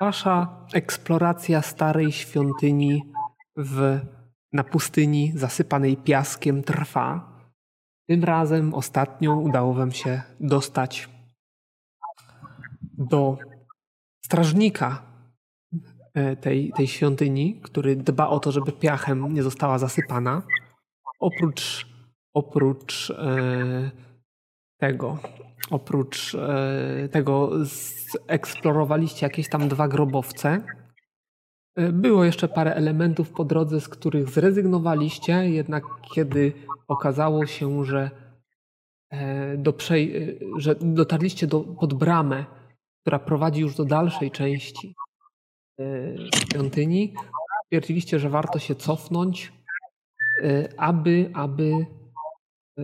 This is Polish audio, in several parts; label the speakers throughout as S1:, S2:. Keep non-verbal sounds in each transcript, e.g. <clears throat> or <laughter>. S1: wasza eksploracja starej świątyni w, na pustyni zasypanej piaskiem trwa. Tym razem ostatnią udało wam się dostać do strażnika e, tej, tej świątyni, który dba o to, żeby piachem nie została zasypana. Oprócz, oprócz e, tego, oprócz e, tego eksplorowaliście jakieś tam dwa grobowce. E, Było jeszcze parę elementów po drodze, z których zrezygnowaliście, jednak kiedy okazało się, że, e, do przej- e, że dotarliście do, pod bramę, która prowadzi już do dalszej części e, świątyni, stwierdziliście, że warto się cofnąć, e, aby, aby e,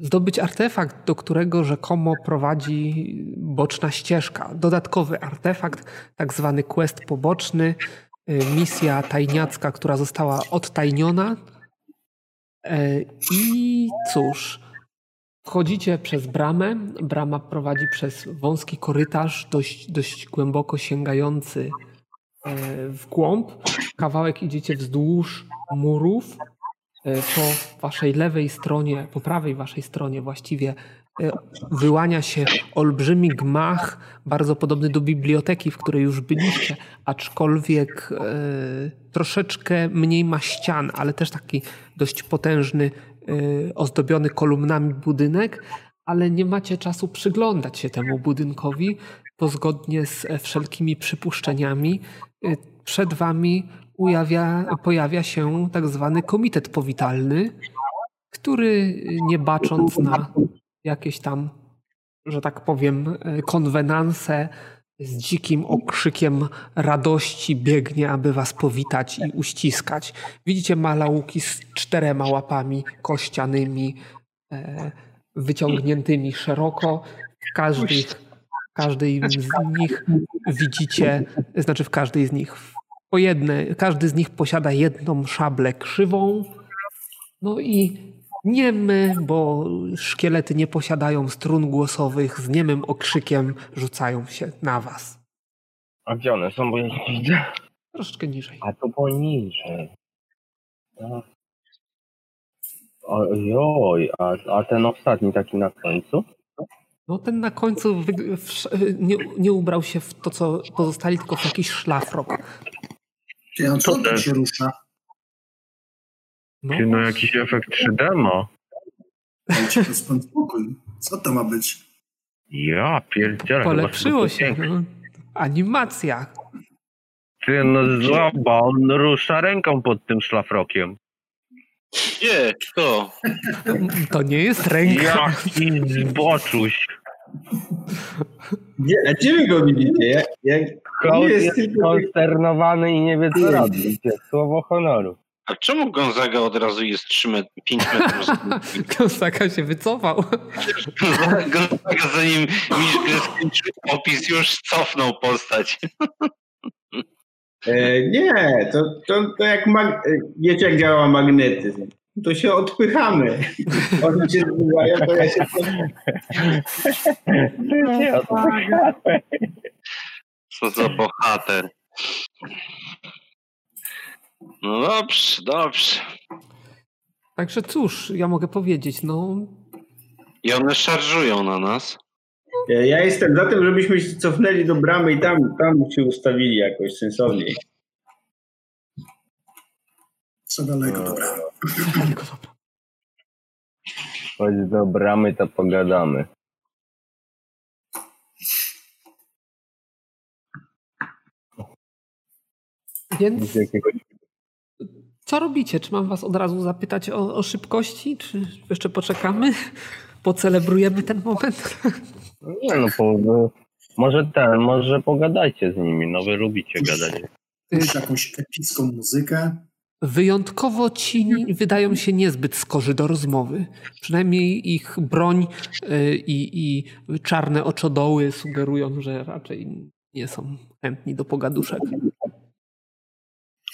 S1: zdobyć artefakt, do którego rzekomo prowadzi boczna ścieżka. Dodatkowy artefakt, tak zwany quest poboczny, e, misja tajniacka, która została odtajniona. E, I cóż, wchodzicie przez bramę. Brama prowadzi przez wąski korytarz, dość, dość głęboko sięgający e, w głąb. Kawałek idziecie wzdłuż murów e, po waszej lewej stronie, po prawej waszej stronie właściwie e, wyłania się olbrzymi gmach, bardzo podobny do biblioteki, w której już byliście, aczkolwiek e, troszeczkę mniej ma ścian, ale też taki dość potężny, e, ozdobiony kolumnami budynek, ale nie macie czasu przyglądać się temu budynkowi, bo zgodnie z e, wszelkimi przypuszczeniami e, przed wami ujawia, pojawia się tak zwany komitet powitalny, który y, nie bacząc na jakieś tam, że tak powiem, e, konwenanse z dzikim okrzykiem radości biegnie, aby was powitać i uściskać. Widzicie malauki z czterema łapami kościanymi, e, wyciągniętymi szeroko. W każdej, w każdej z nich widzicie, znaczy w każdej z nich po jedne, każdy z nich posiada jedną szablę krzywą. No i niemy, bo szkielety nie posiadają strun głosowych, z niemym okrzykiem rzucają się na was.
S2: A gdzie one są, bo ja ich nie widzę?
S1: Troszeczkę niżej.
S2: A to poniżej. No. Ojoj, a, a ten ostatni taki na końcu?
S1: No ten na końcu wyg- w, sz- nie, nie ubrał się w to, co pozostali, tylko w jakiś szlafrok.
S3: Ty, a co
S4: To
S3: tu
S4: też.
S3: się rusza?
S1: No,
S4: Ty, no jakiś efekt 3D ma.
S3: Dajcie to skąd spokój. Co to ma być?
S4: Ja pierdzielę. chyba
S1: polepszyło
S4: tylko
S1: się.
S4: pięknie.
S1: No. Animacja.
S4: Ty, no złaba, on rusza ręką pod tym szlafrokiem.
S5: Gdzie? Kto?
S1: To nie jest ręka.
S4: Jaki zboczuś.
S6: Gdzie, a gdzie wy go widzicie? Ja, ja,
S2: Kołd
S6: jest
S2: jest
S6: tylko-
S2: konsternowany i nie wie co robić. Słowo honoru.
S5: A czemu Gonzaga od razu jest 3 met- 5 metrów za nim?
S1: <laughs> Kosaka się wycofał.
S5: Gonzaga Tak, zanim Miszkę skończył opis już cofnął postać.
S6: e, nie, to, to, to jak mag, e, wiecie jak działa magnetyzm. To się odpychamy. One się zbywają, to ja się
S5: Co za bohater. No dobrze, dobrze.
S1: Także cóż, ja mogę powiedzieć, no <clears throat>
S5: I one szarżują na nas.
S6: e, Ja jestem za tym, żebyśmy się cofnęli do bramy i tam, tam się ustawili jakoś sensowniej.
S3: Co
S5: No.
S3: daleko, dobra.
S1: daleko dobra.
S2: Chodź do bramy, to pogadamy.
S1: Więc
S2: Z jakiegoś...
S1: co robicie? Czy mam was od razu zapytać o, o szybkości? Czy jeszcze poczekamy? Pocelebrujemy ten moment?
S2: Nie no, po, może ten, może pogadajcie z nimi, no wy lubicie gadać.
S3: Puść jakąś epicką muzykę.
S1: Wyjątkowo ci ni- wydają się niezbyt skorzy do rozmowy. Przynajmniej ich broń y, i, i czarne oczodoły sugerują, że raczej nie są chętni do pogaduszek.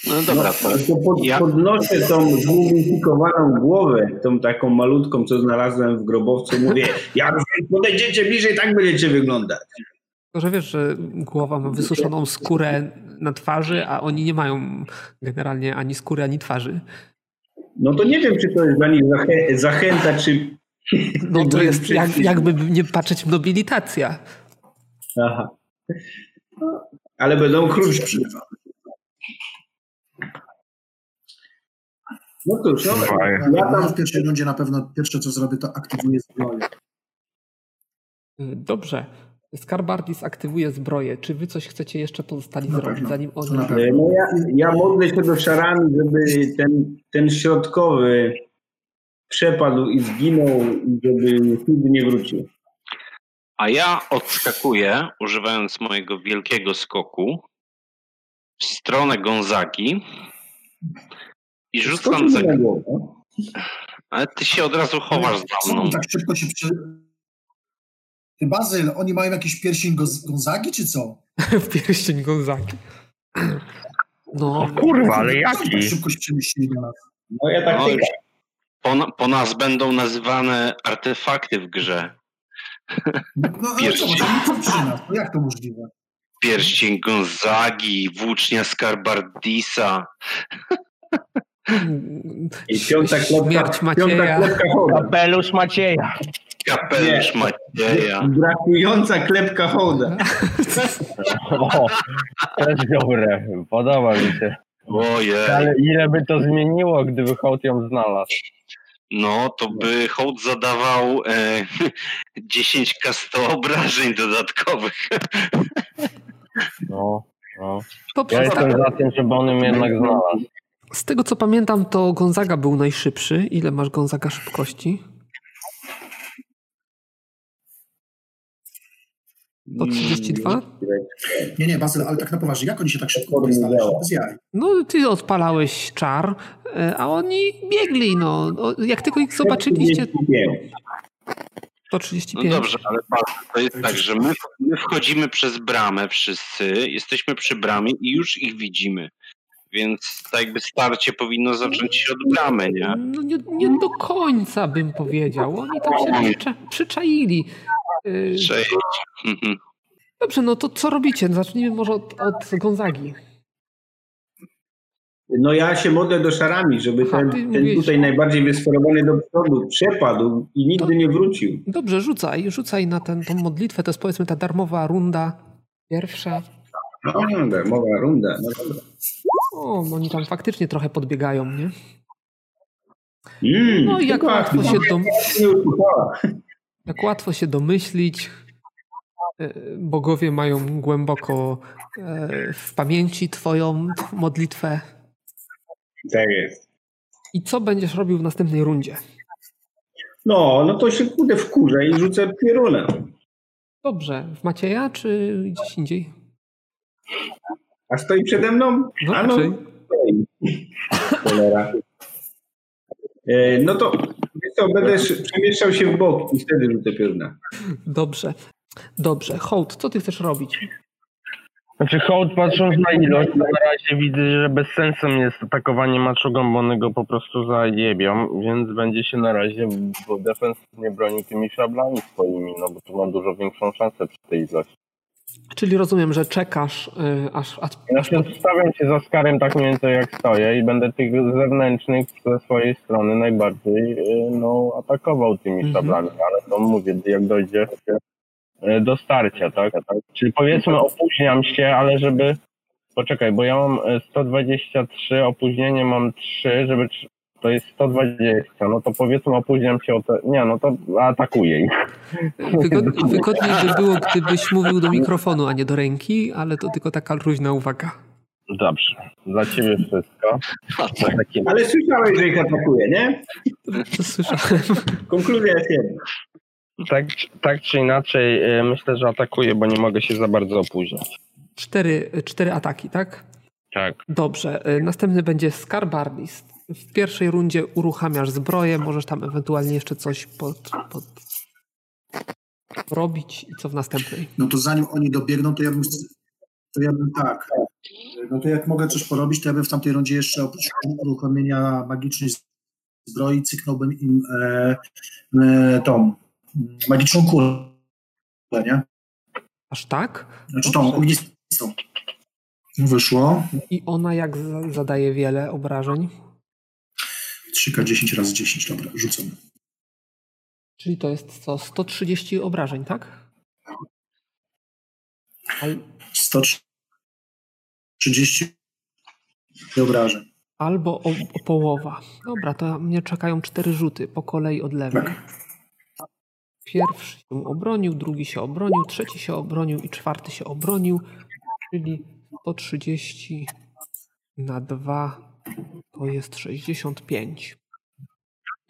S5: No dobra, to
S6: To pod,
S5: Ja-
S6: podnoszę tą zmumifikowaną głowę, tą taką malutką, co znalazłem w grobowcu. Mówię, jak podejdziecie bliżej, tak będziecie wyglądać.
S1: Tylko, że wiesz, że głowa ma wysuszoną skórę na twarzy, a oni nie mają generalnie ani skóry, ani twarzy.
S6: No to nie wiem, czy to jest dla nich zachę- zachęta, czy...
S1: No to jest jak, jakby nie patrzeć nobilitacja.
S6: Aha. No, ale będą
S3: Krótko
S6: krótsze.
S3: przybywa.
S6: No cóż, no,
S7: Słuchaj.
S6: ja tam
S3: Ja w pierwszej rundzie na pewno pierwsze co zrobię to aktywuję zbroję.
S1: Dobrze. Skarbardis aktywuje zbroję. Czy wy coś chcecie jeszcze pozostali
S3: Na
S1: zrobić,
S3: pewno.
S1: zanim on...
S3: To na pewno.
S6: No ja, ja modlę się do szarami, żeby ten, ten środkowy przepadł i zginął, i żeby nigdy nie wrócił.
S5: A ja odskakuję, używając mojego wielkiego skoku, w stronę Gonzagi i rzucam za...
S6: Skoczył na głowę.
S5: Ale ty się od razu chowasz za
S3: Co
S5: mną.
S3: on tak szybko się przy... Ty Bazyl, oni mają jakiś pierścień Goz- Gonzagi czy co?
S1: <laughs> w pierścień Gonzagi. No,
S7: O kurwa, ale
S3: Co tak
S7: jaki?
S3: szybko się przemieścili do nas?
S6: No ja tak
S5: No,
S6: no,
S5: już po, na- po nas będą nazywane artefakty w grze.
S3: No ale co,
S5: Pierścień.
S3: to nie przy nas, no jak to możliwe?
S5: Pierścień Gonzagi, włócznia Skarbardisa.
S6: I piąta
S1: śmierć
S6: klopka, piąta
S1: Macieja.
S6: klepka hołda.
S4: Kapelusz Macieja.
S5: Kapelusz Macieja.
S6: Brakująca klepka hołda.
S4: O, też dobre, podoba mi się.
S5: Ojej.
S4: Ale ile by to zmieniło, gdyby Hołd ją znalazł?
S5: No to by hołd zadawał e, <laughs> 10k 100 obrażeń dodatkowych.
S4: No, no.
S1: to
S4: Ja
S1: przestań.
S4: jestem za tym, żeby on ją jednak znalazł.
S1: Z tego co pamiętam, to Gonzaga był najszybszy. Ile masz Gonzaga szybkości? To
S6: Mm.
S1: 32?
S3: Nie, nie, Bazyl, ale tak na poważnie, jak oni się tak szybko tutaj znaleźli? Bez jaj.
S1: No, ty odpalałeś czar, e, a oni biegli, no. O, Jak tylko ich zobaczyliście,
S6: 35.
S1: to
S5: No
S1: 35.
S5: dobrze, ale patrz, to jest tak, że my, my wchodzimy przez bramę wszyscy, jesteśmy przy bramie i już ich widzimy. Więc tak jakby starcie powinno zacząć się od bramy, nie?
S1: No, nie, nie do końca bym powiedział. Oni tam się przycza przyczaili. E,
S5: Cześć. <laughs> Mhm.
S1: Dobrze, no to co robicie? Zacznijmy może od, od Gonzagi.
S6: No ja się modlę do szarami, żeby
S1: Aha,
S6: ten,
S1: ty
S6: ten
S1: mówiłeś.
S6: tutaj najbardziej wysforowany do przodu przepadł i
S1: To-
S6: nigdy nie wrócił.
S1: Dobrze, rzucaj, rzucaj na ten, tą modlitwę. To jest powiedzmy ta darmowa runda pierwsza.
S6: No, dobra, mowa runda. No, dobra.
S1: O, no oni tam faktycznie trochę podbiegają, nie?
S6: Mm,
S1: No i jak
S6: chyba-
S1: łatwo się, dom,
S6: nie usłyszała.
S1: jak łatwo się domyślić, e, bogowie mają głęboko e, w pamięci twoją modlitwę.
S6: Tak jest.
S1: I co będziesz robił w następnej rundzie?
S6: No, no to się kudę wkurzę i rzucę pierunę.
S1: Dobrze, w Macieja czy gdzieś indziej?
S6: A stoi przede mną?
S1: No,
S6: A no,
S1: raczej.
S6: stoi. Cholera. E, No to wiesz co, będę sz- przemieszczał się w bok i wtedy rzucę piorunę.
S1: Dobrze. Dobrze, hołd, co ty chcesz robić?
S4: Znaczy Hołd patrząc na ilość, to na razie widzę, że bez sensu jest atakowanie maczugą, bo one go po prostu zajebią, więc będzie się na razie w- defensywnie bronił tymi szablami swoimi, no bo tu ma dużo większą szansę przy tej ilości.
S1: Czyli rozumiem, że czekasz, y, aż, aż
S4: Znaczy stawiam się za skarem tak mniej więcej jak stoję i będę tych zewnętrznych ze swojej strony najbardziej y, no, atakował tymi
S1: Mhm.
S4: szablami, ale to mówię, jak dojdzie y, do starcia, tak? tak? Czyli powiedzmy opóźniam się, ale żeby... Poczekaj, bo ja mam y, 123, opóźnienie mam 3, żeby... trz- To jest 120, no to powiedzmy opóźniam się o te... Nie, no to atakuję ich.
S1: Wygod- wygodniej by było, gdybyś mówił do mikrofonu, a nie do ręki, ale to tylko taka luźna uwaga.
S4: Dobrze, dla ciebie wszystko. Takie
S6: Ale słyszałeś, że ich atakuje, nie?
S1: To słyszałem.
S6: Konkluzja jest jedna.
S4: Tak, tak czy inaczej, y, myślę, że atakuję, bo nie mogę się za bardzo opóźniać.
S1: Cztery, cztery ataki, tak?
S4: Tak.
S1: Dobrze. y, Następny będzie Skarbardis. W pierwszej rundzie uruchamiasz zbroję, możesz tam ewentualnie jeszcze coś pod, pod robić i co w następnej?
S3: No to zanim oni dobiegną, to ja bym, to ja bym tak. No to jak mogę coś porobić, to ja bym w tamtej rundzie jeszcze oprócz uruchomienia magicznej zbroi cyknąłbym im e, e, tą mm, magiczną kulę, nie?
S1: Aż tak?
S3: Znaczy tą
S1: Dobrze.
S3: ognistą. Wyszło
S1: I ona jak za- zadaje wiele obrażeń?
S3: 3K10 razy 10, dobra, rzucam.
S1: Czyli to jest co? 130 obrażeń, tak? Al,
S3: 130 obrażeń.
S1: albo o, o połowa. Dobra, to mnie czekają cztery rzuty po kolei od lewej.
S3: Tak.
S1: Pierwszy się obronił, drugi się obronił, trzeci się obronił i czwarty się obronił. Czyli 130 na 2 to jest 65.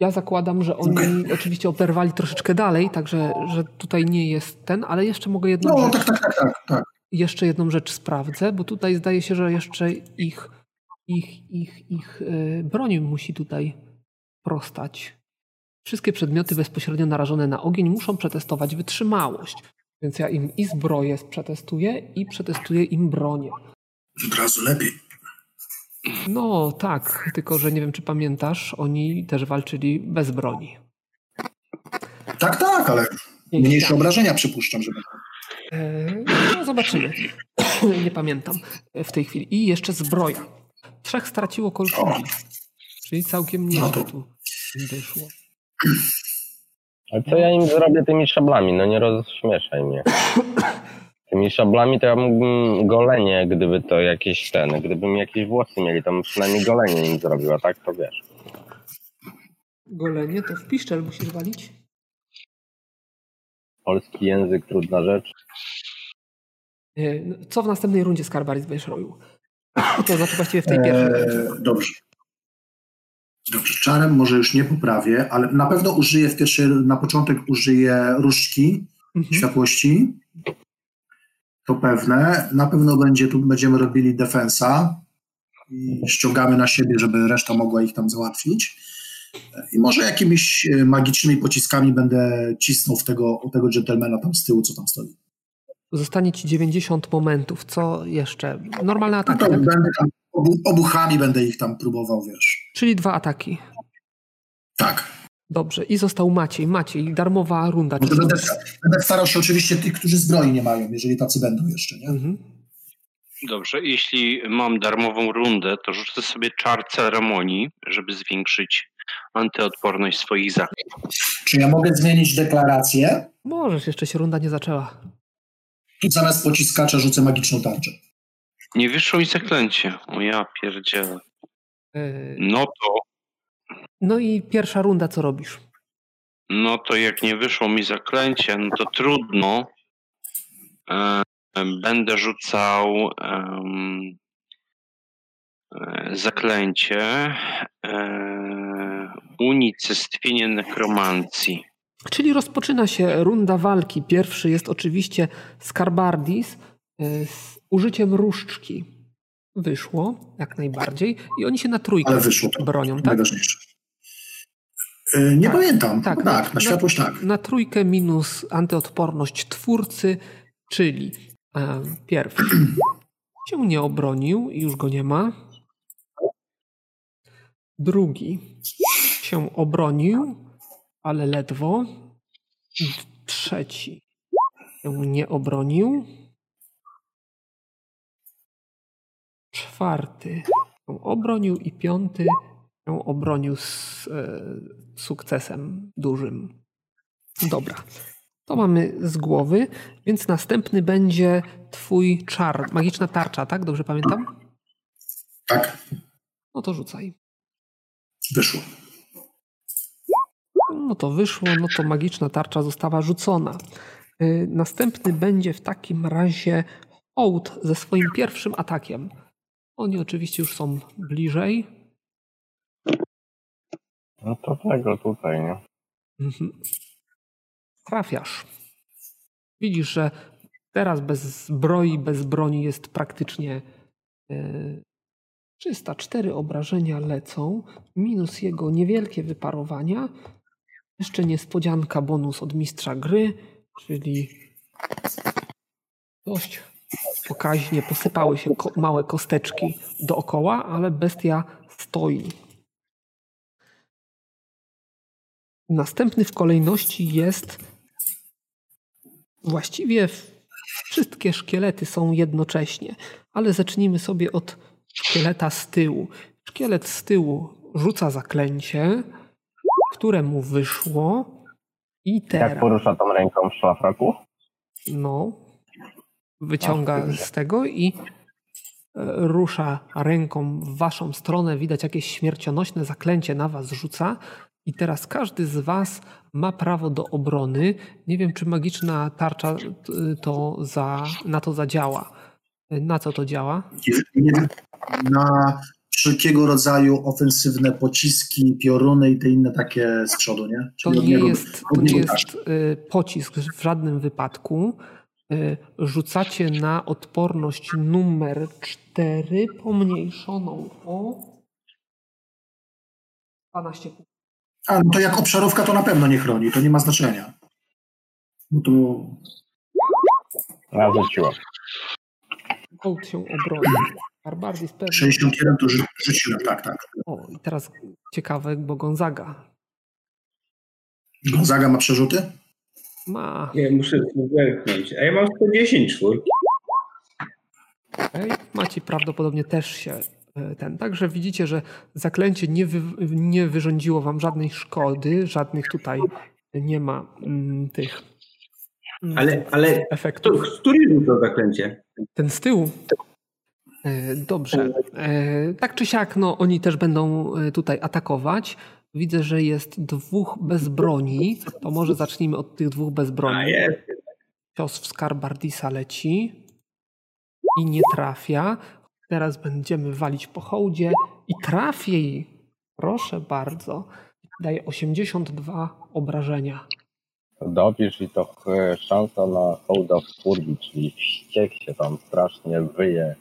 S1: Ja zakładam, że oni oczywiście oberwali troszeczkę dalej, także że tutaj nie jest ten, ale jeszcze mogę jedną
S3: No
S1: rzecz
S3: tak, tak, tak, tak, tak.
S1: jeszcze jedną rzecz sprawdzę, bo tutaj zdaje się, że jeszcze ich, ich, ich, ich y, broń musi tutaj prostać. Wszystkie przedmioty bezpośrednio narażone na ogień muszą przetestować wytrzymałość. Więc ja im i zbroję przetestuję i przetestuję im bronię.
S3: Od razu lepiej.
S1: No tak, tylko że nie wiem, czy pamiętasz, oni też walczyli bez broni.
S3: Tak, tak, ale mniejsze obrażenia przypuszczam, że będą.
S1: E, No, zobaczymy. <coughs> Nie pamiętam w tej chwili. I jeszcze zbroja. Trzech straciło kolczugi. Czyli całkiem nieźle
S3: No to-
S1: tu wyszło.
S2: A co ja im zrobię tymi szablami? No nie rozśmieszaj mnie. Tymi szablami to ja mógłbym golenie, gdyby to jakieś ten, gdybym jakieś włosy mieli, to bym przynajmniej golenie im zrobiła, tak? To wiesz.
S1: Golenie to w piszczel musisz walić.
S2: Polski język, trudna rzecz.
S1: E, no, Co w następnej rundzie Skarbaris będziesz robił? <coughs> To znaczy właściwie w tej pierwszej.
S3: Eee, dobrze. Dobrze, czarem może już nie poprawię, ale na pewno użyję w pierwszej, na początek użyję różdżki
S1: Mhm.
S3: światłości. To pewne. Na pewno będzie, tu będziemy robili defensa i ściągamy na siebie, żeby reszta mogła ich tam załatwić. I może jakimiś e, magicznymi pociskami będę cisnął w tego, u tego dżentelmena tam z tyłu, co tam stoi.
S1: Zostanie ci 90 momentów. Co jeszcze? Normalne
S3: No
S1: ataki,
S3: to
S1: tak?
S3: będę tam obu, obuchami będę ich tam próbował, wiesz.
S1: Czyli dwa ataki.
S3: Tak.
S1: Dobrze. I został Maciej. Maciej, darmowa runda.
S3: No to będę, będę starał się oczywiście tych, którzy zbroi nie mają, jeżeli tacy będą jeszcze, nie?
S1: Mhm.
S5: Dobrze, jeśli mam darmową rundę, to rzucę sobie czar ceremonii, żeby zwiększyć antyodporność swoich zaklęć.
S3: Czy ja mogę zmienić deklarację?
S1: Możesz, jeszcze się runda nie zaczęła.
S3: Tu zamiast pociskacza rzucę magiczną tarczę.
S5: Nie wyszło mi zaklęcie. O ja pierdzielę.
S1: E,
S5: No to,
S1: No i pierwsza runda, co robisz?
S5: no to jak nie wyszło mi zaklęcie, no to trudno. E, Będę rzucał em, e, zaklęcie e, unicestwienie nekromancji.
S1: Czyli rozpoczyna się runda walki. Pierwszy jest oczywiście Skarbardis y, z użyciem różdżki. Wyszło, jak najbardziej. I oni się na trójkę
S3: Ale wyszło.
S1: bronią, tak?
S3: Najważniejsze. Y, Nie
S1: Tak.
S3: pamiętam.
S1: Tak,
S3: Tak,
S1: no,
S3: tak
S1: no.
S3: na światłość tak.
S1: Na trójkę minus antyodporność twórcy, czyli e, pierwszy <clears throat> się nie obronił i już go nie ma. Drugi się obronił, ale ledwo. I Trzeci się nie obronił. Czwarty się obronił i piąty się obronił z e, sukcesem dużym. Dobra. To mamy z głowy, więc następny będzie twój czar, magiczna tarcza, tak? Dobrze pamiętam?
S3: Tak,
S1: No to rzucaj.
S3: wyszło.
S1: No to wyszło, no to magiczna tarcza została rzucona. Y, Następny będzie w takim razie Hołd ze swoim pierwszym atakiem. Oni oczywiście już są bliżej.
S2: No to tego tutaj, nie?
S1: Mhm. Trafiasz. Widzisz, że teraz bez zbroi, bez broni jest praktycznie yy, 304 obrażenia lecą, minus jego niewielkie wyparowania. Jeszcze niespodzianka bonus od mistrza gry, czyli dość pokaźnie posypały się ko- małe kosteczki dookoła, ale bestia stoi. Następny w kolejności jest właściwie w- Wszystkie szkielety są jednocześnie, ale zacznijmy sobie od szkieleta z tyłu. Szkielet z tyłu rzuca zaklęcie, które mu wyszło i
S4: Jak
S1: teraz
S4: porusza tą ręką w szlafraku?
S1: no, wyciąga
S4: kurde.
S1: z tego i e, rusza ręką w waszą stronę. Widać jakieś śmiercionośne zaklęcie na was rzuca. I teraz każdy z was ma prawo do obrony. Nie wiem, czy magiczna tarcza t- to za, na to zadziała. E, Na co to działa?
S3: Nie- Na wszelkiego rodzaju ofensywne pociski, pioruny i te inne takie z przodu, nie?
S1: To
S3: od
S1: nie
S3: niego-
S1: jest,
S3: od
S1: to nie
S3: niego
S1: jest y, pocisk w żadnym wypadku. Y, Rzucacie na odporność numer 4 pomniejszoną o 12 punktów.
S3: A, no to jak obszarówka to na pewno nie chroni, to nie ma znaczenia. No to
S4: Ja rzuciłem.
S1: Hołd się obroni. Barbardis pewnie.
S3: 61 to rzu- rzuciłem, tak, tak.
S1: O, i teraz ciekawe, bo Gonzaga
S3: Gonzaga ma przerzuty?
S1: ma.
S6: Nie, muszę tu zerknąć. A ja mam 110 czwór.
S1: Okej. Macie E, prawdopodobnie też się e, ten. Także widzicie, że zaklęcie nie, wy, nie wyrządziło wam żadnej szkody, żadnych tutaj nie ma mm, tych mm,
S6: Ale, ale
S1: efektów.
S6: to, który rzucał zaklęcie?
S1: Ten z tyłu. E, Dobrze. E, Tak czy siak, no, oni też będą e, tutaj atakować. Widzę, że jest dwóch bez broni. To może zacznijmy od tych dwóch bez broni.
S6: A jest.
S1: Cios w Skarbardisa leci i nie trafia. Teraz będziemy walić po hołdzie i trafi jej. Proszę bardzo. Daje 82 obrażenia.
S4: Dopisz i to e, szansa na hołda w furgi, czyli wściek się tam strasznie wyje.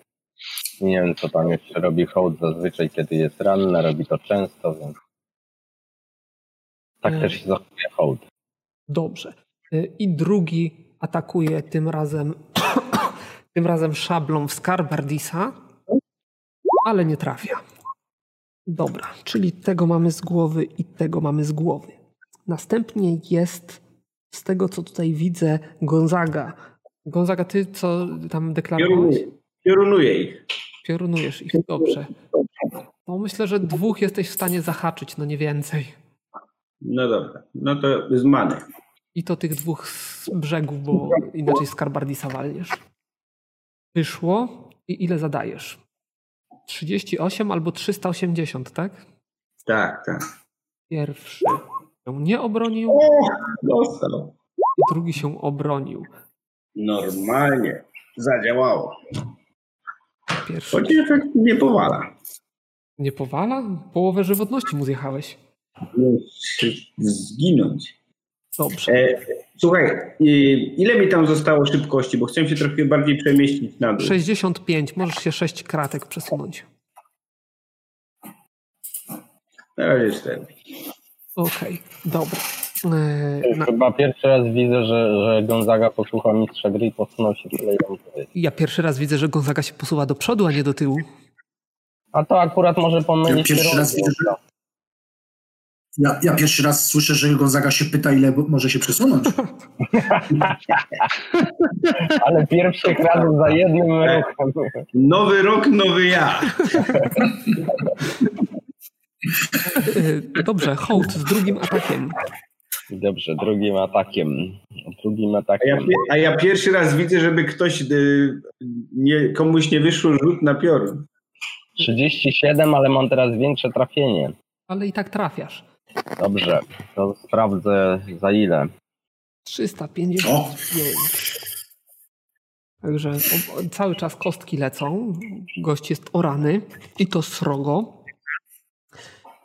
S4: Nie wiem, co tam jeszcze robi hołd zazwyczaj, kiedy jest ranna, robi to często, więc... Tak
S1: Mm.
S4: też się zachowuje hołd.
S1: Dobrze. Y, I drugi atakuje tym razem <coughs> tym razem szablą w Skarbardisa, ale nie trafia. Dobra, czyli tego mamy z głowy i tego mamy z głowy. Następnie jest z tego, co tutaj widzę, Gonzaga. Gonzaga, ty co tam deklarowałeś?
S6: Piorunuję. Piorunuję ich.
S1: Piorunujesz ich, dobrze. No myślę, że dwóch jesteś w stanie zahaczyć, no nie więcej.
S6: No dobra. No to z many.
S1: I to tych dwóch z brzegów, bo inaczej skarbardisa walniesz. Wyszło i ile zadajesz? 38 albo 380, tak?
S6: Tak, tak.
S1: Pierwszy się nie obronił,
S6: O, dostał.
S1: i drugi się obronił.
S6: Normalnie. Zadziałało.
S1: Pierwszy
S6: Chociaż efekt nie powala.
S1: nie powala? Połowę żywotności mu zjechałeś.
S6: Musi Zginąć.
S1: Dobrze.
S6: E, słuchaj, i- ile mi tam zostało szybkości? Bo chciałem się trochę bardziej przemieścić na dół.
S1: 65, możesz się 6 kratek przesunąć.
S6: Na razie cztery.
S1: Okej, dobra. Eee, na-
S4: Chyba pierwszy raz widzę, że, że Gonzaga posłucha mistrza gry i posunął się tyle, ile mu powiedział.
S1: Ja pierwszy raz widzę, że Gonzaga się posuwa do przodu, a nie do tyłu.
S4: A to akurat może pomylić
S3: Ja pierwszy raz
S4: kierunki.
S3: widzę, że- Ja, ja pierwszy raz słyszę, że Gonzaga się pyta, ile bo- może się przesunąć.
S4: Ale
S3: <laughs>
S4: pierwszych razów za jednym ruchem.
S6: Nowy rok, nowy ja.
S1: Eee, dobrze, hołd z drugim atakiem.
S4: Dobrze, drugim atakiem. Drugim
S6: A ja,
S4: atakiem.
S6: pie- a ja pierwszy raz widzę, żeby ktoś y, nie, komuś nie wyszło rzut na piorun.
S4: 37, ale mam teraz większe trafienie.
S1: Ale i tak trafiasz.
S4: Dobrze, to sprawdzę za ile.
S1: 355. Także o- o- cały czas kostki lecą. Gość jest orany i to srogo.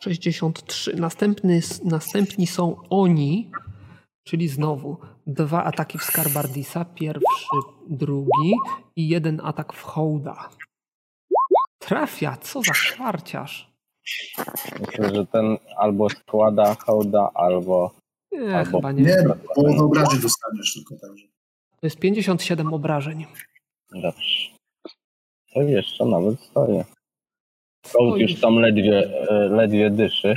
S1: 63. Następny, s- następni są oni, czyli znowu dwa ataki w Skarbardisa, pierwszy, drugi i jeden atak w Hołda. Trafia, co za szwarciarz.
S4: Myślę, że ten albo składa hołda, albo...
S1: Nie,
S4: Albo-
S1: chyba nie. tak.
S3: Nie, połowę obrażeń dostaniesz tylko także.
S1: To jest 57 obrażeń.
S4: Dobrze. To jeszcze nawet stoję. Hołd
S1: Oj.
S4: już tam ledwie, e, ledwie dyszy.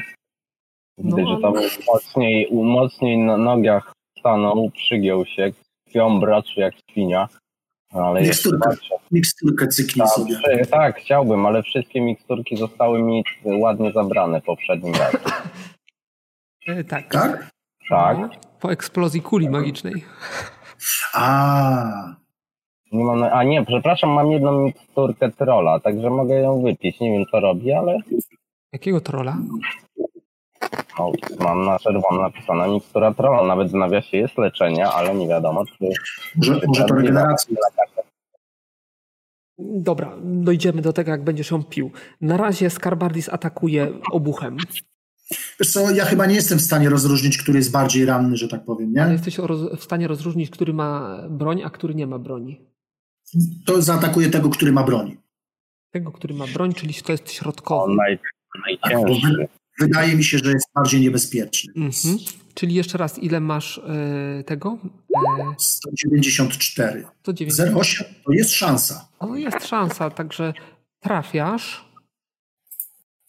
S4: Gdy,
S1: No,
S4: że tam
S1: ale-
S4: mocniej, mocniej na nogach stanął, przygiął się, krwią braczy jak świnia. Ale jeszcze
S3: Miksturkę.
S4: patrzę.
S3: Miksturkę cyknij
S4: Tak,
S3: sobie.
S4: przy- tak, chciałbym, ale wszystkie miksturki zostały mi ładnie zabrane poprzednim razem.
S1: E, tak.
S3: Tak?
S4: Tak.
S1: No, Po eksplozji kuli magicznej.
S3: A,
S4: Nie mam, a nie, przepraszam, mam jedną miksturkę trolla, także mogę ją wypić. Nie wiem co robi, ale
S1: Jakiego trola?
S4: o, mam na czerwono napisane mikstura trolla. Nawet w nawiasie jest leczenie, ale nie wiadomo czy...
S3: może,
S4: czy
S3: może to
S4: prawdziwa.
S3: regeneracja.
S1: Dobra, dojdziemy do tego, jak będziesz ją pił. Na razie Skarbardis atakuje obuchem.
S3: Wiesz co, ja chyba nie jestem w stanie rozróżnić, który jest bardziej ranny, że tak powiem,
S1: Ale
S3: nie?
S1: jesteś roz- w stanie rozróżnić, który ma broń, a który nie ma broni.
S3: To zaatakuje tego, który ma broń.
S1: Tego, który ma broń, czyli to jest środkowy.
S4: On naj, najcięższy.
S3: Wydaje mi się, że jest bardziej niebezpieczny.
S1: Mhm. Czyli jeszcze raz, ile masz e, tego? E,
S3: 194.
S1: 109.
S3: 0,8 to jest szansa.
S1: No jest szansa, także trafiasz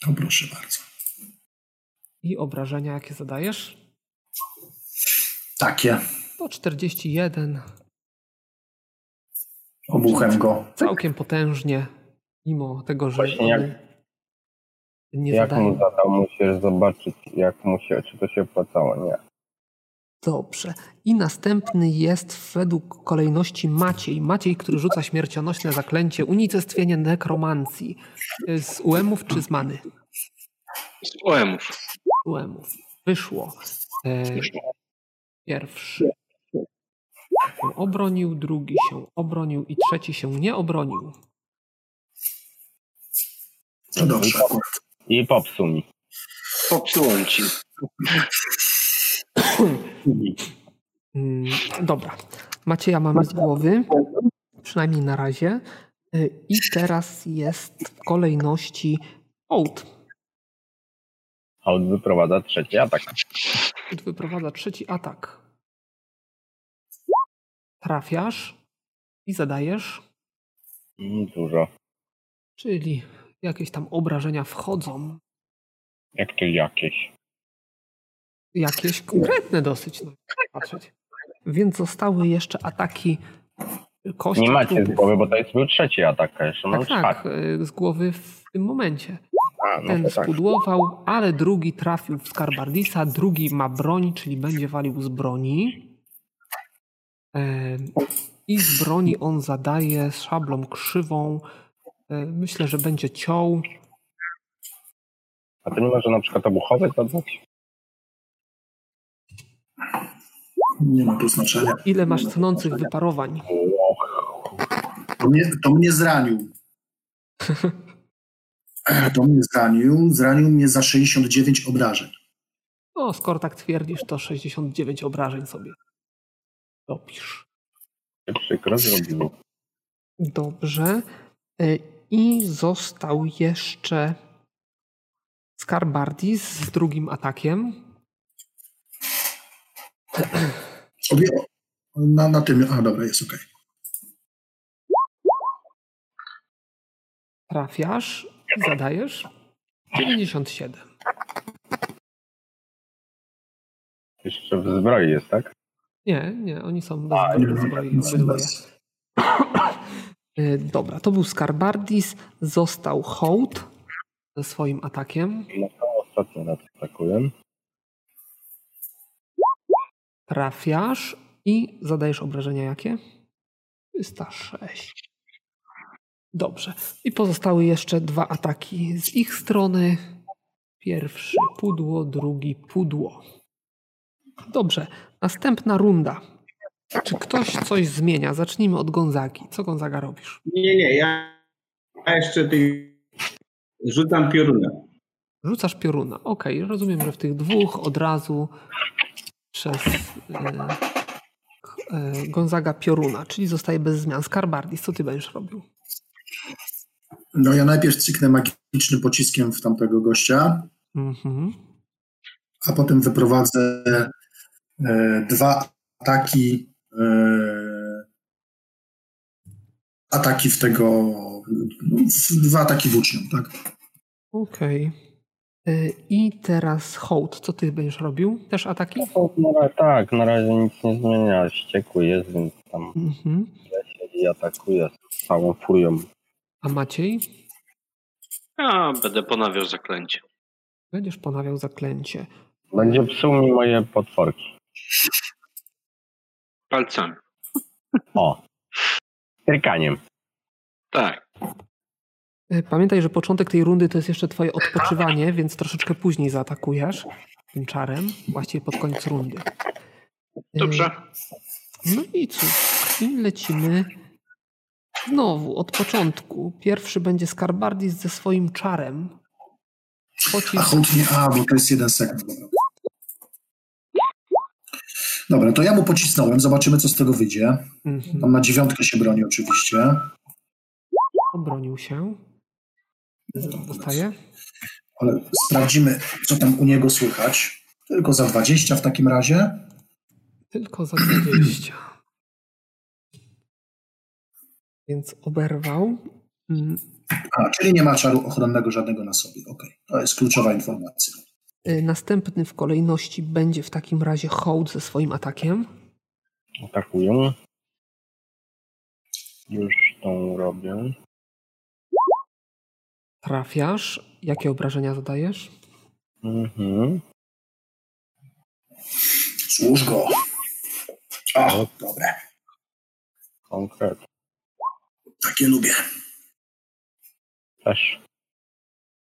S3: No proszę bardzo.
S1: i obrażenia, jakie zadajesz?
S3: Takie.
S1: To 41.
S3: Obuchem go.
S1: Całkiem potężnie, mimo tego, że
S4: Tak. Właśnie jak-
S1: one nie
S4: Jak mu
S1: zadają.
S4: zadał, musisz zobaczyć, jak mu się, czy to się opłacało, nie.
S1: Dobrze. I następny jest według kolejności Maciej. Maciej, który rzuca śmiercionośne zaklęcie unicestwienie nekromancji. Y, Z UEM-ów czy z many?
S5: Z OM-ów.
S1: UEM-ów. Wyszło. E, Pierwszy się obronił, drugi się obronił i trzeci się nie obronił.
S3: To dobrze.
S4: I popsuł mi.
S5: Popsułem ci.
S1: Mm, Dobra. Macieja mamy z głowy, przynajmniej na razie. Y, I teraz jest w kolejności Hołd.
S4: Hołd wyprowadza trzeci atak.
S1: Hołd wyprowadza trzeci atak. Trafiasz i zadajesz,
S4: Mm, Dużo.
S1: czyli jakieś tam obrażenia wchodzą.
S4: Jak to jakieś.
S1: Jakieś konkretne dosyć, no, patrzeć. Więc zostały jeszcze ataki kości.
S4: Nie macie z
S1: trupów.
S4: głowy, bo to jest był trzeci atak, a jeszcze mam
S1: Tak, tak,
S4: czwarty.
S1: y, z głowy w tym momencie.
S4: A, no
S1: Ten
S4: to tak.
S1: spudłował, ale drugi trafił w Skarbardisa, drugi ma broń, czyli będzie walił z broni. Em, I z broni on zadaje z szablą krzywą. E, Myślę, że będzie ciął.
S4: A to nie może na przykład obuchowy zadać?
S3: Nie ma tu znaczenia.
S1: Ile masz tnących wyparowań?
S3: To mnie, to mnie zranił. To mnie zranił. Zranił mnie za 69 obrażeń.
S1: No, skoro tak twierdzisz, to 69 obrażeń sobie dopisz.
S4: Przykro zrobił.
S1: Dobrze. E, I został jeszcze Skarbardis z drugim atakiem.
S3: Obie, na, na tym. A dobra, jest okej.
S1: Trafiasz i zadajesz 97.
S4: Jeszcze w zbroi jest, tak?
S1: Nie, nie, oni są
S4: A,
S1: bez bez
S3: nie,
S1: zbroi
S3: bez-
S1: obydwoje.
S3: bez.
S1: Y, Dobra, to był Skarbardis, został Hołd ze swoim atakiem.
S4: No to ostatni raz atakuję.
S1: Trafiasz i zadajesz obrażenia jakie? 306. Dobrze. I pozostały jeszcze dwa ataki z ich strony. Pierwszy pudło, drugi pudło. Dobrze. Następna runda. Czy ktoś coś zmienia? Zacznijmy od Gonzagi. Co Gonzaga robisz?
S6: Nie, nie, ja, ja jeszcze ty rzucam piorunem.
S1: Rzucasz pioruna. Okej, rozumiem, że w tych dwóch od razu przez e, k- e, Gonzaga pioruna, czyli zostaje bez zmian. Skarbardis, co ty będziesz robił?
S3: No ja najpierw cyknę magicznym pociskiem w tamtego gościa,
S1: Mhm.
S3: a potem wyprowadzę e, dwa ataki. E, ataki w tego. w- Dwa ataki włócznią, tak?
S1: Okej. E, I teraz hołd, co ty będziesz robił? Też ataki?
S4: No, tak, na razie nic nie zmienia. Ściekły jest, więc tam
S1: Mhm.
S4: siedzi.
S2: i atakuje z całą furią.
S1: A Maciej?
S5: A, będę ponawiał zaklęcie.
S1: Będziesz ponawiał zaklęcie.
S2: Będzie psuł mi moje potworki.
S5: Palcami.
S2: O. Trykaniem.
S5: Tak.
S1: E, Pamiętaj, że początek tej rundy to jest jeszcze twoje odpoczywanie, więc troszeczkę później zaatakujesz tym czarem, właściwie pod koniec rundy. E,
S5: Dobrze.
S1: No i cóż, i lecimy znowu od początku. Pierwszy będzie Skarbardis ze swoim czarem.
S3: A
S1: Pocisk
S3: hołd nie, a, bo to jest jeden sekund. Dobra. Dobra, to ja mu pocisnąłem, zobaczymy co z tego wyjdzie. Tam
S1: mhm.
S3: na dziewiątkę się broni oczywiście.
S1: obronił się. Dostaje.
S3: Ale sprawdzimy, co tam u niego słychać. Tylko za 20 w takim razie.
S1: Tylko za 20. Więc oberwał. Mm,
S3: A, czyli nie ma czaru ochronnego żadnego na sobie. Okej, to jest kluczowa informacja.
S1: y, Następny w kolejności będzie w takim razie hołd ze swoim atakiem.
S2: Atakują. Już tą robię.
S1: Trafiasz. Jakie obrażenia zadajesz?
S2: Mhm.
S3: Służ go. O, dobre.
S2: Konkret.
S3: Takie lubię.
S2: Też.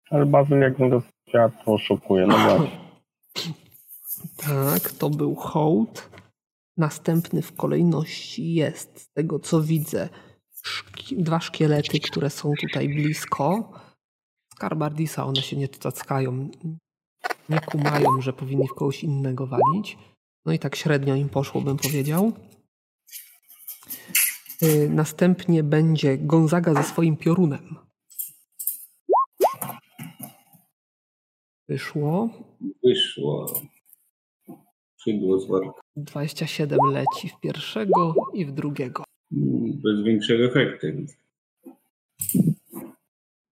S2: Ale Bazyl jak go światło oszukuje. No właśnie.
S1: Tak, to był hołd. Następny w kolejności jest, z tego co widzę, szki- dwa szkielety, które są tutaj blisko. Skarbardisa, one się nie tackają, nie kumają, że powinni w kogoś innego walić. No i tak średnio im poszło, bym powiedział. Y, Następnie będzie Gonzaga ze swoim piorunem. Wyszło.
S6: Wyszło. Szydło z worka.
S1: 27 leci w pierwszego i w drugiego.
S6: Mm, Bez większego efektu.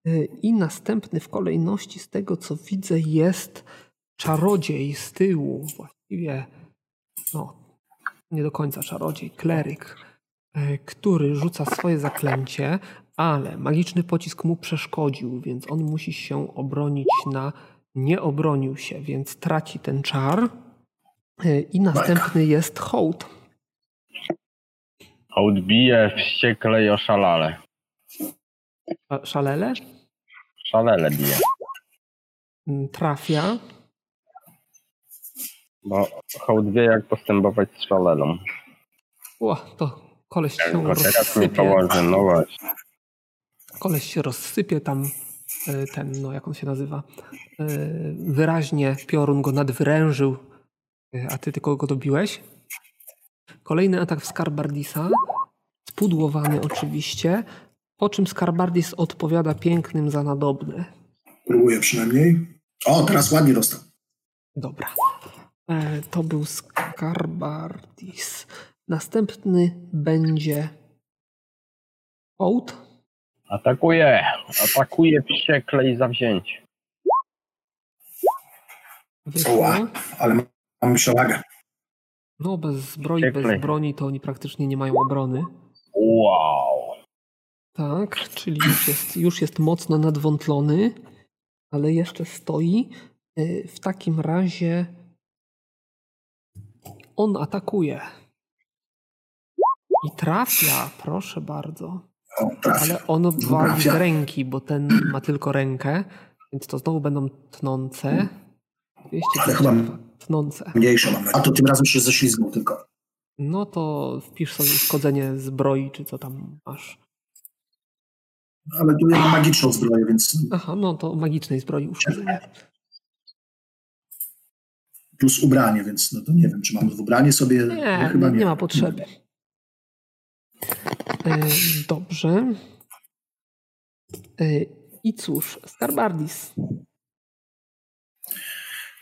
S1: Y, I następny w kolejności, z tego co widzę, jest czarodziej z tyłu. Właściwie, no, nie do końca czarodziej, kleryk, y, który rzuca swoje zaklęcie, ale magiczny pocisk mu przeszkodził, więc on musi się obronić na. Nie obronił się, więc traci ten czar. Y, I następny jest hołd.
S2: Hołd bije wściekle i oszalale.
S1: A Szalele
S2: Szalele bije.
S1: Mm, trafia.
S2: Bo hołd wie jak postępować z szalelą.
S1: O, to koleś się
S2: Tylko teraz mi
S1: rozsypie.
S2: położę, no właśnie.
S1: Koleś się rozsypie tam y, ten, no jak on się nazywa. y, Wyraźnie piorun go nadwyrężył, y, a ty tylko go dobiłeś. Kolejny atak w Skarbardisa. Spudłowany oczywiście. Po czym Skarbardis odpowiada pięknym za nadobne.
S3: Próbuję przynajmniej. O, teraz ładnie dostał.
S1: Dobra. E, To był Skarbardis. Następny będzie Hołd.
S2: Atakuje! Atakuje wściekle i zawzięcie.
S1: Wyszło.
S3: Oła. Ale mam- mam przewagę.
S1: No bez zbroi, bez
S2: Ciekły.
S1: broni to oni praktycznie nie mają obrony.
S2: Wow!
S1: Tak, czyli już jest, już jest mocno nadwątlony, ale jeszcze stoi. Y, W takim razie on atakuje. I trafia, proszę bardzo.
S3: O, trafia.
S1: Ale on wali z
S3: Trafia.
S1: ręki, bo ten ma tylko rękę, więc to znowu będą tnące. 200
S3: Ale chyba-
S1: tnące.
S3: Mniejsza mam nadzieję. A to tym razem się ześlizgnął tylko.
S1: No to wpisz sobie uszkodzenie zbroi, czy co tam masz.
S3: Ale tu ja mam magiczną zbroję, więc
S1: Aha, no to o magicznej zbroi uszkodzenie.
S3: plus ubranie, więc no to nie wiem, czy mam w ubranie sobie. no,
S1: Nie,
S3: chyba
S1: nie, nie ma potrzeby. E, dobrze. E, I cóż, Skarbardis.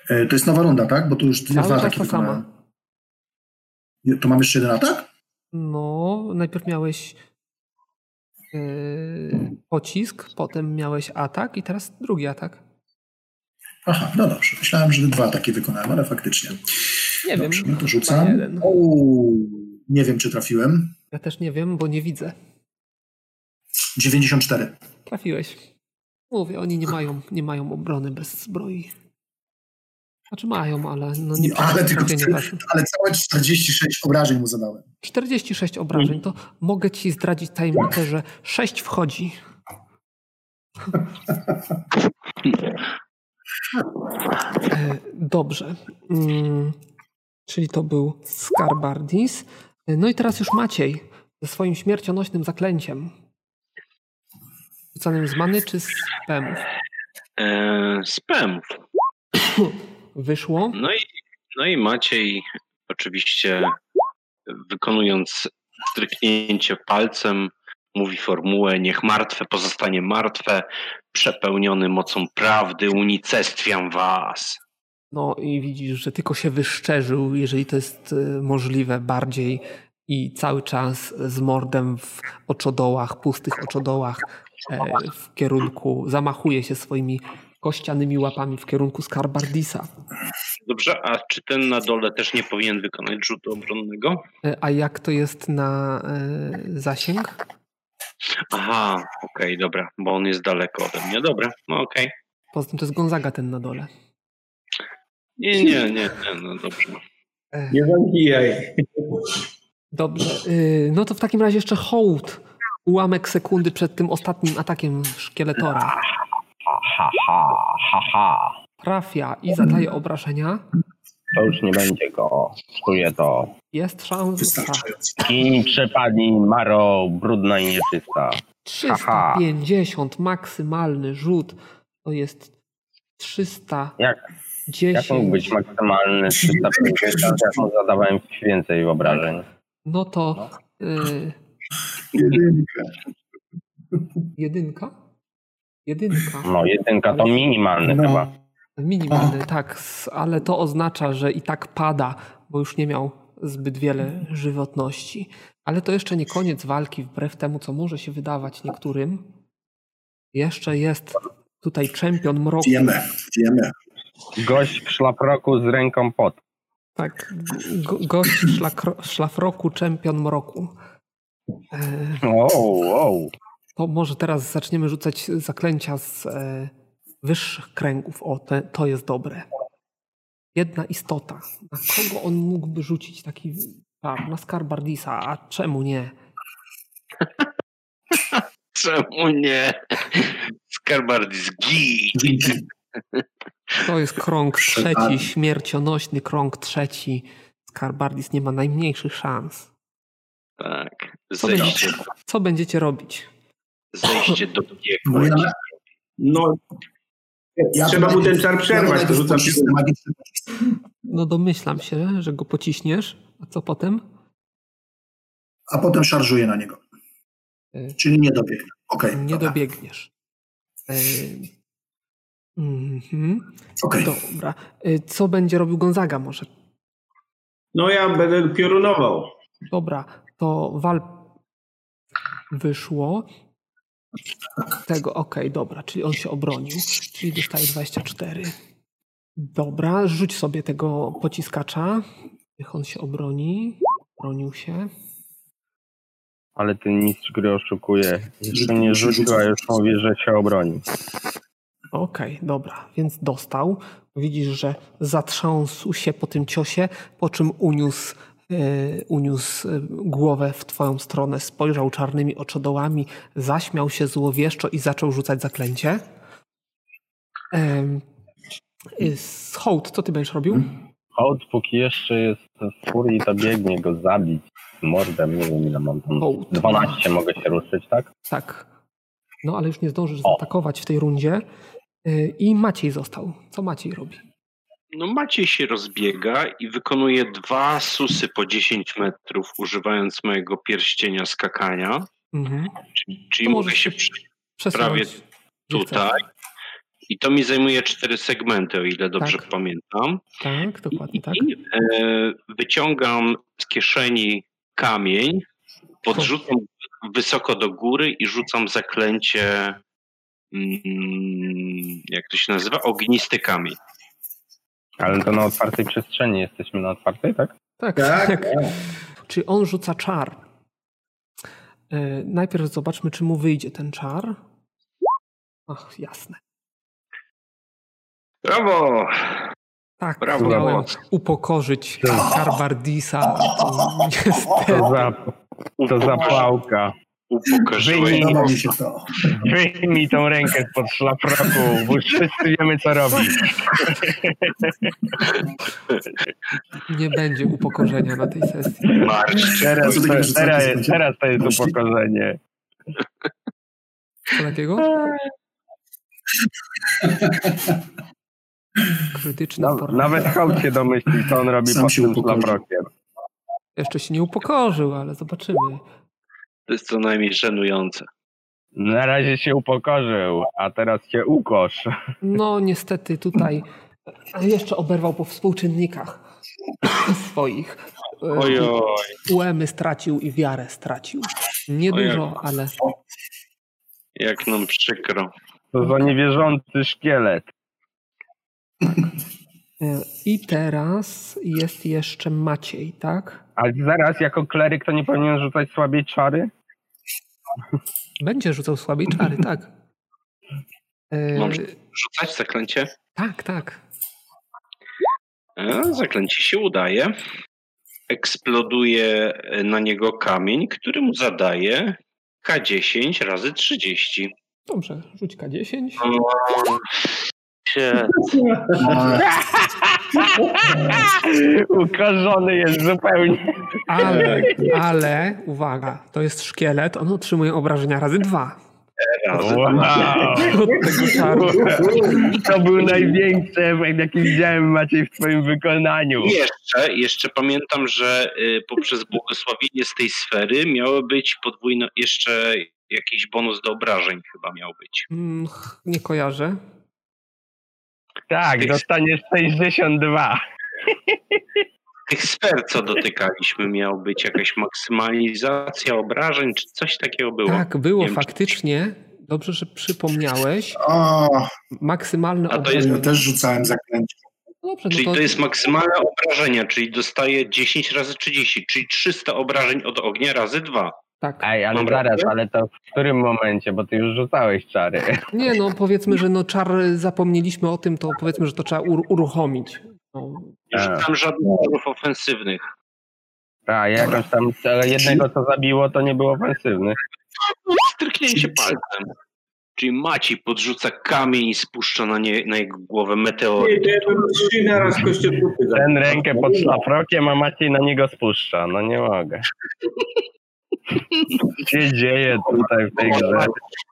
S3: E, To jest nowa runda, tak? Bo tu już dwie,
S1: Cały
S3: dwa
S1: czas
S3: ataki
S1: ta sama.
S3: wykonałem. Je- To mam jeszcze jeden atak?
S1: No, najpierw miałeś e, pocisk, potem miałeś atak i teraz drugi atak.
S3: Aha, no dobrze. Myślałem, że dwa ataki wykonałem, ale faktycznie.
S1: Nie
S3: dobrze,
S1: wiem.
S3: no to
S1: chyba
S3: rzucam.
S1: jeden.
S3: Uuu, nie wiem, czy trafiłem.
S1: Ja też nie wiem, bo nie widzę.
S3: 94.
S1: Trafiłeś. Mówię, oni nie mają, nie mają obrony bez zbroi. Znaczy mają, ale no nie
S3: ale, tylko,
S1: nie weszło.
S3: ale całe 46 obrażeń mu zadałem.
S1: 46 obrażeń, to mogę ci zdradzić tajemnicę, że 6 wchodzi. E, Dobrze. Mm, Czyli to był Skarbardis. E, No i teraz już Maciej ze swoim śmiercionośnym zaklęciem. Rzucanym z many czy z pemów?
S5: E, z pemów.
S1: Wyszło.
S5: No i, no i Maciej oczywiście wykonując stryknięcie palcem mówi formułę niech martwe pozostanie martwe, przepełniony mocą prawdy unicestwiam was.
S1: No i widzisz, że tylko się wyszczerzył, jeżeli to jest e, możliwe bardziej i cały czas z mordem w oczodołach, pustych oczodołach e, w kierunku, zamachuje się swoimi kościanymi łapami w kierunku Skarbardisa.
S5: Dobrze, a czy ten na dole też nie powinien wykonać rzutu obronnego?
S1: E, A jak to jest na e, zasięg?
S5: Aha, okej, dobra, bo on jest daleko ode mnie. Dobra, no okej.
S1: Poza tym to jest Gonzaga ten na dole.
S5: Nie, nie, nie, nie, no dobrze.
S1: E,
S6: Nie zabijaj.
S1: Dobrze, y, no to w takim razie jeszcze hołd. Ułamek sekundy przed tym ostatnim atakiem szkieletora.
S2: Ha, ha, ha, ha.
S1: Trafia i zadaje obrażenia.
S2: To już nie będzie go. Czuję to.
S1: Jest szansa.
S3: Wystarczająco.
S2: Kim przepadnij, Maro, brudna i nieczysta.
S1: 350 maksymalny rzut to jest 310.
S2: Jak, jak mógł być maksymalny 350, jak mu zadawałem więcej wyobrażeń.
S1: No to y, jedynka. Jedynka.
S2: No, jedynka to minimalny
S3: No.
S2: chyba.
S1: Minimalny, tak, s- ale to oznacza, że i tak pada, bo już nie miał zbyt wiele żywotności. Ale to jeszcze nie koniec walki, wbrew temu, co może się wydawać niektórym. Jeszcze jest tutaj czempion mroku.
S3: Wiemy, wiemy.
S2: Gość w szlafroku z ręką pod.
S1: Tak, go, gość szlakro, szlafroku, czempion mroku. E,
S2: Wow, wow.
S1: To może teraz zaczniemy rzucać zaklęcia z e, wyższych kręgów. O, te, to jest dobre. Jedna istota. Na kogo on mógłby rzucić taki czar? Na Skarbardisa, a czemu nie?
S5: Czemu nie? Skarbardi zgi.
S3: Dzięki.
S1: To jest krąg trzeci, śmiercionośny krąg trzeci. Skarbardis nie ma najmniejszych szans.
S5: Tak.
S1: Co będziecie,
S5: Zejście,
S1: co będziecie robić?
S5: zejście do
S3: Bo
S5: piekła.
S3: ja,
S6: No,
S3: ja
S6: trzeba mu ten czar
S3: ja
S6: przerwać, to
S3: najpierw
S6: rzucam
S3: pocisnę magiczny pocisk.
S1: No domyślam się, że go pociśniesz. A co potem?
S3: a potem szarżuję na niego.
S1: Y.
S3: Czyli nie dobiegł. Okej,
S1: Nie
S3: dobra.
S1: dobiegniesz. E, mhm.
S3: Okej.
S1: Dobra. Y, Co będzie robił Gonzaga może?
S6: no ja będę piorunował.
S1: Dobra, to wal wyszło.
S3: Tak.
S1: Tego, okej, dobra, czyli on się obronił, czyli dostaje 24. Dobra, rzuć sobie tego pociskacza. Niech on się obroni. Bronił się.
S2: Ale ty mistrz gry oszukuje. Jeszcze nie rzucił, a już mówi, że się obroni.
S1: Okej, dobra, więc dostał. Widzisz, że zatrząsł się po tym ciosie, po czym uniósł, e, uniósł e, głowę w twoją stronę, spojrzał czarnymi oczodołami, zaśmiał się złowieszczo i zaczął rzucać zaklęcie. Em, y, s- Hołd, co ty będziesz robił?
S2: Hołd, póki jeszcze jest w furii, to biegnie go zabić. Mordem, nie wiem ile mam tam.
S1: Hołd.
S2: 12 mogę się ruszyć, tak?
S1: Tak. No, ale już nie zdążysz
S2: O.
S1: zaatakować w tej rundzie. Y, I Maciej został. Co Maciej robi?
S5: No Maciej się rozbiega i wykonuje dwa susy po 10 metrów, używając mojego pierścienia skakania.
S1: Mhm.
S5: Czyli
S1: To
S5: mogę
S1: możesz
S5: się
S1: się
S5: przy-
S1: Przesunąć,
S5: Prawie
S1: gdzie
S5: tutaj.
S1: chcesz.
S5: I to mi zajmuje cztery segmenty, o ile dobrze
S1: Tak.
S5: pamiętam.
S1: Tak, dokładnie tak.
S5: I e, wyciągam z kieszeni kamień, podrzucam wysoko do góry i rzucam zaklęcie. Mm, jak to się nazywa? Ognisty kamień.
S2: Ale to na otwartej przestrzeni. Jesteśmy na otwartej, tak?
S1: Tak,
S6: Tak,
S1: Czyli on rzuca czar. E, najpierw zobaczmy, czy mu wyjdzie ten czar. Ach, jasne.
S5: Brawo!
S1: Tak,
S5: Brawo,
S1: miałem
S5: brawo.
S1: upokorzyć Karbardisa. Niestety.
S4: To, za, to zapałka.
S5: Upokorzyłeś.
S3: Podoba mi się to.
S4: Wyjmij tą rękę spod szlafroku, bo już wszyscy wiemy, co robi.
S1: Nie będzie upokorzenia na tej sesji.
S5: Marcz.
S3: Teraz,
S4: To,
S3: teraz,
S4: teraz, jest- teraz to jest upokorzenie.
S1: Co takiego? Krytyczna
S4: Naw-
S1: forma.
S4: Nawet hołd się domyśli, co on robi
S3: Sam
S4: pod
S3: się
S4: tym
S3: upokorzył.
S4: szlafrokiem.
S1: Jeszcze się nie upokorzył, ale zobaczymy.
S5: To jest co najmniej żenujące.
S4: Na razie się upokorzył, a teraz się ukosz.
S1: No niestety tutaj e, jeszcze oberwał po współczynnikach <coughs> swoich. E,
S5: Ojoj.
S1: Uemy stracił i wiarę stracił. Niedużo, ale
S5: Jak nam przykro.
S4: To za niewierzący szkielet.
S1: e, i teraz jest jeszcze Maciej, tak?
S4: Ale zaraz, jako kleryk, to nie powinien rzucać słabiej czary? <laughs>
S1: Będzie rzucał słabiej czary, tak. E,
S5: Mam Rzucać zaklęcie?
S1: tak, tak.
S5: E, Zaklęcie się udaje. Eksploduje e, na niego kamień, który mu zadaje K10 razy 30.
S1: Dobrze, rzuć K10.
S5: Się-
S4: Ukorzony jest zupełnie.
S1: Ale, ale, uwaga, to jest szkielet, on otrzymuje obrażenia razy dwa.
S5: Razy.
S4: Wow.
S1: Od tego czaru.
S4: To był największy efekt, jaki widziałem Maciej w twoim wykonaniu.
S5: I Jeszcze, jeszcze pamiętam, że y, poprzez błogosławienie z tej sfery miało być podwójno, jeszcze jakiś bonus do obrażeń chyba miał być.
S1: Mm, ch- Nie kojarzę.
S4: Tak, dostaniesz 62.
S5: Tych sfer, co dotykaliśmy, miał być jakaś maksymalizacja obrażeń, czy coś takiego było.
S1: Tak, było
S5: Nie wiem, czy-
S1: faktycznie. Dobrze, że przypomniałeś.
S3: O,
S1: Maksymalne
S5: A to
S1: obrażenie.
S5: jest-
S3: ja też rzucałem zaklęcie.
S1: Dobrze,
S5: Czyli
S1: no
S5: to
S1: to
S5: jest maksymalne obrażenia, czyli dostaje 10 razy 30, czyli 300 obrażeń od ognia razy 2.
S1: tak.
S4: Ej, ale
S5: Mam
S4: zaraz,
S5: rację?
S4: ale to w którym momencie? Bo ty już rzucałeś czary.
S1: Nie no, powiedzmy, że no czar zapomnieliśmy o tym, to powiedzmy, że to trzeba ur- uruchomić. No,
S5: Już
S4: Tak.
S5: tam żadnych ruchów ofensywnych.
S4: Tak, jakoś tam ale jednego co zabiło, to nie było ofensywny.
S5: Stryknięcie palcem. Czyli Maci podrzuca kamień i spuszcza na, nie, na jego głowę meteoryt.
S6: Nie, to ja bym trzy na raz kościotruty zabił.
S4: Ten rękę pod szlafrokiem, a Maciej na niego spuszcza. No nie mogę. Co się dzieje tutaj w tej grze?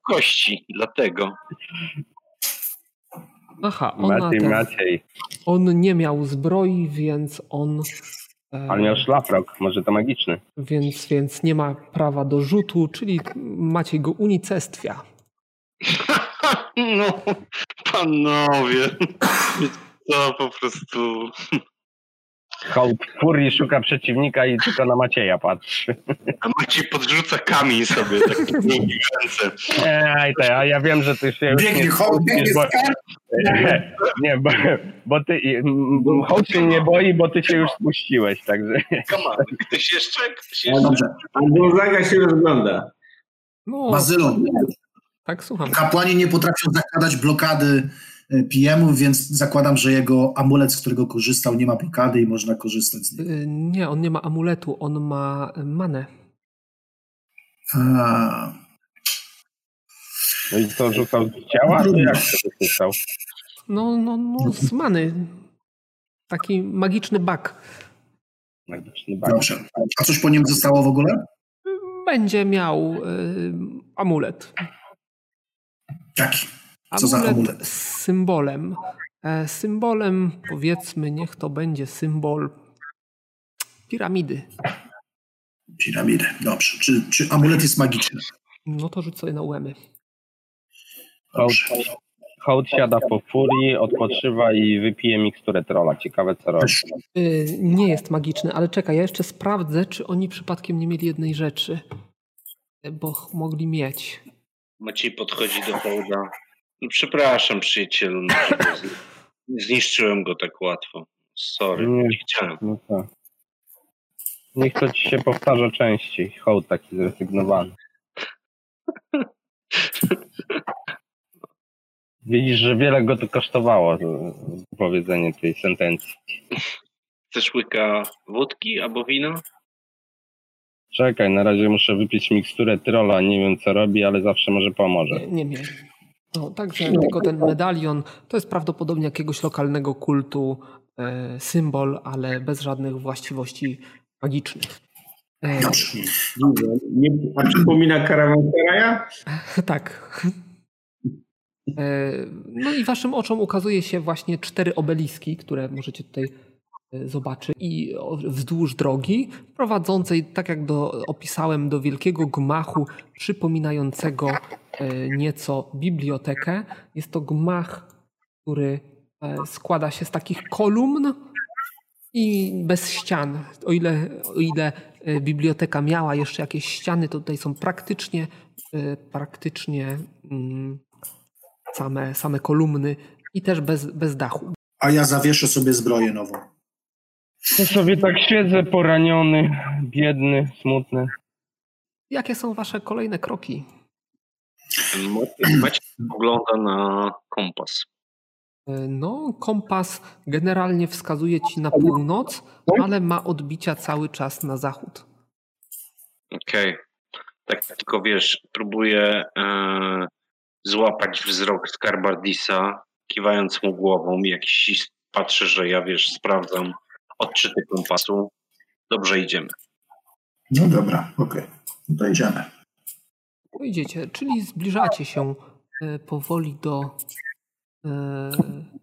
S5: kości, dlatego.
S1: Aha, ona
S4: Maciej,
S1: ten,
S4: Maciej.
S1: on nie miał zbroi, więc on. e,
S4: Ale miał szlafrok, może to magiczny.
S1: więc, więc nie ma prawa do rzutu, czyli macie go unicestwia.
S5: No, panowie. To po prostu.
S4: Hołd w furii szuka przeciwnika i tylko na Macieja patrzy.
S5: A Maciej podrzuca kamień sobie tak w drugiej ręce.
S4: Ej, te, a ja wiem, że ty się już
S3: Biegnie
S4: nie
S3: hołd, biegnie
S4: skupisz, bo,
S3: skarb.
S4: <laughs> nie, bo, bo ty m, m, hołd się nie boi, bo ty się już spuściłeś, także
S5: Come on, Ktoś jeszcze? Ktoś
S3: No
S5: jeszcze?
S3: dobrze,
S6: A Gonzaga się rozgląda.
S1: No,
S3: Bazylu,
S1: tak słucham.
S3: kapłani nie potrafią zakładać blokady e, PM-ów, więc zakładam, że jego amulet, z którego korzystał, nie ma blokady i można korzystać z niego.
S1: Y, Nie, on nie ma amuletu, on ma manę.
S3: A,
S4: no i co, rzucał z ciała, czy jak to rzucał?
S1: No, no, no, z many. Taki magiczny bak.
S4: Magiczny bag.
S3: dobrze. A coś po nim zostało w ogóle?
S1: Będzie miał y, amulet.
S3: Taki. Co za
S1: Amulet
S3: amulet?
S1: z symbolem. E, Symbolem, powiedzmy, niech to będzie symbol piramidy.
S3: Piramidy. Dobrze. Czy, czy amulet jest magiczny?
S1: No to rzuć sobie na łemy.
S4: Hołd,
S3: Dobrze.
S4: hołd siada po furii, odpoczywa i wypije miksturę trolla. Ciekawe, co robi.
S3: Też.
S1: Y, Nie jest magiczny, ale czekaj, ja jeszcze sprawdzę, czy oni przypadkiem nie mieli jednej rzeczy. Y, Bo ch- mogli mieć.
S5: Maciej podchodzi do hołda. No, przepraszam, przyjacielu. no, że go zni- Zniszczyłem go tak łatwo. Sorry,
S4: Nie.
S5: nie chciałem.
S4: No tak. Niech to ci się powtarza częściej. Hołd taki zrezygnowany.
S2: Widzisz, że wiele go to kosztowało, e, powiedzenie tej sentencji.
S5: Chcesz łyka wódki albo wina?
S2: Czekaj, na razie muszę wypić miksturę trola. Nie wiem, co robi, ale zawsze może pomoże.
S1: Nie, nie wiem. No, także tylko ten medalion to jest prawdopodobnie jakiegoś lokalnego kultu e, symbol, ale bez żadnych właściwości magicznych. E,
S3: Dobrze.
S6: Dziwne. Nie a przypomina karawanseraja?
S1: <laughs> tak. E, no i waszym oczom ukazuje się właśnie cztery obeliski, które możecie tutaj e, zobaczyć i o- wzdłuż drogi prowadzącej, tak jak do, opisałem, do wielkiego gmachu przypominającego e, nieco bibliotekę. Jest to gmach, który e, składa się z takich kolumn i bez ścian. O ile, o ile e, biblioteka miała jeszcze jakieś ściany, to tutaj są praktycznie, e, praktycznie mm, same, same kolumny i też bez, bez dachu.
S3: A ja zawieszę sobie zbroję nową.
S2: Ja sobie tak siedzę, poraniony, biedny, smutny.
S1: Jakie są wasze kolejne kroki?
S5: Maciek ogląda na kompas.
S1: E, No, kompas generalnie wskazuje ci na północ, ale ma odbicia cały czas na zachód.
S5: Okej. Tak tylko wiesz, próbuję e, złapać wzrok Skarbardisa, kiwając mu głową. Jak si- patrzę, że ja wiesz, sprawdzam odczyty kompasu. Dobrze idziemy.
S3: No dobra, okej. No to idziemy.
S1: No Idziecie, czyli zbliżacie się e, powoli do e,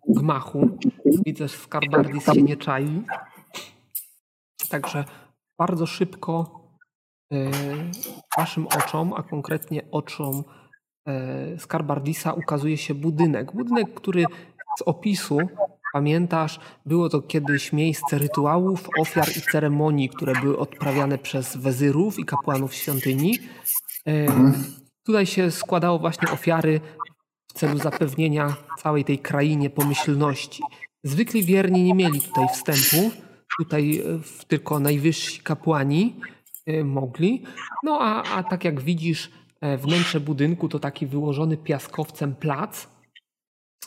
S1: gmachu. Widzę, że Skarbardis się nie czai. Także bardzo szybko e, waszym oczom, a konkretnie oczom e, Skarbardisa ukazuje się budynek. Budynek, który z opisu, pamiętasz, było to kiedyś miejsce rytuałów, ofiar i ceremonii, które były odprawiane przez wezyrów i kapłanów świątyni. E,
S3: Mhm.
S1: Tutaj się składało właśnie ofiary w celu zapewnienia całej tej krainie pomyślności. Zwykli wierni nie mieli tutaj wstępu, tutaj e, w- tylko najwyżsi kapłani e, mogli. No a, a tak jak widzisz, e, wnętrze budynku to taki wyłożony piaskowcem plac,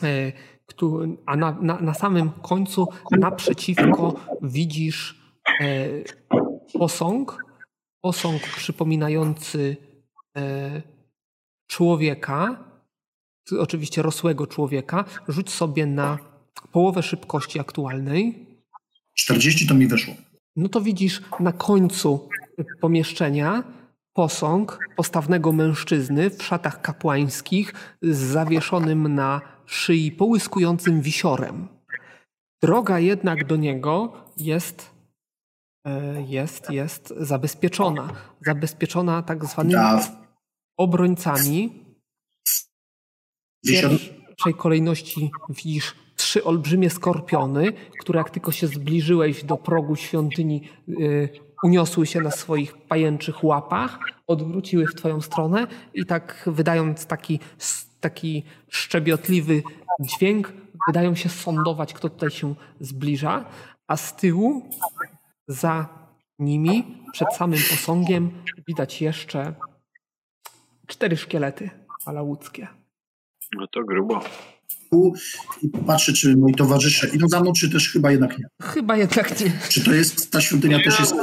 S1: e, któ- a na, na, na samym końcu naprzeciwko widzisz e, posąg, posąg przypominający e, człowieka, ty- oczywiście rosłego człowieka, rzuć sobie na połowę szybkości aktualnej.
S3: 40 to mi wyszło.
S1: No to widzisz na końcu pomieszczenia posąg postawnego mężczyzny w szatach kapłańskich z zawieszonym na szyi połyskującym wisiorem. Droga jednak do niego jest, e, jest, jest zabezpieczona. Zabezpieczona tak zwanymi
S3: Da,
S1: obrońcami, w
S3: wisior,
S1: pierwszej kolejności widzisz trzy olbrzymie skorpiony, które jak tylko się zbliżyłeś do progu świątyni, y, uniosły się na swoich pajęczych łapach, odwróciły w twoją stronę i tak wydając taki, s- taki szczebiotliwy dźwięk, wydają się sądować, kto tutaj się zbliża, a z tyłu za nimi, przed samym posągiem, widać jeszcze cztery szkielety alałudzkie.
S5: No to grubo.
S3: i patrzę, czy moi towarzysze idą za mną, czy też chyba jednak nie.
S1: Chyba jednak nie.
S3: Czy to jest, ta świątynia też jest,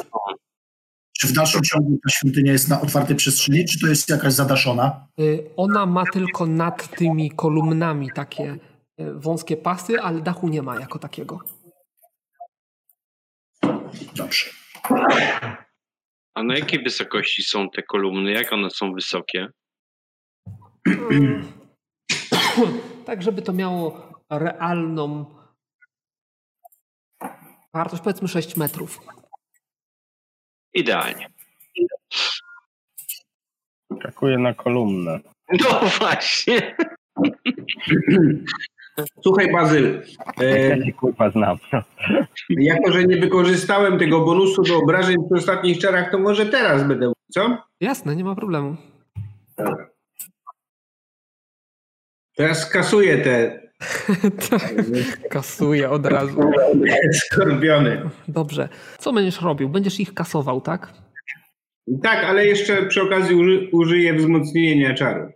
S3: czy w dalszym ciągu ta świątynia jest na otwartej przestrzeni, czy to jest jakaś zadaszona?
S1: Y, Ona ma tylko nad tymi kolumnami takie y, wąskie pasy, ale dachu nie ma jako takiego.
S3: Dobrze.
S5: A na jakiej wysokości są te kolumny? Jak one są wysokie?
S1: Tak, żeby to miało realną wartość, powiedzmy 6 metrów.
S5: Idealnie. <laughs>
S2: Skakuję na kolumnę.
S5: No właśnie.
S6: Słuchaj, Bazyl, e,
S2: Ja się kurwa znam.
S6: jako że nie wykorzystałem tego bonusu do obrażeń przy ostatnich czarach, to może teraz będę, mówił, co?
S1: Jasne, nie ma problemu. <laughs>
S6: Teraz skasuję te <laughs>
S1: Tak, Kasuję od razu.
S6: skorpiony.
S1: Dobrze. Co będziesz robił? Będziesz ich kasował, tak?
S6: Tak, ale jeszcze przy okazji uży, użyję wzmocnienia czaru.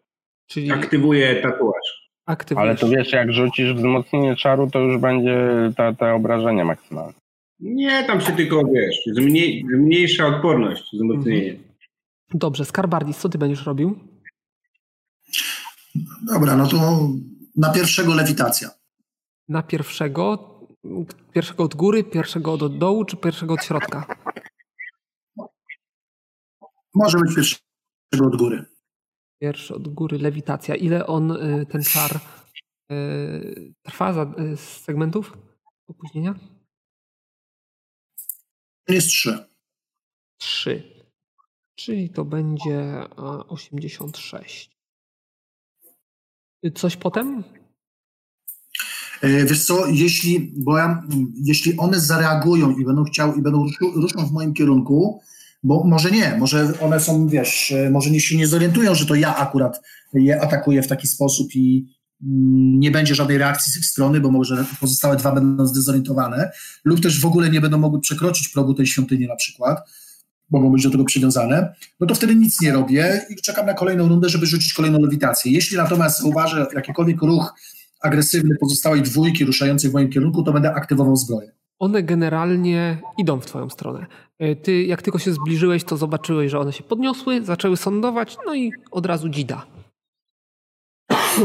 S1: Czyli
S6: Aktywuję tatuaż.
S1: aktywujesz.
S4: Tak. Ale to wiesz, jak rzucisz wzmocnienie czaru, to już będzie te, te obrażenia maksymalne.
S6: Nie, tam się tylko, wiesz, zmniej, zmniejsza odporność, wzmocnienie.
S1: Dobrze, Skarbardis, co ty będziesz robił?
S3: Dobra, no to na pierwszego lewitacja.
S1: Na pierwszego? Pierwszego od góry, pierwszego od dołu, czy pierwszego od środka?
S3: Może być pierwszego od góry.
S1: Pierwszy od góry, lewitacja. Ile on, y, ten czar, y, trwa za, y, z segmentów opóźnienia?
S3: Jest trzy.
S1: 3. Czyli to będzie a, 86. Y, Coś potem?
S3: E, Wiesz co, jeśli, bo ja, mm, jeśli one zareagują i będą chciały, i będą ruszu, ruszą w moim kierunku, bo może nie, może one są, wiesz, e, może nie się nie zorientują, że to ja akurat je atakuję w taki sposób i mm, nie będzie żadnej reakcji z ich strony, bo może pozostałe dwa będą zdezorientowane, lub też w ogóle nie będą mogły przekroczyć progu tej świątyni na przykład, mogą być do tego przywiązane, no to wtedy nic nie robię i czekam na kolejną rundę, żeby rzucić kolejną lewitację. Jeśli natomiast zauważę jakikolwiek ruch agresywny pozostałej dwójki ruszającej w moim kierunku, to będę aktywował zbroję.
S1: One generalnie idą w twoją stronę. Y, Ty, jak tylko się zbliżyłeś, to zobaczyłeś, że one się podniosły, zaczęły sądować, no i od razu dzida.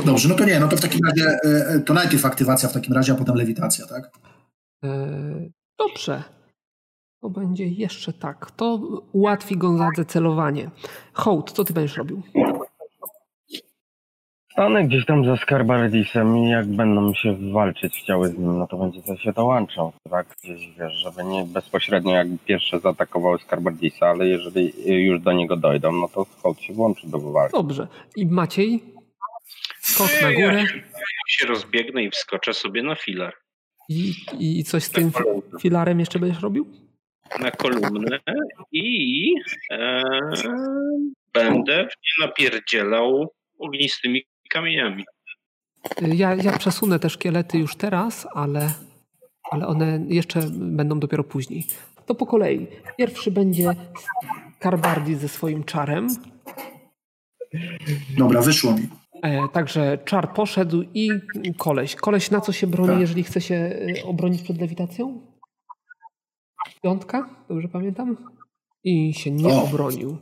S3: Dobrze, no to nie, no to w takim razie e, e, to najpierw aktywacja w takim razie, a potem lewitacja, tak?
S1: Eee, Dobrze. To będzie jeszcze tak. To ułatwi Gonzadze celowanie. Hołd, co ty będziesz robił?
S4: Stanę gdzieś tam za Skarbardisem i jak będą się walczyć chciały z nim, no to będzie to się to łączą, tak? Gdzieś wiesz, żeby nie bezpośrednio jak pierwsze zaatakowały Skarbardisa, ale jeżeli już do niego dojdą, no to Holt się włączy do walki.
S1: Dobrze. I Maciej? Skok na
S5: Ja
S1: górę
S5: się- ja się rozbiegnę i wskoczę sobie na filar.
S1: i, i coś z tym fi- filarem jeszcze będziesz robił?
S5: na kolumnę i e, będę w nie napierdzielał ognistymi kamieniami.
S1: Y, Ja, ja przesunę te szkielety już teraz, ale, ale one jeszcze będą dopiero później. To po kolei. Pierwszy będzie Karbardi ze swoim czarem.
S3: Dobra, wyszło mi.
S1: E, także czar poszedł i koleś. Koleś na co się broni,
S3: Tak.
S1: jeżeli chce się e, obronić przed lewitacją? Piątka, dobrze pamiętam? I się nie
S3: O.
S1: obronił.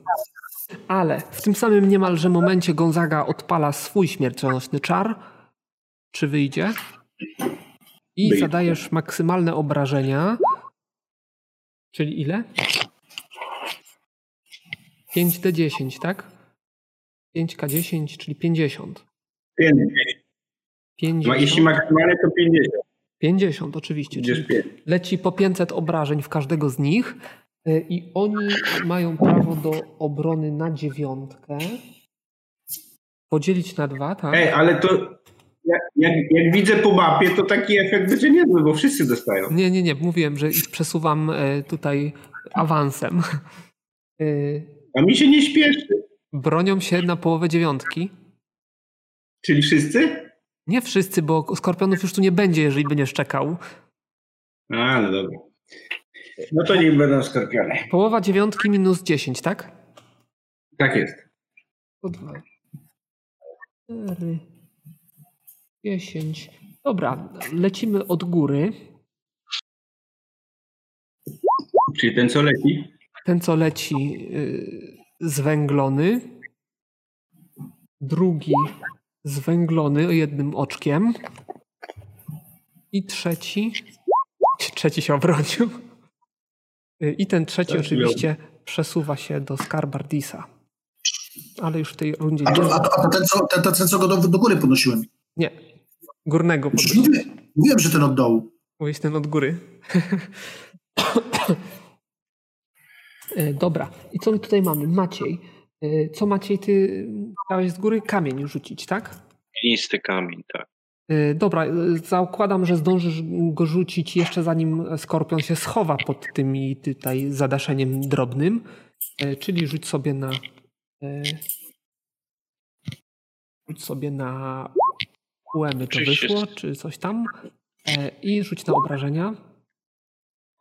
S1: Ale w tym samym niemalże momencie Gonzaga odpala swój śmiercionośny czar. Czy wyjdzie? I
S6: Wyjdzie.
S1: zadajesz maksymalne obrażenia. Czyli ile? 5D10, tak? 5K10, czyli 50.
S6: Pięć.
S1: 50,
S6: Ma- Jeśli maksymalnie to 50,
S1: 50 oczywiście.
S6: będziesz
S1: Czyli
S6: 5.
S1: leci po 500 obrażeń w każdego z nich y, i oni mają prawo do obrony na dziewiątkę. Podzielić na dwa, tak?
S6: Ej, ale to jak, jak, jak widzę po mapie, to taki efekt będzie niezły, bo wszyscy dostają.
S1: Nie, nie, nie. Mówiłem, że ich przesuwam y, tutaj awansem. Y,
S6: A mi się nie śpieszy.
S1: Bronią się na połowę dziewiątki.
S6: Czyli wszyscy?
S1: Nie wszyscy, bo skorpionów już tu nie będzie, jeżeli będziesz czekał.
S6: A, no dobra. No to niech będą skorpione.
S1: Połowa dziewiątki minus 10, tak?
S6: Tak jest.
S1: Po dwa. Cztery. Dziesięć. Dobra, lecimy od góry.
S6: Czyli ten co leci?
S1: Ten, co leci, yy, zwęglony. Drugi zwęglony jednym oczkiem. I trzeci. Trzeci się obronił. Yy, I ten trzeci
S6: Tak,
S1: oczywiście przesuwa się do Skarbardisa. Ale już w tej rundzie
S3: A,
S1: nie.
S3: to, a, to, a to ten, co, ten, ten, co go do, do góry podnosiłem.
S1: Nie. Górnego
S3: Przecież
S1: podnosi.
S3: mówię- Mówiłem, że ten od dołu.
S1: Bo jest ten od góry. <coughs> E, Dobra. I co my tutaj mamy? Maciej. E, Co Maciej, ty chciałeś z góry kamień rzucić, tak?
S5: Ognisty kamień, tak.
S1: E, Dobra, e, zakładam, że zdążysz go rzucić jeszcze zanim skorpion się schowa pod tymi tutaj zadaszeniem drobnym. E, Czyli rzuć sobie na. e, Rzuć sobie na uemy to
S5: Czy się-
S1: wyszło, czy coś tam. E, I rzuć na obrażenia.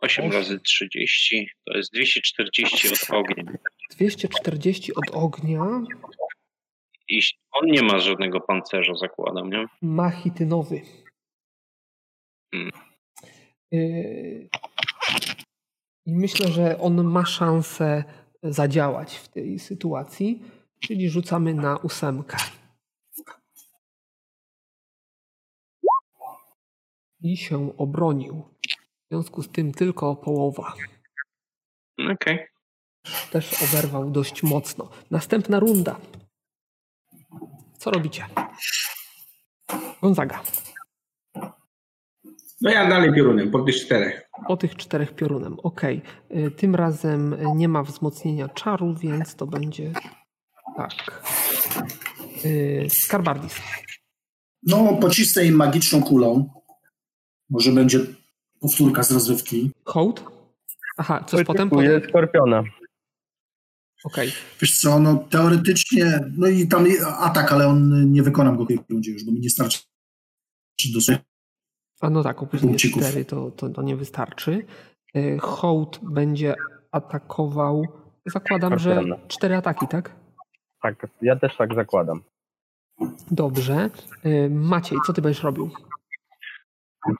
S5: 8 razy 30 to jest 240 od ognia.
S1: 240 od ognia.
S5: I on nie ma żadnego pancerza, zakładam, nie?
S1: Ma chitynowy.
S5: Mm.
S1: Yy, I myślę, że on ma szansę zadziałać w tej sytuacji, czyli rzucamy na ósemkę. I się obronił. W związku z tym tylko połowa.
S5: No Okej.
S1: Też oberwał dość mocno. Następna runda. Co robicie? Gonzaga.
S6: No ja dalej piorunem, po tych czterech.
S1: Po tych czterech piorunem. Okej. Y, Tym razem nie ma wzmocnienia czaru, więc to będzie tak. Y, Skarbardis.
S3: No, pocisnę im magiczną kulą. Może będzie powtórka z rozrywki.
S1: Hołd? Aha, coś potem?
S2: Potrzebuję skorpiona.
S1: Okej.
S3: Wiesz co, no teoretycznie, no i tam i- atak, ale on nie wykonam go w tej rundzie już, bo mi nie starczy do
S1: A no tak, opóźnienie
S3: Punkcików.
S1: 4 to, to, to nie wystarczy. Y, Hołd będzie atakował. Zakładam, że
S2: Skorpiona.
S1: cztery ataki, tak?
S2: Tak, ja też tak zakładam.
S1: Dobrze. Y, Maciej, co ty będziesz robił?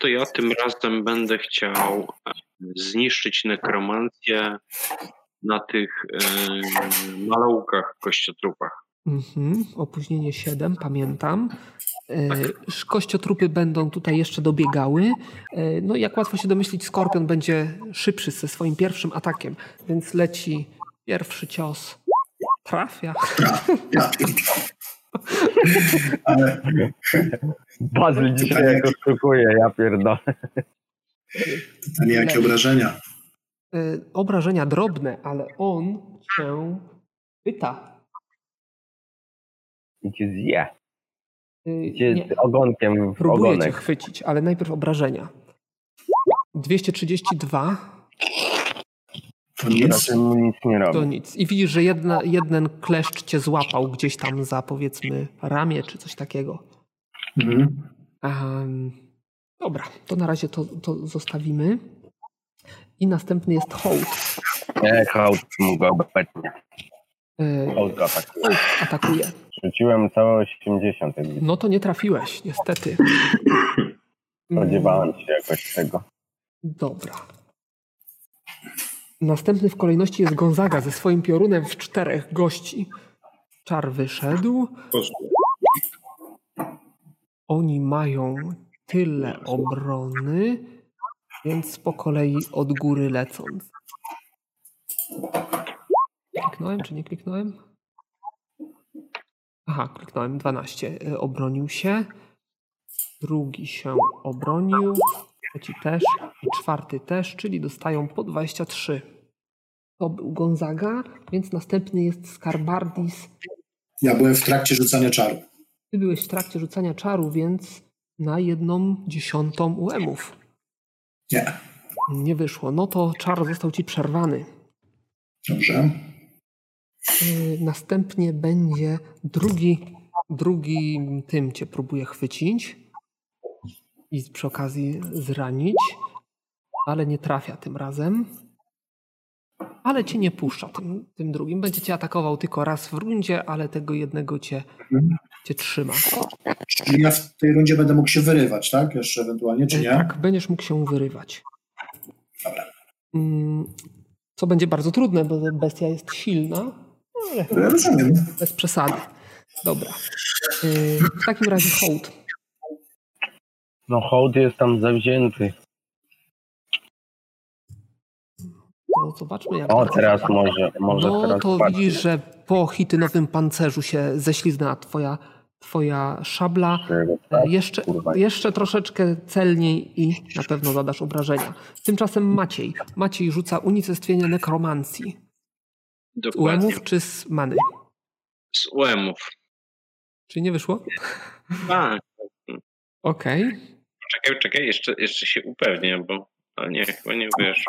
S5: To ja tym razem będę chciał e, zniszczyć nekromancję na tych e, malałkach, kościotrupach.
S1: Mhm, opóźnienie 7, pamiętam. E, sz- Kościotrupy będą tutaj jeszcze dobiegały. E, No i jak łatwo się domyślić, Skorpion będzie szybszy ze swoim pierwszym atakiem, więc leci pierwszy cios. Trafia.
S3: Ale
S2: Bazyl dzisiaj
S3: Tak.
S2: jak oszukuje, ja pierdolę.
S3: pytanie, jakie obrażenia?
S1: E, Obrażenia drobne, ale on cię pyta.
S2: I cię zje.
S1: E,
S2: I cię
S1: nie.
S2: z ogonkiem w
S1: Próbuję cię
S2: ogonek.
S1: chwycić, ale najpierw obrażenia. 232
S3: To nic.
S2: Raczej mu nic nie
S1: to
S2: robi.
S1: nic. I widzisz, że jedna, jeden kleszcz cię złapał gdzieś tam za powiedzmy ramię czy coś takiego.
S3: Mhm.
S1: Em, dobra, to na razie to, to zostawimy. I następny jest hołd.
S2: Nie, hołd mu go obecnie.
S1: E,
S2: Hołd go atakuje.
S1: hołd atakuje.
S2: Rzuciłem całe 80, jak
S1: No to nie trafiłeś, niestety.
S2: spodziewałem się jakoś tego.
S1: Dobra. Następny w kolejności jest Gonzaga ze swoim piorunem w czterech gości. Czar wyszedł. Oni mają tyle obrony, więc po kolei od góry lecąc. Kliknąłem czy nie kliknąłem? Aha, kliknąłem 12. y, Obronił się. Drugi się obronił. Trzeci też. I czwarty też, czyli dostają po 23. To był Gonzaga, więc następny jest Skarbardis.
S3: Ja byłem w trakcie rzucania czaru.
S1: Ty byłeś w trakcie rzucania czaru, więc na jedną dziesiątą UM-ów.
S3: Nie,
S1: Nie wyszło. No to czar został ci przerwany.
S3: dobrze.
S1: Yy, Następnie będzie drugi, drugi tym cię próbuje chwycić i przy okazji zranić, ale nie trafia tym razem. Ale cię nie puszcza tym, tym drugim. Będzie cię atakował tylko raz w rundzie, ale tego jednego cię,
S3: Mhm.
S1: cię trzyma.
S3: Czyli ja w tej rundzie będę mógł się wyrywać, tak? Jeszcze ewentualnie, czy
S1: Yy,
S3: nie?
S1: Tak, będziesz mógł się wyrywać.
S3: Dobra.
S1: Mm, Co będzie bardzo trudne, bo bestia jest silna, ale
S3: Ja rozumiem.
S1: Bez przesady. Dobra. Yy, W takim razie hołd.
S2: No hołd jest tam zawzięty.
S1: No, zobaczmy jak
S2: O,
S1: bardzo-
S2: teraz może, może
S1: No
S2: teraz
S1: to
S2: patrz.
S1: widzisz, że po hitynowym pancerzu się ześlizna twoja, twoja szabla. E, Jeszcze,
S2: Tak, kurwa.
S1: jeszcze troszeczkę celniej i na pewno zadasz obrażenia. Tymczasem Maciej. Maciej rzuca unicestwienie nekromancji. Z
S5: Dokładnie.
S1: UM-ów czy z many?
S5: Z UEM-ów.
S1: Czy nie wyszło?
S5: A,
S1: Okej.
S5: czekaj, czekaj, jeszcze, jeszcze się upewnię, bo a nie, chyba nie wiesz.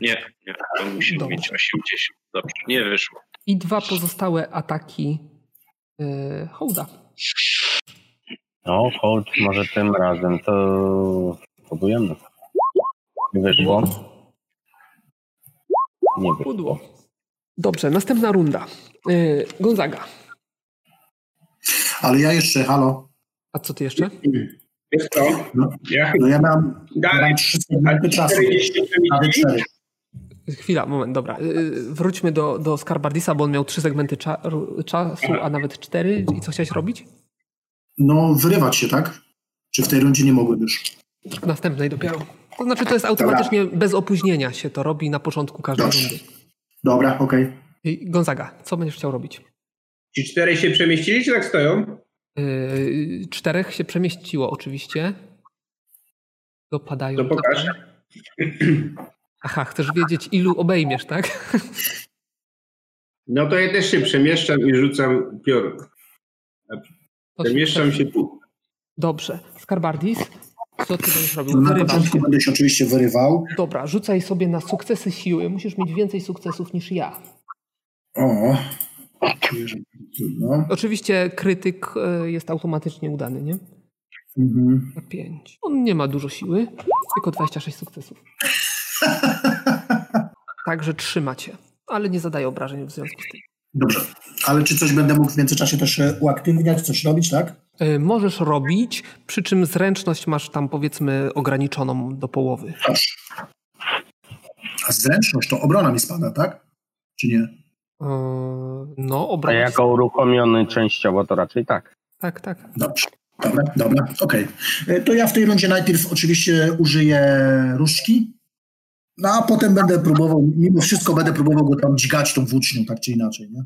S5: Nie, nie, to musi
S1: Dobrze.
S5: mieć 80. Dobrze, nie wyszło.
S1: I dwa pozostałe ataki yy, hołda.
S2: No, hołd może tym razem, to spróbujemy. Wyszło.
S4: Nie wiem.
S1: Pudło. Dobrze, następna runda. Yy, Gonzaga.
S3: Ale ja jeszcze, halo.
S1: A co ty jeszcze?
S6: Wiesz co?
S3: No.
S6: Ja
S3: No ja mam, ja
S6: dalej
S3: mam trzy segmenty czasu.
S6: 40
S3: Prawie cztery.
S1: Chwila, moment, dobra. Yy, Wróćmy do, do Skarbardisa, bo on miał trzy segmenty cza ru- czasu, a nawet cztery. I co chciałeś robić?
S3: No wyrywać się, tak? Czy w tej rundzie nie mogłem już?
S1: W następnej dopiero. To znaczy, to jest automatycznie bez opóźnienia się to robi na początku każdej
S3: Dobrze.
S1: rundy.
S3: Dobra, okej.
S1: I Gonzaga, co będziesz chciał robić?
S6: Ci cztery się przemieścili, czy tak stoją?
S1: Yy, czterech się przemieściło oczywiście. Dopadają.
S6: To No pokaż.
S1: Aha, chcesz wiedzieć, ilu obejmiesz, tak?
S6: No to ja też się przemieszczam i rzucam piorun.
S1: To się
S6: Przemieszczam
S1: prze-
S6: się tu.
S1: Dobrze. Skarbardis, co ty będziesz
S3: No,
S1: robił?
S3: na
S1: Wyrywasz
S3: początku
S1: się.
S3: będę się oczywiście wyrywał.
S1: Dobra, rzucaj sobie na sukcesy siły. Musisz mieć więcej sukcesów niż ja.
S3: O, czuję, że trudno.
S1: Oczywiście krytyk e, jest automatycznie udany, nie?
S3: Mhm.
S1: Na 5. On nie ma dużo siły, tylko 26 sukcesów. Także trzymacie, ale nie zadaje obrażeń w związku z tym.
S3: Dobrze. Ale czy coś będę mógł w międzyczasie też e, uaktywniać, coś robić, tak?
S1: E, Możesz robić, przy czym zręczność masz tam powiedzmy ograniczoną do połowy.
S3: Dobrze. A zręczność to obrona mi spada, tak? Czy nie?
S1: E, No,
S4: A
S1: obrona.
S4: jako uruchomiony częściowo to raczej tak.
S1: Tak, tak.
S3: Dobrze. Dobra, dobra, okej. E, To ja w tej rundzie najpierw oczywiście użyję różdżki, no a potem będę próbował, mimo wszystko będę próbował go tam dźgać tą włócznią, tak czy inaczej, nie?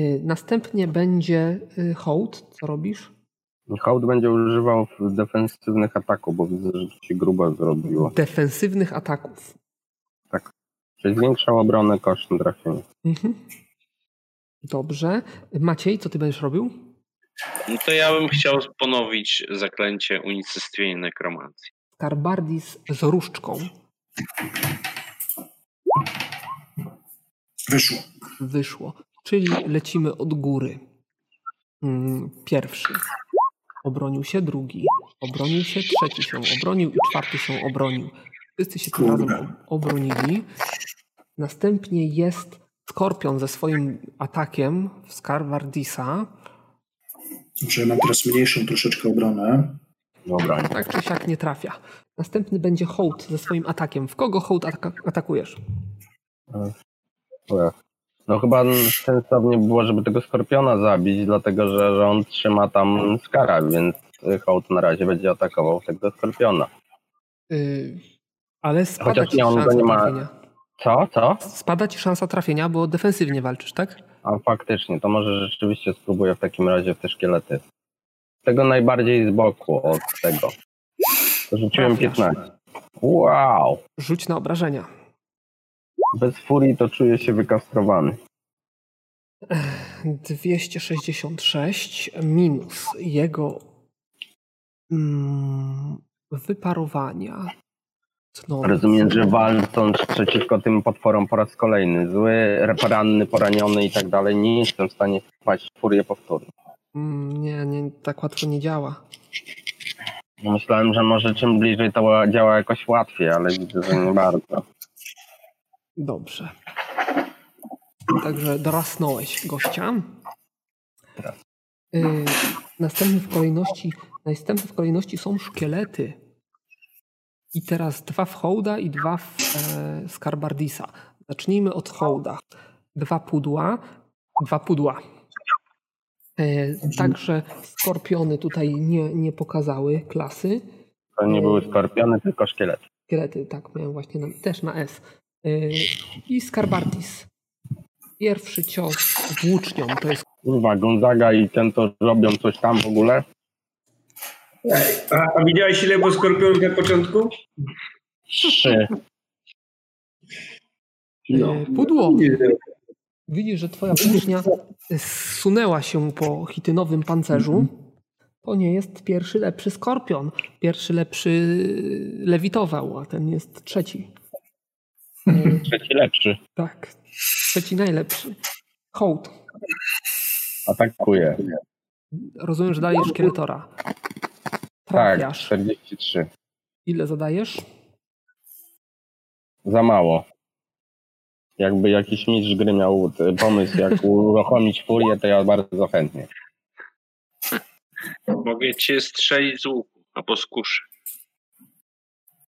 S1: E, Następnie będzie e, hołd. Co robisz?
S4: Hołd będzie używał w defensywnych ataków, bo widzę, że to się grubo zrobiło.
S1: Defensywnych ataków.
S4: Czyli zwiększał obronę kosztem trafienia.
S1: Mhm. Dobrze. Maciej, co ty będziesz robił?
S5: No to ja bym chciał ponowić zaklęcie unicestwienie nekromancji.
S1: Karbardis z różdżką
S3: Wyszło.
S1: wyszło. Czyli lecimy od góry. Mm, Pierwszy. Obronił się drugi. Obronił się trzeci się obronił i czwarty się obronił. Wszyscy się tym razem ob- obronili. Następnie jest Skorpion ze swoim atakiem w Skarbardisa.
S3: Dobrze, ja mam teraz mniejszą troszeczkę obronę.
S4: Dobra.
S1: Tak czy siak nie trafia. Następny będzie Hołd ze swoim atakiem. W kogo Hołd ataka- atakujesz?
S4: No chyba sensownie było, żeby tego skorpiona zabić, dlatego że, że on trzyma tam skara, więc hołd na razie będzie atakował tego skorpiona.
S1: Yy, ale spada
S4: Chociaż
S1: ci
S4: nie, on go
S1: szansa
S4: nie ma-
S1: trafienia.
S4: Co? Co?
S1: Spada ci szansa trafienia, bo defensywnie walczysz, tak?
S4: A faktycznie, to może rzeczywiście spróbuję w takim razie w te szkielety. Tego najbardziej z boku od tego. Rzuciłem
S1: Trafiasz.
S4: 15. Wow!
S1: Rzuć na obrażenia.
S4: Bez furii to czuję się wykastrowany.
S1: 266 minus jego mm, wyparowania. Tnący.
S4: Rozumiem, że walcząc przeciwko tym potworom po raz kolejny, zły, ranny, poraniony i tak dalej, nie jestem w stanie wpaść w furię powtórnie.
S1: Mm, Nie, nie, tak łatwo nie działa.
S4: Myślałem, że może czym bliżej to działa jakoś łatwiej, ale widzę, że nie bardzo.
S1: Dobrze. Także dorasnąłeś gościa. Y, następny w kolejności, następne w kolejności są szkielety. I teraz dwa w hołda i dwa w e, skarbardisa. Zacznijmy od hołda. Dwa pudła, dwa pudła. E, także skorpiony tutaj nie, nie pokazały klasy.
S4: To nie były skorpiony, tylko szkielety.
S1: Skelety, tak, miałem właśnie na, też na S. Yy, I Skarbardis. Pierwszy cios włócznią, to jest
S4: Kurwa, Gonzaga i ten to robią coś tam w ogóle.
S6: A, a widziałeś ile było skorpionów na początku?
S4: Trzy.
S6: No.
S1: yy, pudło. Widzisz, że twoja włócznia zsunęła się po chitynowym pancerzu. To nie jest pierwszy lepszy skorpion. Pierwszy lepszy lewitował, a ten jest trzeci. Yy,
S4: Trzeci lepszy.
S1: tak, trzeci najlepszy. Hołd.
S4: Atakuje.
S1: Rozumiem, że dajesz szkieletora.
S4: Tak,
S1: Trafiasz.
S4: 43.
S1: Ile zadajesz?
S4: Za mało. jakby jakiś mistrz gry miał t- pomysł, jak uruchomić furię, to ja bardzo chętnie.
S5: Mogę cię strzelić z łuku albo z kuszy.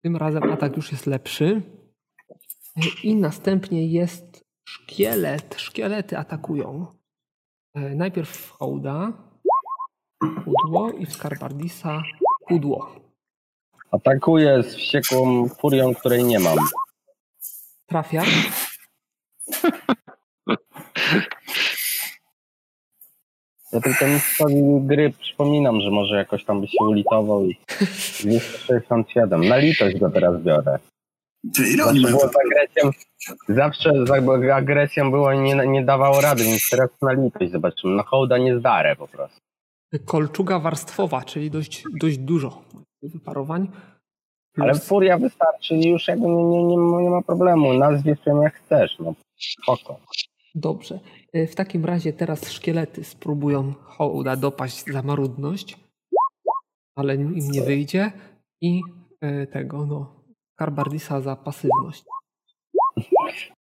S1: Tym razem atak już jest lepszy. I następnie jest szkielet. Szkielety atakują. E, Najpierw hołda, pudło i w Skarbardisa pudło.
S4: Atakuję z wściekłą furią, której nie mam.
S1: Trafia.
S4: Ja tylko mistrzowi gry przypominam, że może jakoś tam by się ulitował i 267. Na litość go teraz biorę.
S3: Ty, ile oni
S4: Zawsze
S3: mają
S4: było
S3: HP?
S4: z agresją, zawsze z agresją było i nie, nie dawało rady, więc teraz na litość zobaczymy. No hołda nie zdarę po prostu.
S1: Kolczuga warstwowa, czyli dość, dość dużo wyparowań.
S4: Ale
S1: Plus-
S4: furia wystarczy i już jakby nie, nie, nie, nie ma problemu. Nazwij się jak chcesz, no spoko.
S1: Dobrze. E, W takim razie teraz szkielety spróbują hołda dopaść za marudność, ale im nie wyjdzie i e, tego, no, Karbardisa za pasywność.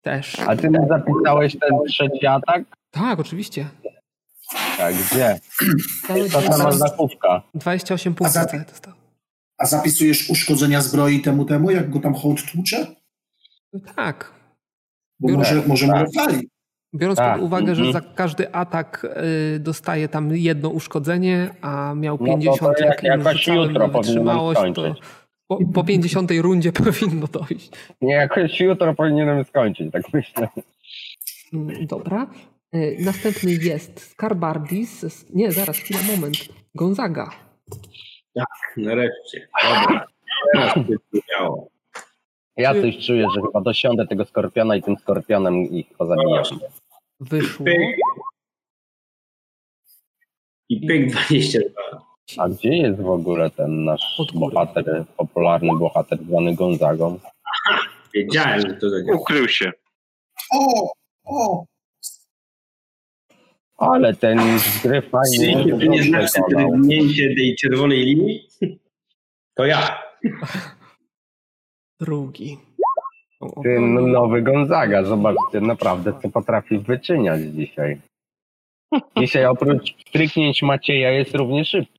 S1: Też.
S4: A ty mi zapisałeś ten trzeci atak?
S1: Tak, oczywiście.
S4: Tak, gdzie?
S1: Cały
S4: Ta sama
S3: Zaraz-
S4: zakówka.
S1: 28 punktów
S3: A za-
S1: całe dostał.
S3: A zapisujesz uszkodzenia zbroi temu temu, jak go tam hołd tłucze?
S1: Tak.
S3: Bo
S1: Biorę.
S3: może, może mu odpali.
S1: Biorąc
S4: Tak,
S1: pod uwagę, że
S4: mhm.
S1: za każdy atak y, dostaje tam jedno uszkodzenie, a miał
S4: No to
S1: 50,
S4: to jak-
S1: mu
S4: jakoś
S1: rzucałem
S4: jutro
S1: na
S4: powinienem
S1: wytrzymałość, to
S4: skończyć.
S1: po, po 50 rundzie <laughs> powinno dojść.
S4: Nie, jakoś jutro powinienem skończyć, tak myślę.
S1: Mm, Dobra. Y, Następny jest Skarbardis. s- Nie, zaraz, chwila, moment. Gonzaga.
S6: Nareszcie. Dobra. Teraz się udało.
S4: Ja
S1: Czy-
S4: coś czuję, że chyba dosiądę tego skorpiona i tym skorpionem ich pozabijam.
S1: Wyszło.
S6: Pyk. I pyk 22.
S4: A gdzie jest w ogóle ten nasz
S1: Od góry.
S4: bohater, popularny bohater zwany Gonzagą?
S6: Wiedziałem, że to tak zadziała.
S5: Ukrył się.
S3: O, o,
S4: Ale ten z gry
S6: Jeśli
S4: fajnie.
S6: ty nie znasz minięcie tej czerwonej linii, to ja.
S1: Drugi. Są
S4: Ten
S1: obrony.
S4: nowy Gonzaga, zobaczcie naprawdę, co potrafi wyczyniać dzisiaj. Dzisiaj oprócz stryknięć Macieja jest równie szybki.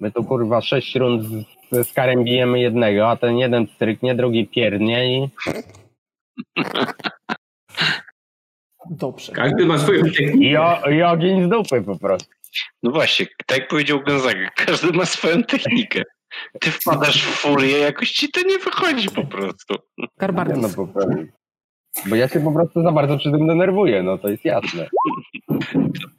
S4: My tu kurwa sześć rund z, ze Skarem bijemy jednego, a ten jeden stryknie, drugi pierdnie i
S1: Dobrze.
S6: Każdy ma swoją technikę.
S4: I, o, I ogień z dupy po prostu.
S5: No właśnie, tak jak powiedział Gonzaga, każdy ma swoją technikę. Ty wpadasz w furię, jakoś ci to nie wychodzi po prostu.
S4: Nie, no,
S1: Skarbardis.
S4: po prostu. Bo ja się po prostu za bardzo przy tym denerwuję, no to jest jasne.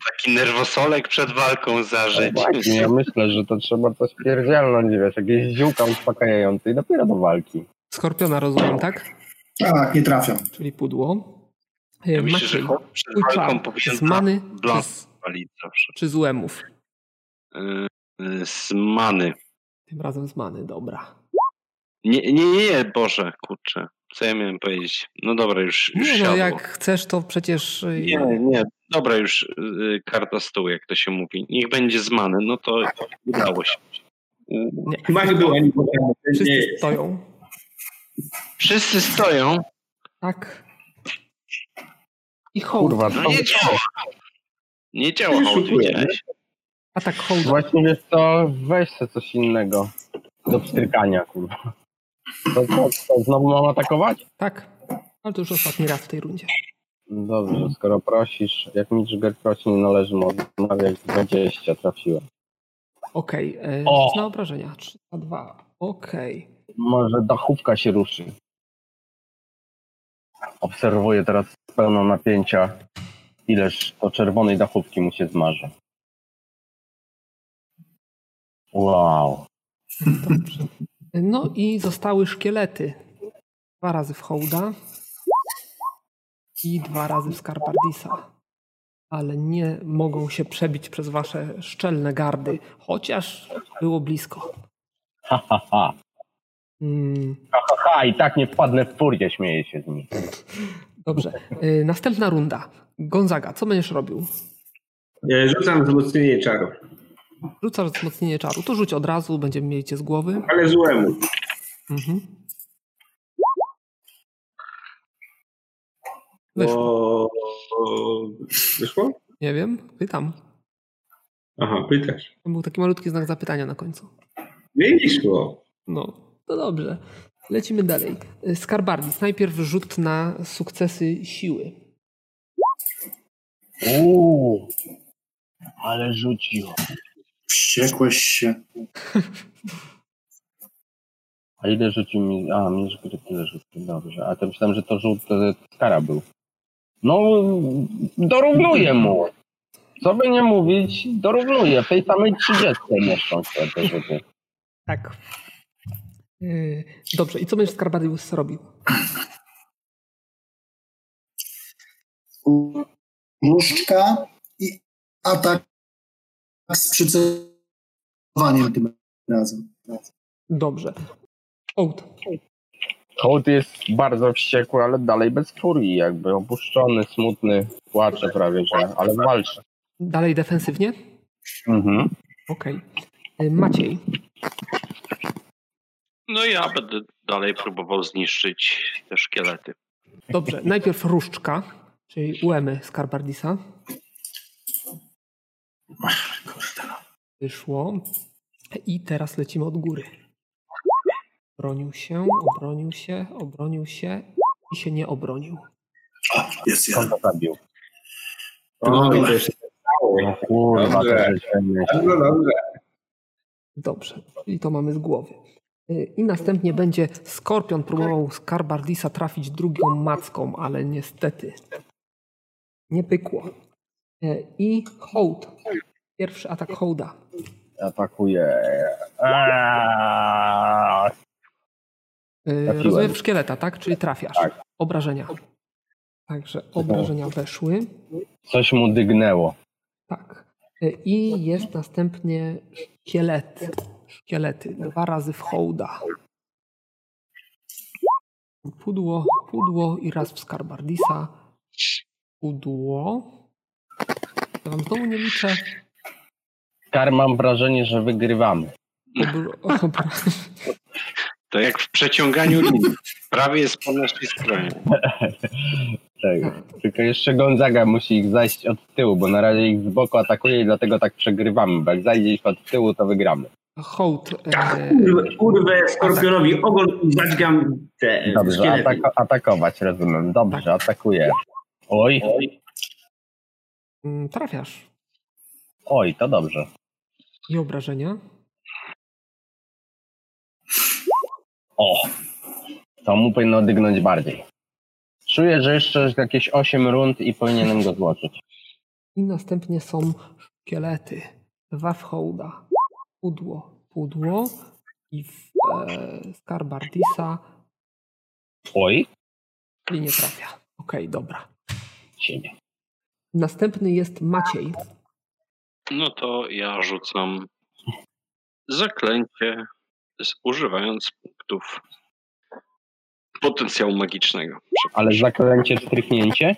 S5: Taki nerwosolek przed walką zażyć.
S4: Właśnie, ja myślę, że to trzeba coś pierdzielnąć, wiesz, jakieś ziółka uspokajające i dopiero do walki.
S1: Skorpiona rozumiem, tak?
S3: tak, nie trafiam.
S1: Czyli pudło. Y,
S5: Ja myślę, że
S1: Maciej,
S5: chłop przed
S1: twój
S5: walką
S1: czar.
S5: powinien
S1: Z many
S5: blan-
S1: czy z,
S5: palić zawsze.
S1: czy z łemów?
S5: Yy, yy, Z many.
S1: Tym razem z many, dobra.
S5: Nie, nie, nie, nie, Boże, kurczę. Co ja miałem powiedzieć? No dobra, już, już
S1: Nie no,
S5: siadło.
S1: jak chcesz, to przecież... y,
S5: Nie, nie, dobra, już yy, karta stół, jak to się mówi. Niech będzie z many, no to udało się. Yy,
S6: Mach był ani potem. Nie,
S1: Wszyscy stoją.
S5: Wszyscy stoją.
S1: Tak. I hołd.
S4: Kurwa,
S5: No
S4: to
S5: nie działa. Nie działa, hołd, widziałeś?
S1: Atak hołda.
S4: właśnie wiesz co, weź sobie coś innego do pstrykania, kurwa. To co, to znowu mam atakować?
S1: Tak. Ale to już ostatni raz w tej rundzie.
S4: Dobrze, skoro prosisz, jak mi Jigger prosi, nie należy mu odmawiać, 20 trafiłem.
S1: Okej. Okay.
S4: O!
S1: Na obrażenia. 3 na 2. Okej.
S4: Może dachówka się ruszy. Obserwuję teraz z pełną napięcia, ileż to czerwonej dachówki mu się zmarzy. Wow.
S1: No i zostały szkielety. Dwa razy w hołda. I dwa razy w Skarbardisa. Ale nie mogą się przebić przez wasze szczelne gardy. Chociaż było blisko.
S4: Ha, ha, ha.
S1: Mm,
S4: Ha, ha, ha. I tak nie wpadnę w furię, śmieję się z nim.
S1: dobrze. Y, następna runda. Gonzaga, co będziesz robił?
S6: e, Rzucam wzmocnienie czaru.
S1: Rzucasz wzmocnienie czaru. To rzuć od razu, Mhm. będziemy mieli cię z głowy.
S6: Ale złemu.
S1: Mhm.
S6: Bo... Wyszło?
S1: Nie wiem, pytam.
S6: Aha, pytasz.
S1: To był taki malutki znak zapytania na końcu.
S6: Wyszło.
S1: No, to dobrze. Lecimy dalej. Y, Skarbardis, najpierw rzut na sukcesy siły.
S2: Uuu, ale rzucił.
S3: Wściekłeś się.
S4: A ile rzucił mi... A, mi rzucił tyle rzucił, dobrze. A to myślałem, że to rzut e, Skara był. No, dorównuję mu. Co by nie mówić, dorównuję. W tej samej 30 mieszczą się te rzuty.
S1: Tak. Y, Dobrze, i co będziesz Skarbardis robił?
S3: Różdżka i atak z przycelowaniem tym razem.
S1: Dobrze. Ołd.
S4: Hołd jest bardzo wściekły, ale dalej bez furii, jakby opuszczony, smutny, płacze prawie, że, ale walczy.
S1: Dalej defensywnie?
S4: Mhm.
S1: Okej. Y, Maciej.
S5: No ja będę dalej próbował zniszczyć te szkielety.
S1: Dobrze, najpierw różdżka, czyli uemy Skarbardisa. Wyszło. I teraz lecimy od góry. Obronił się, obronił się, obronił się i się nie obronił.
S3: O, jest jeden.
S4: Kto to zabił?
S6: O, i też.
S4: No kurwa, to
S6: Dobrze.
S4: życzenie.
S6: Dobrze, no, dobrze.
S1: Dobrze, i to mamy z głowy. Y, I następnie będzie Skorpion próbował Skarbardisa trafić drugą macką, ale niestety nie pykło. Y, I hołd. Pierwszy atak hołda.
S4: Atakuje. Aaaa!
S1: Yy,
S4: Trafiłem.
S1: rozumiem w szkieleta, tak? Czyli trafiasz. Obrażenia. Także obrażenia weszły.
S4: Coś mu dygnęło.
S1: Tak. Yy, I jest następnie szkielet. Szkielety. Dwa razy w hołda. Pudło, pudło i raz w skarbardisa. Pudło. Ja wam znowu nie liczę.
S4: Kar mam wrażenie, że wygrywamy.
S1: Obr- obra- <laughs>
S5: To jak w przeciąganiu <laughs> linii. Prawie jest po naszej stronie.
S4: Tego. Tylko jeszcze Gonzaga musi ich zajść od tyłu, bo na razie ich z boku atakuje i dlatego tak przegrywamy. Bo jak zajdzie ich od tyłu, to wygramy.
S1: Hołd. Yy,
S6: Urwę, urwę skorpionowi ogon i zadźgam te
S4: Dobrze, tak-
S6: szkielety.
S4: atako- atakować rozumiem. Dobrze, atakuje. Oj,
S1: mm, trafiasz.
S4: oj, to dobrze.
S1: I obrażenia.
S4: O! To mu powinno dygnąć bardziej. Czuję, że jeszcze jakieś 8 rund i powinienem go złożyć.
S1: I następnie są szkielety. Dwa w hołda. Pudło, pudło i w e, Skarbardisa
S4: Oj,
S1: i nie trafia. Okej, dobra.
S4: ciebie.
S1: Następny jest Maciej.
S5: No to ja rzucam zaklęcie, z, używając punktów potencjału magicznego.
S4: Ale zaklęcie strychnięcie?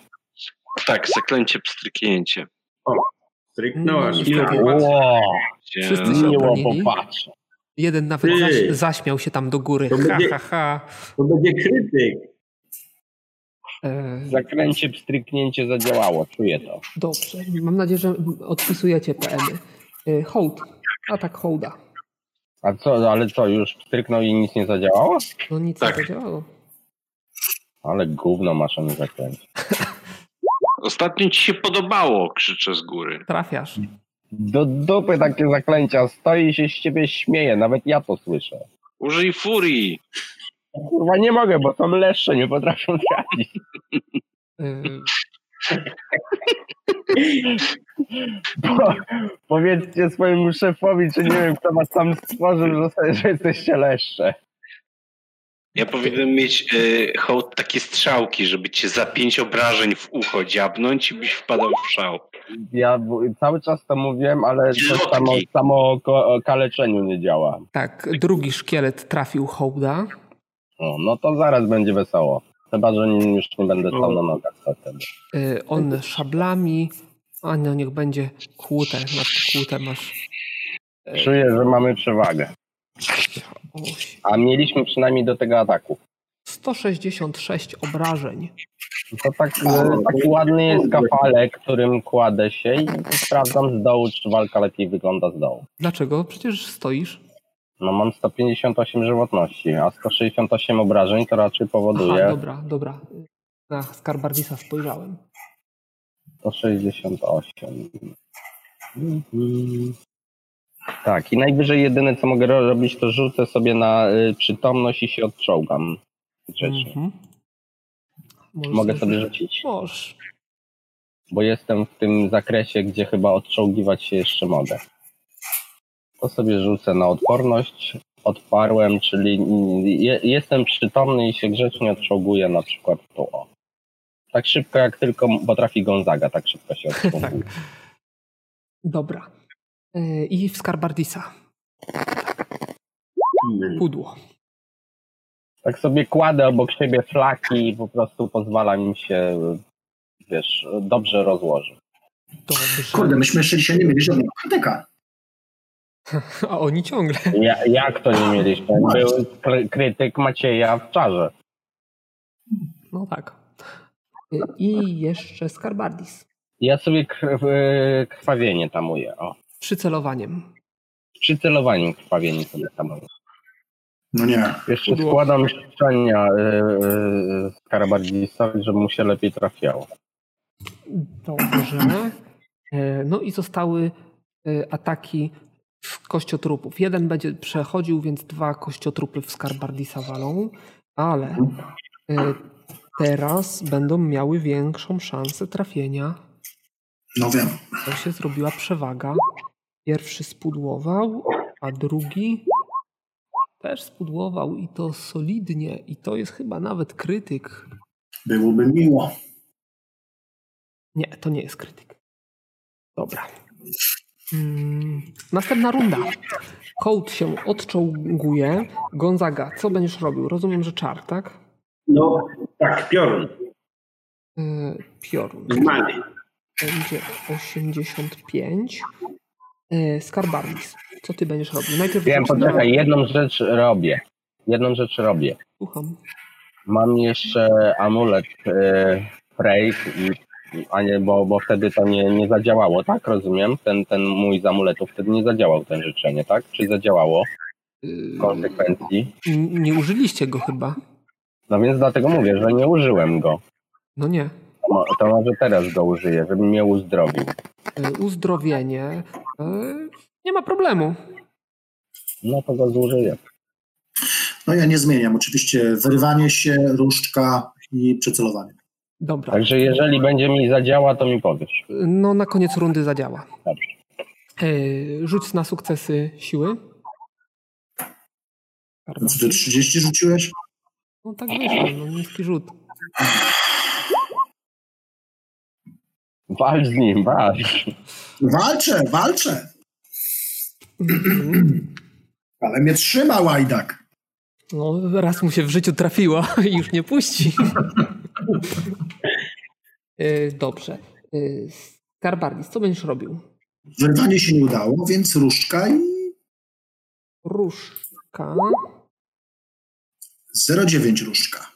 S5: Tak, zaklęcie pstryknięcie.
S6: Stryknąłem.
S1: No,
S6: Ile
S1: niestety.
S6: było?
S4: Ło,
S5: Gdzie-
S1: Wszyscy się
S4: miło
S1: obronili.
S4: popatrz.
S1: Jeden nawet
S6: Ty.
S1: zaś, zaśmiał się tam do góry.
S6: To
S1: Ha,
S6: będzie-
S1: ha, ha.
S6: To będzie krytyk.
S1: E,
S4: Zaklęcie pstryknięcie zadziałało, czuję to.
S1: dobrze. Mam nadzieję, że odpisujecie PM-y. E, hołd. Atak hołda.
S4: A co, ale co, już pstryknął i nic nie zadziałało?
S1: No nic
S5: Tak.
S1: nie zadziałało.
S4: Ale gówno masz a nie zaklęcie.
S5: Ostatnio ci się podobało, krzyczę z góry.
S1: Trafiasz.
S4: Do dupy takie zaklęcia, stoi i się z ciebie śmieje, nawet ja to słyszę.
S5: Użyj furii.
S4: Kurwa nie mogę, bo są leszcze, nie potrafią <laughs> trafić.
S6: <laughs>
S1: E,
S4: Po, powiedzcie swojemu szefowi, czy nie wiem, kto was tam stworzył, że, sobie- że jesteście leszcze.
S5: Ja powinienem mieć y, hołd takie strzałki, żeby cię za pięć obrażeń w ucho dziabnąć i byś wpadał w szał.
S4: Ja w- cały czas to mówiłem, ale to samo, samo ko- o kaleczeniu nie działa.
S1: tak, drugi szkielet trafił hołda.
S4: No, no to zaraz będzie wesoło. Chyba, że nie- już nie będę stał na nogach wtedy.
S1: Y, On szablami, a no niech będzie kłute, masz kłute, masz
S4: Czuję, że mamy przewagę.
S1: oś.
S4: A mieliśmy przynajmniej do tego ataku.
S1: 166 obrażeń.
S4: To tak, e, taki ładny jest kafalek, którym kładę się i sprawdzam z dołu, czy walka lepiej wygląda z dołu.
S1: Dlaczego? Przecież stoisz.
S4: No mam 158 żywotności, a 168 obrażeń to raczej powoduje
S1: Aha, dobra, dobra. Na Skarbardisa spojrzałem.
S4: 168. Mhm. Tak, i najwyżej jedyne co mogę ro- robić, to rzucę sobie na y, przytomność i się odczołgam. Grzecznie.
S1: Mhm. Możesz
S4: Mogę sobie rzucić,
S1: Możesz.
S4: bo jestem w tym zakresie, gdzie chyba odczołgiwać się jeszcze mogę. To sobie rzucę na odporność. Odparłem, czyli mm, je, jestem przytomny i się grzecznie odczołguję na przykład tu. O. Tak szybko jak tylko m- potrafi Gonzaga, tak szybko się
S1: Tak.
S4: odczołguje.
S1: Dobra. E, I w Skarbardisa.
S4: Hmm.
S1: Pudło.
S4: Tak sobie kładę obok siebie flaki i po prostu pozwalam im się, wiesz, dobrze rozłożyć.
S1: Dobrze.
S3: Kurde, myśmy jeszcze dzisiaj nie mieli żadnego handeka.
S1: <laughs> A oni ciągle.
S4: Ja, jak to nie mieliśmy? Był kry- krytyk Macieja w czarze.
S1: No tak. E, I jeszcze Skarbardis.
S4: Ja sobie krw, y, krwawienie tamuję. O.
S1: Przycelowaniem.
S4: Przy celowaniu krwawienie sobie tamuję.
S3: No nie.
S4: Jeszcze składam szczenia y, y, z karabardista, żeby mu się lepiej trafiało.
S1: Dobrze. E, No i zostały e, ataki z kościotrupów. Jeden będzie przechodził, więc dwa kościotrupy w Skarbardisa walą, ale e, teraz będą miały większą szansę trafienia,
S3: No wiem.
S1: bo się zrobiła przewaga. Pierwszy spudłował, a drugi też spudłował i to solidnie. I to jest chyba nawet krytyk.
S3: Byłoby miło.
S1: Nie, to nie jest krytyk. Dobra. Mm, następna runda. Kołd się odczołguje. Gonzaga, co będziesz robił? Rozumiem, że czar, tak?
S6: No tak, piorun.
S1: Yy, piorun.
S6: Z magii.
S1: Będzie 85. Yy, Skarbardis, co ty będziesz robił? Najpierw
S4: Wiem,
S1: rzuć na-
S4: poczekaj, jedną rzecz robię. Jedną rzecz robię.
S1: Słucham.
S4: Mam jeszcze amulet e, Frey, i, a nie, bo, bo wtedy to nie, nie zadziałało, tak? Rozumiem? Ten, ten mój z amuletów wtedy nie zadziałał ten życzenie, tak? Czy zadziałało
S1: Yy,
S4: w konsekwencji?
S1: E, n- nie użyliście go chyba.
S4: No więc dlatego mówię, że nie użyłem go.
S1: No nie.
S4: To mo- To może teraz go użyję, żeby mnie uzdrowił.
S1: Yy, uzdrowienie. Yy, nie ma problemu.
S4: No to go zużyję.
S3: No ja nie zmieniam. Oczywiście wyrywanie się, różdżka i przycelowanie.
S1: Dobra.
S4: Także jeżeli będzie mi zadziała, to mi powiesz.
S1: No, na koniec rundy zadziała.
S4: Dobrze.
S1: Yy, rzuć na sukcesy siły. Karma.
S3: No co ty 30 rzuciłeś?
S1: No tak wyszło, no niski rzut.
S4: Walcz z nim, walcz.
S3: Walczę, walczę.
S1: Mhm.
S3: Ale mnie trzyma łajdak.
S1: No, raz mu się w życiu trafiło i już nie puści. Yy, Dobrze. Yy, Skarbardis, co będziesz robił?
S3: Wyrwanie się nie udało, więc różdżka i
S1: Różka.
S3: 0,9 różdżka.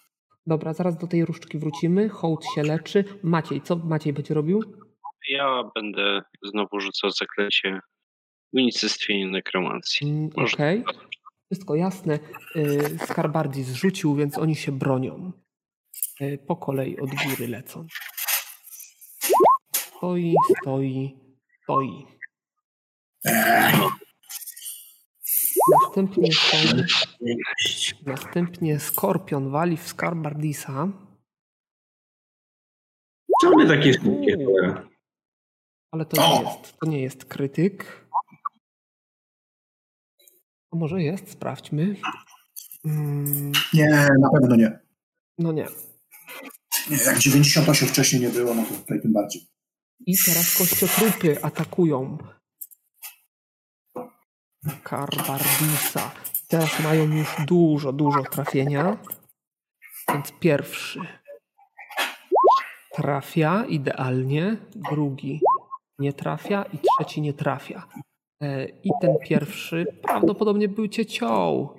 S1: Dobra, zaraz do tej różdżki wrócimy. Hołd się leczy. Maciej, co Maciej będzie robił?
S5: Ja będę znowu rzucał zaklęcie unicestwienie nekromancji.
S1: Mm,
S5: Może-
S1: Okej. Wszystko jasne. Y, Skarbardi zrzucił, więc oni się bronią. Y, Po kolei od góry lecą. Stoi, stoi, stoi. Następnie, są, następnie Skorpion wali w Skarbardisa.
S6: Czemu one takie szybkie? cholera?
S1: Ale to nie
S3: O!
S1: jest, to nie jest krytyk. A może jest? Sprawdźmy. Mm,
S3: Nie, na pewno nie.
S1: No nie.
S3: nie. Jak 98 wcześniej nie było, no to tutaj tym bardziej.
S1: I teraz kościotrupy atakują Karbardisa. Teraz mają już dużo, dużo trafienia. Więc pierwszy trafia idealnie, drugi nie trafia i trzeci nie trafia. E, I ten pierwszy prawdopodobnie był ciecioł.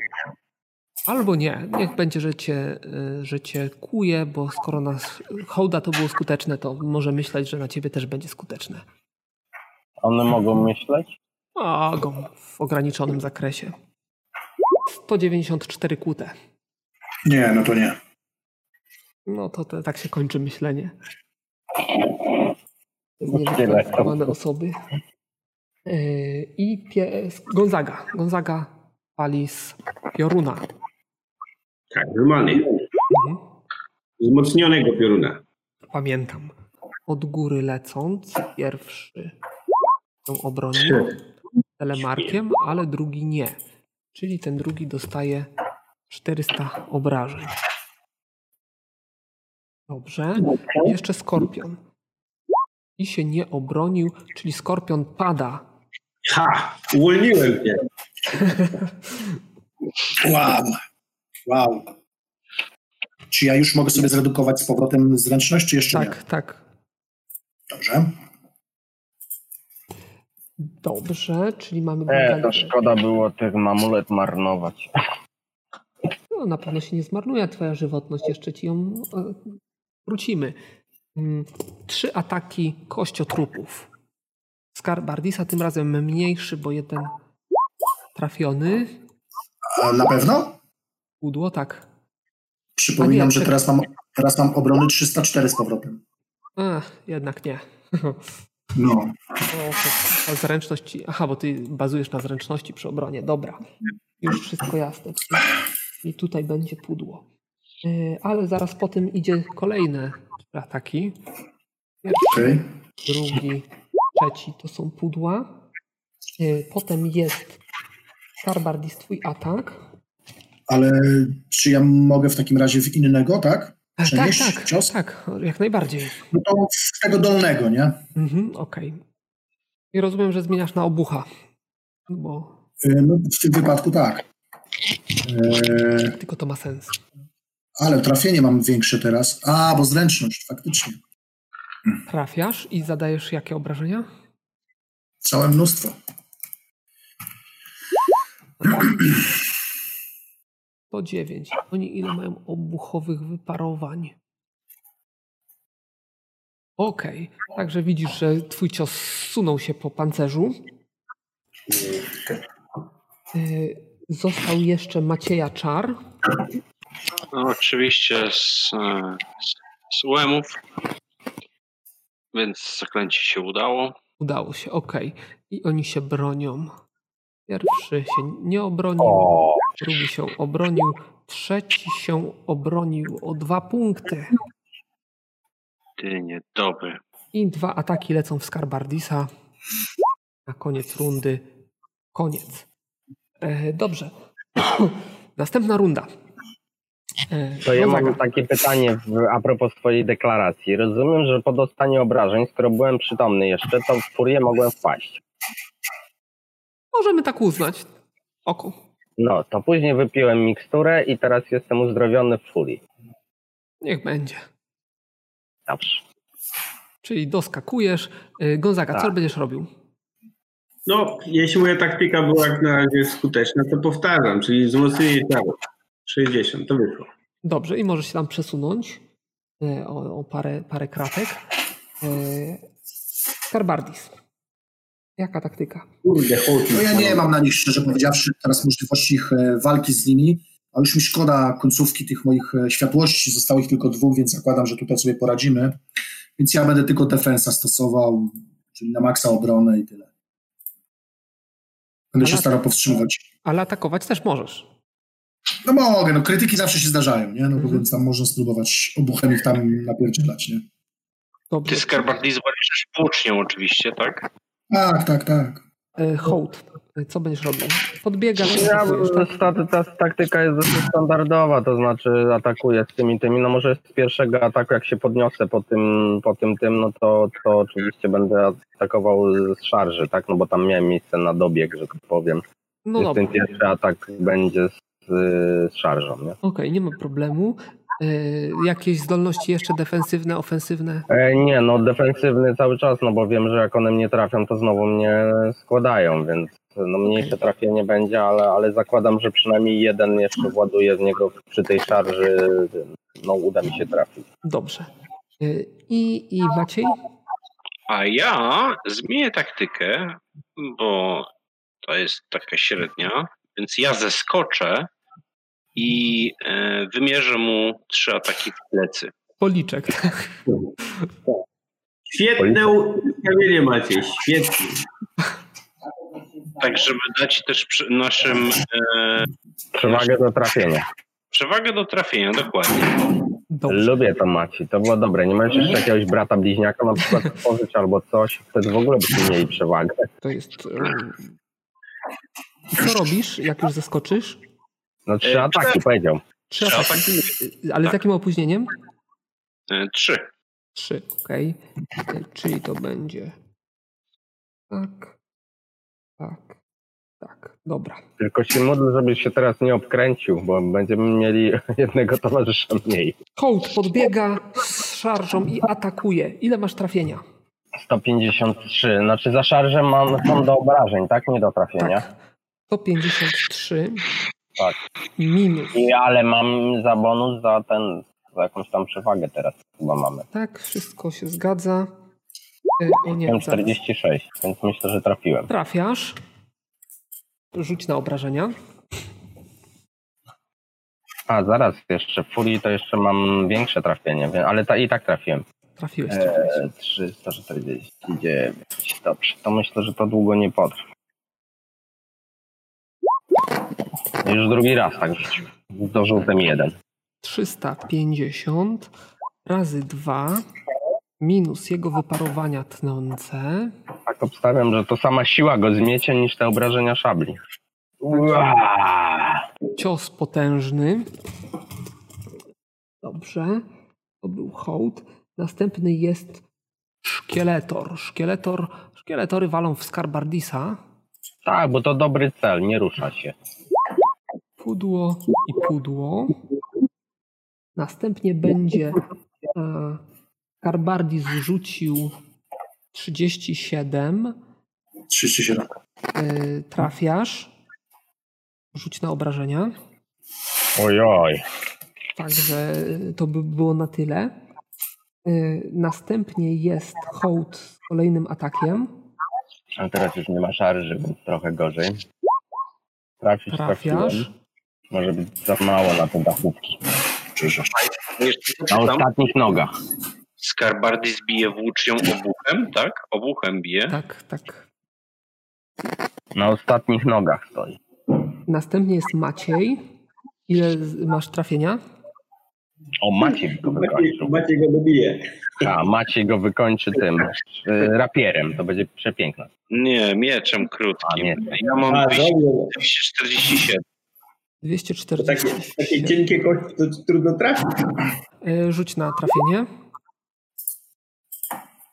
S1: Albo nie. Niech będzie, że cię, y, że cię kuje, bo skoro nas hołda to było skuteczne, to może myśleć, że na ciebie też będzie skuteczne.
S4: One mogą myśleć?
S1: A go w ograniczonym zakresie. 194 kłute.
S3: Nie, no to nie.
S1: No to te, tak się kończy myślenie.
S4: Tyle.
S1: Niewykwalifikowane osoby. Yy, I pies Gonzaga. Gonzaga pali z pioruna.
S6: Tak, normalnie.
S1: Mhm.
S6: Wzmocnionego pioruna.
S1: Pamiętam. Od góry lecąc, pierwszy ją obronił
S6: Trzy.
S1: telemarkiem, ale drugi nie. Czyli ten drugi dostaje 400 obrażeń. Dobrze. I Jeszcze skorpion. I się nie obronił, czyli skorpion pada.
S6: Ha! Uwolniłem cię.
S3: Wow. Wow. Czy ja już mogę sobie zredukować z powrotem zręczność, czy jeszcze nie?
S1: Tak, tak.
S3: Dobrze.
S1: Dobrze, czyli mamy.
S4: E, to
S1: Gonzagę.
S4: szkoda było tych mamulet marnować.
S1: No, na pewno się nie zmarnuje twoja żywotność, jeszcze ci ją e, wrócimy. Mm, Trzy ataki kościotrupów. Skarbardisa tym razem mniejszy, bo jeden trafiony.
S3: A na pewno?
S1: Udło, tak. A
S3: Przypominam,
S1: nie,
S3: że
S1: czekaj.
S3: teraz mam, teraz mam obrony 304 z powrotem.
S1: Ach, jednak nie.
S3: No.
S1: O, to- to zręczności. Aha, bo ty bazujesz na zręczności przy obronie. Dobra. Już wszystko jasne. I tutaj będzie pudło. Yy, Ale zaraz po tym idzie kolejne ataki.
S3: Okej.
S1: drugi, trzeci to są pudła. Y, Potem jest Starbardis twój atak.
S3: Ale czy ja mogę w takim razie w innego, tak?
S1: E, Tak,
S3: Przenieść
S1: tak,
S3: cios?
S1: tak, jak najbardziej.
S3: No to w tego dolnego, nie?
S1: Mhm, Okej. I rozumiem, że zmieniasz na obucha. Bo
S3: Y, No, w tym wypadku tak. Y,
S1: tylko to ma sens.
S3: Ale trafienie mam większe teraz. A, bo zręczność, faktycznie.
S1: Trafiasz i zadajesz jakie obrażenia?
S3: Całe mnóstwo.
S1: To 9. Oni ile mają obuchowych wyparowań? Okej, także widzisz, że twój cios sunął się po pancerzu. Y, Został jeszcze Macieja Czar.
S5: No, oczywiście z, e, z, z UEM-ów, więc zaklęcie się udało.
S1: Udało się, okej. I oni się bronią. Pierwszy się nie obronił,
S4: O,
S1: drugi się obronił, trzeci się obronił o dwa punkty.
S5: Ty niedobry.
S1: I dwa ataki lecą w Skarbardisa. Na koniec rundy. Koniec. E, dobrze. <clears throat> Następna runda. E,
S4: to ja
S1: Gonzaga.
S4: mam takie pytanie w, a propos twojej deklaracji. Rozumiem, że po dostaniu obrażeń, skoro byłem przytomny jeszcze, to w furię mogłem wpaść.
S1: Możemy tak uznać. Oku.
S4: No, to później wypiłem miksturę i teraz jestem uzdrowiony w furii.
S1: Niech będzie.
S4: Dobrze.
S1: Czyli doskakujesz. E, Gonzaga, co
S4: Tak.
S1: będziesz robił?
S6: No, jeśli moja taktyka była jak na razie skuteczna, to powtarzam, czyli wzmocnienie ciała. 60, to wyszło.
S1: Dobrze, i możesz się tam przesunąć e, o, o parę, parę kratek. E, Skarbardis. Jaka taktyka?
S6: Kurde, chodź.
S3: No ja nie mam na nich, szczerze powiedziawszy, teraz możliwości ich e, walki z nimi, a już mi szkoda końcówki tych moich e, światłości, zostało ich tylko dwóch, więc zakładam, że tutaj sobie poradzimy. Więc ja będę tylko defensa stosował, czyli na maksa obronę i tyle. Będę się
S1: Ale-
S3: starał powstrzymywać.
S1: Ale atakować też możesz.
S3: No mogę, no krytyki zawsze się zdarzają, nie? No bo
S1: Mhm.
S3: więc tam można spróbować obuchem ich tam napierdzielać, nie?
S1: Dobrze.
S5: Ty skarbardlis walczysz włócznią oczywiście, tak?
S3: Tak, tak, tak.
S1: E, Hołd, e, co będziesz robił? Podbiegasz,
S4: Ja,
S1: atakujesz, tak?
S4: ta, ta taktyka jest dosyć standardowa, to znaczy atakuję z tymi tymi, no może z pierwszego ataku jak się podniosę po tym, po tym tym, no to, to oczywiście będę atakował z szarży, tak, no bo tam miałem miejsce na dobieg, że tak powiem.
S1: No
S4: Więc
S1: dobra,
S4: ten
S1: okej,
S4: pierwszy atak będzie z, y, z szarżą, nie?
S1: nie ma problemu. E, jakieś zdolności jeszcze defensywne, ofensywne?
S4: E, nie, no defensywny cały czas, no bo wiem, że jak one mnie trafią, to znowu mnie składają, więc No mniejsze trafienie będzie, ale, ale zakładam, że przynajmniej jeden jeszcze właduje z niego przy tej szarży. No uda mi się trafić.
S1: Dobrze. Y, I, i Maciej?
S5: A ja zmienię taktykę, bo to jest taka średnia, więc ja zeskoczę i e, wymierzę mu trzy ataki w plecy.
S1: Policzek. <laughs>
S6: Świetne ustawienie Maciej, świetnie.
S5: Tak, żeby dać też przy- naszym e,
S4: Przewagę do trafienia.
S5: przewagę do trafienia, dokładnie.
S1: Dobrze.
S4: Lubię to Maci, to było dobre. Nie masz jeszcze jakiegoś brata bliźniaka na przykład pożyć albo coś, wtedy w ogóle byśmy mieli przewagę.
S1: To jest. y, Co robisz, jak już zeskoczysz?
S4: No trzy
S5: E,
S4: ataki powiedział.
S1: Trzy
S5: Trzy
S1: ataki. Ale z jakim opóźnieniem?
S5: E, trzy.
S1: Trzy, okej. E, Czyli to będzie. Tak. Tak. Tak. Dobra.
S4: Tylko się modlę, żeby się teraz nie obkręcił, bo będziemy mieli <laughs> jednego towarzysza mniej.
S1: Hołd podbiega z szarżą i atakuje. Ile masz trafienia?
S4: 153, znaczy za szarżę mam, są do obrażeń, tak? Nie do trafienia.
S1: Tak. 153.
S4: Tak.
S1: Minus.
S4: I, ale mam za bonus, za ten, za jakąś tam przewagę teraz chyba mamy.
S1: Tak, wszystko się zgadza. E, O nie,
S4: Miałem
S1: zaraz.
S4: 46, więc myślę, że trafiłem.
S1: Trafiasz. Rzuć na obrażenia.
S4: A zaraz, jeszcze w furii to jeszcze mam większe trafienie, wie- ale ta, i tak trafiłem.
S1: Trafiłeś. trafiłeś.
S4: Eee, 349. Dobrze, to myślę, że to długo nie potrwa. Już drugi raz tak rzucił. Zdążył ten jeden.
S1: 350 razy 2 minus jego wyparowania tnące.
S4: Tak obstawiam, że to sama siła go zmiecie niż te obrażenia szabli. Ua!
S1: Cios potężny. Dobrze. To był hołd. Następny jest szkieletor. Szkieletor. Szkieletory walą w Skarbardisa.
S4: Tak, bo to dobry cel, nie rusza się.
S1: Pudło i pudło. Następnie będzie. E, Skarbardis rzucił 37.
S3: 37.
S1: E, trafiasz. Rzuć na obrażenia.
S4: Ojoj.
S1: Także Tak, y, to by było na tyle. Y, Następnie jest hołd z kolejnym atakiem.
S4: A teraz już nie ma szarży, więc trochę gorzej. Trafić trafiłem.
S1: Trafiasz.
S4: Może być za mało na te dachówki.
S3: Krzyżasz.
S5: Jeszcze
S4: Na
S5: czytam,
S4: ostatnich nogach.
S5: Skarbardis bije włócznią obuchem, tak? Obuchem bije.
S1: Tak, tak.
S4: Na ostatnich nogach stoi.
S1: Następnie jest Maciej. Ile z- masz trafienia?
S4: O, Maciej go
S6: Maciej,
S4: wykończył.
S6: Maciej go dobije.
S4: A Maciej go wykończy tym y, rapierem. To będzie przepiękne.
S5: Nie, mieczem
S4: A
S5: krótkim.
S4: nie.
S5: Ja mam
S6: A, dobrze.
S5: 247.
S6: To Takie, takie
S1: 247.
S6: cienkie kości to trudno trafić.
S1: Y, Rzuć na trafienie.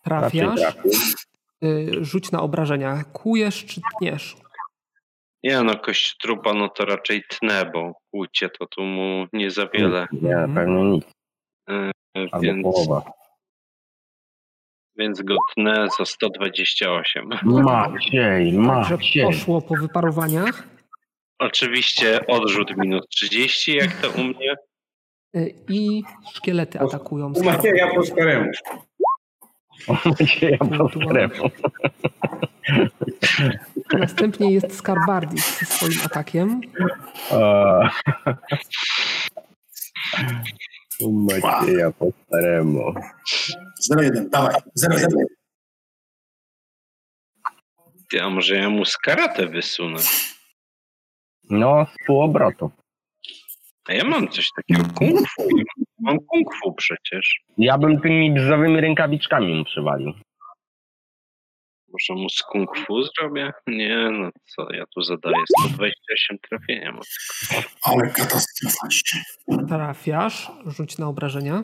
S4: Raczej
S1: Trafiasz.
S4: trafił.
S1: Y, Rzuć na obrażenia. Kujesz czy tniesz?
S5: Nie no, kość trupa no to raczej tnę, bo kłucie to tu mu nie za wiele.
S4: Nie,
S1: Mhm.
S4: pewnie nic.
S5: e,
S4: Albo
S5: Więc,
S4: połowa.
S5: więc go tnę za 128.
S4: Maciej,
S1: Także
S4: Maciej.
S1: poszło po wyparowaniach.
S5: Oczywiście odrzut minus 30, jak to u mnie.
S1: Y, I szkielety atakują.
S6: U Macieja po staremu.
S4: Macieja po strefą.
S1: Następnie jest Skarbardis ze swoim atakiem.
S4: <laughs> Eee. U Macieja po staremu.
S3: 01, dawaj. 01.
S5: Ty, a może ja mu skaratę wysunę?
S4: No, z półobrotu.
S5: A ja mam coś takiego kung fu. Mam kung fu przecież.
S4: Ja bym tymi brzowymi rękawiczkami mu przywalił.
S5: Może mu z kung fu zrobię? Nie no, co ja tu zadaję? 128 trafienia mam.
S3: Ale katastrofa dzisiaj.
S1: Trafiasz, rzuć na obrażenia.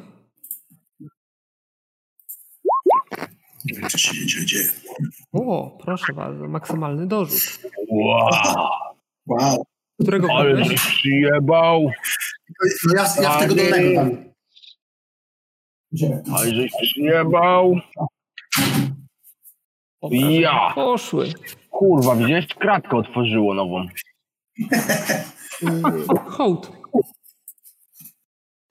S3: Nie wiem, co się dzieje, dzieje.
S1: O, proszę bardzo, maksymalny dorzut.
S4: Wow,
S3: Wow.
S1: Którego
S4: ale
S1: kogoś?
S4: żeś przyjebał.
S3: No ja, ja w tego
S4: Ale-
S3: dolnego tam. Idziemy.
S4: Ale żeś przyjebał. Ja.
S1: Poszły.
S4: Kurwa, wziąłeś kratkę otworzyło nową.
S1: Hołd.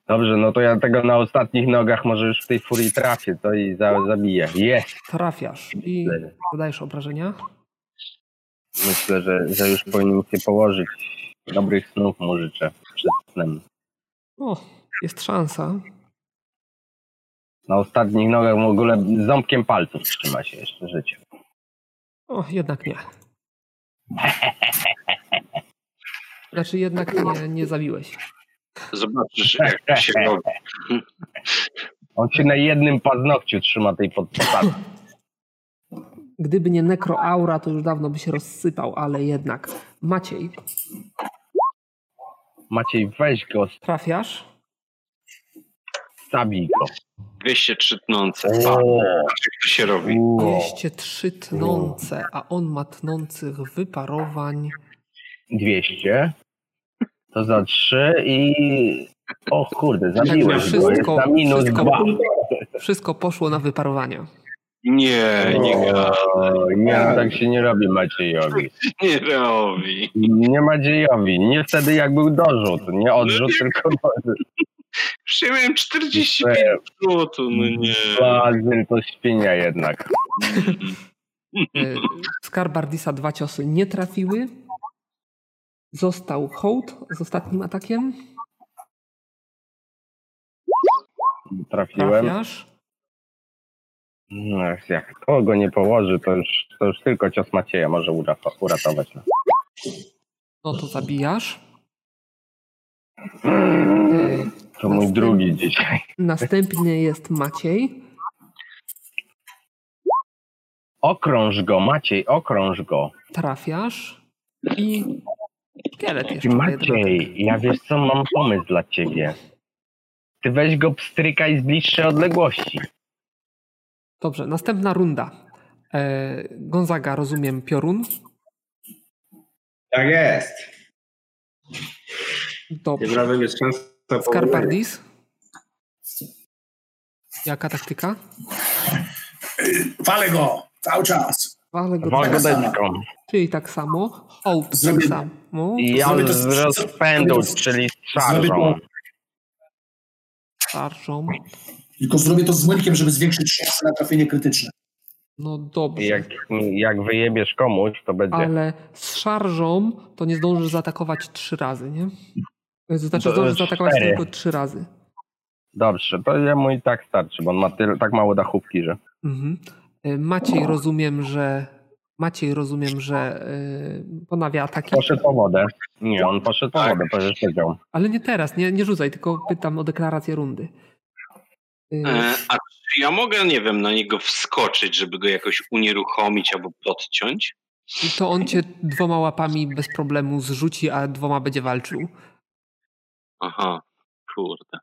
S4: Dobrze, no to ja tego na ostatnich nogach może już w tej furii trafię, to i za, zabiję. Jest!
S1: Trafiasz i dodajesz obrażenia.
S4: Myślę, że, że już powinien się położyć. Dobrych snów mu życzę przed snem.
S1: O, jest szansa.
S4: Na ostatnich nogach w ogóle ząbkiem palców trzyma się jeszcze życie.
S1: O, jednak nie. Znaczy jednak nie, nie zabiłeś.
S5: Zobaczysz, jak się robi.
S4: On się na jednym paznokciu trzyma tej podstawy.
S1: Gdyby nie nekroaura, to już dawno by się rozsypał, ale jednak. Maciej,
S4: Maciej, weź go,
S1: trafiasz?
S4: zabij go.
S5: 203 tnące. Pa. Zobacz, jak to się robi.
S4: Uuu.
S1: 203 tnące, a on ma tnących wyparowań.
S4: 200. To za 3 i... O kurde, zabiłeś
S1: Także
S4: go. Jest
S1: wszystko-
S4: na minus
S1: wszystko-
S4: 2.
S1: Wszystko poszło na wyparowania.
S5: Nie, nie, gra-
S4: Nie, tak się nie robi Maciejowi.
S5: nie robi.
S4: Nie Maciejowi. Nie wtedy jak był dorzut. Nie odrzut, tylko dorzut.
S5: Już ja miałem 45 złotów, no nie.
S4: Bazyl to świnia jednak.
S1: Y, Skarbardisa dwa ciosy nie trafiły. Został hołd z ostatnim atakiem.
S4: Trafiłem.
S1: Trafiasz.
S4: No, jak to go nie położy, to już, to już tylko cios Macieja może urata- uratować. nas.
S1: No to zabijasz. Y,
S4: To mój drugi dzisiaj.
S1: Następny jest Maciej.
S4: Okrąż go, Maciej, okrąż go.
S1: Trafiasz. I szkielet jeszcze.
S4: Ty
S1: ma jeden
S4: Maciej, ja wiesz co, mam pomysł dla ciebie. Ty weź go pstrykaj z bliższej odległości.
S1: atak. Dobrze, następna runda. E, Gonzaga, rozumiem, piorun.
S6: Tak jest. Tym
S1: Dobrze.
S6: razem jest szansa. powodzenia.
S1: Skarbardis. Jaka taktyka?
S3: Walę go! Cały czas!
S1: Wale go tak,
S4: Wogodeczką.
S1: czyli tak samo. Hołd tak
S3: Zrobię-
S1: samo.
S4: I ja
S3: Zrobię to
S4: z
S3: z-
S4: rozpędu,
S3: zrobię to z-
S4: czyli z
S3: zrobię
S4: szarżą.
S3: to-
S1: Szarżą.
S3: Tylko zrobię to z młynkiem, żeby zwiększyć szansę na trafienie krytyczne.
S1: No
S4: I
S1: dobrze.
S4: Jak, jak wyjebiesz komuś, to będzie...
S1: Ale z szarżą to nie zdążysz zaatakować trzy razy, nie? To Znaczy
S4: To
S1: zdążysz zaatakować
S4: cztery.
S1: tylko trzy razy.
S4: Dobrze, to jemu i tak starczy, bo on ma tyle, tak mało dachówki, że...
S1: Mhm. Y,
S4: No.
S1: Maciej rozumiem, że Maciej rozumiem, że y, ponawia ataki,
S4: Poszedł po wodę. Nie, on poszedł po wodę, przecież siedział.
S1: ale nie teraz, nie, nie rzucaj, tylko pytam o deklarację rundy. Y,
S5: E, A czy ja mogę, nie wiem, na niego wskoczyć, żeby go jakoś unieruchomić albo podciąć?
S1: I to on cię dwoma łapami bez problemu zrzuci, a dwoma będzie walczył.
S5: Aha, kurde.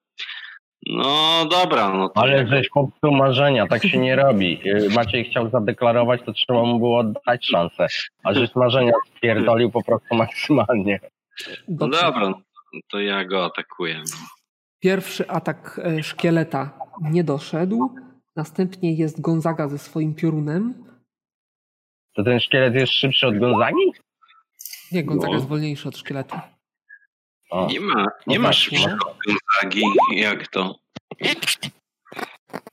S5: No dobra, no to
S4: Ale żeś popsuł marzenia, tak się nie robi. Yy, Maciej chciał zadeklarować, to trzeba mu było dać szansę. A żeś marzenia spierdolił po prostu maksymalnie.
S5: no
S1: Dobrze.
S5: dobra, no to ja go atakuję.
S1: Pierwszy atak e, szkieleta nie doszedł. Następnie jest Gonzaga ze swoim piorunem.
S4: To ten szkielet jest szybszy od Gonzagi?
S1: Nie, Gonzaga
S5: No.
S1: jest wolniejszy od szkieletu.
S4: O,
S5: Nie ma, nie
S1: No
S5: ma
S1: tak,
S5: szybszego Gonzagi, jak to?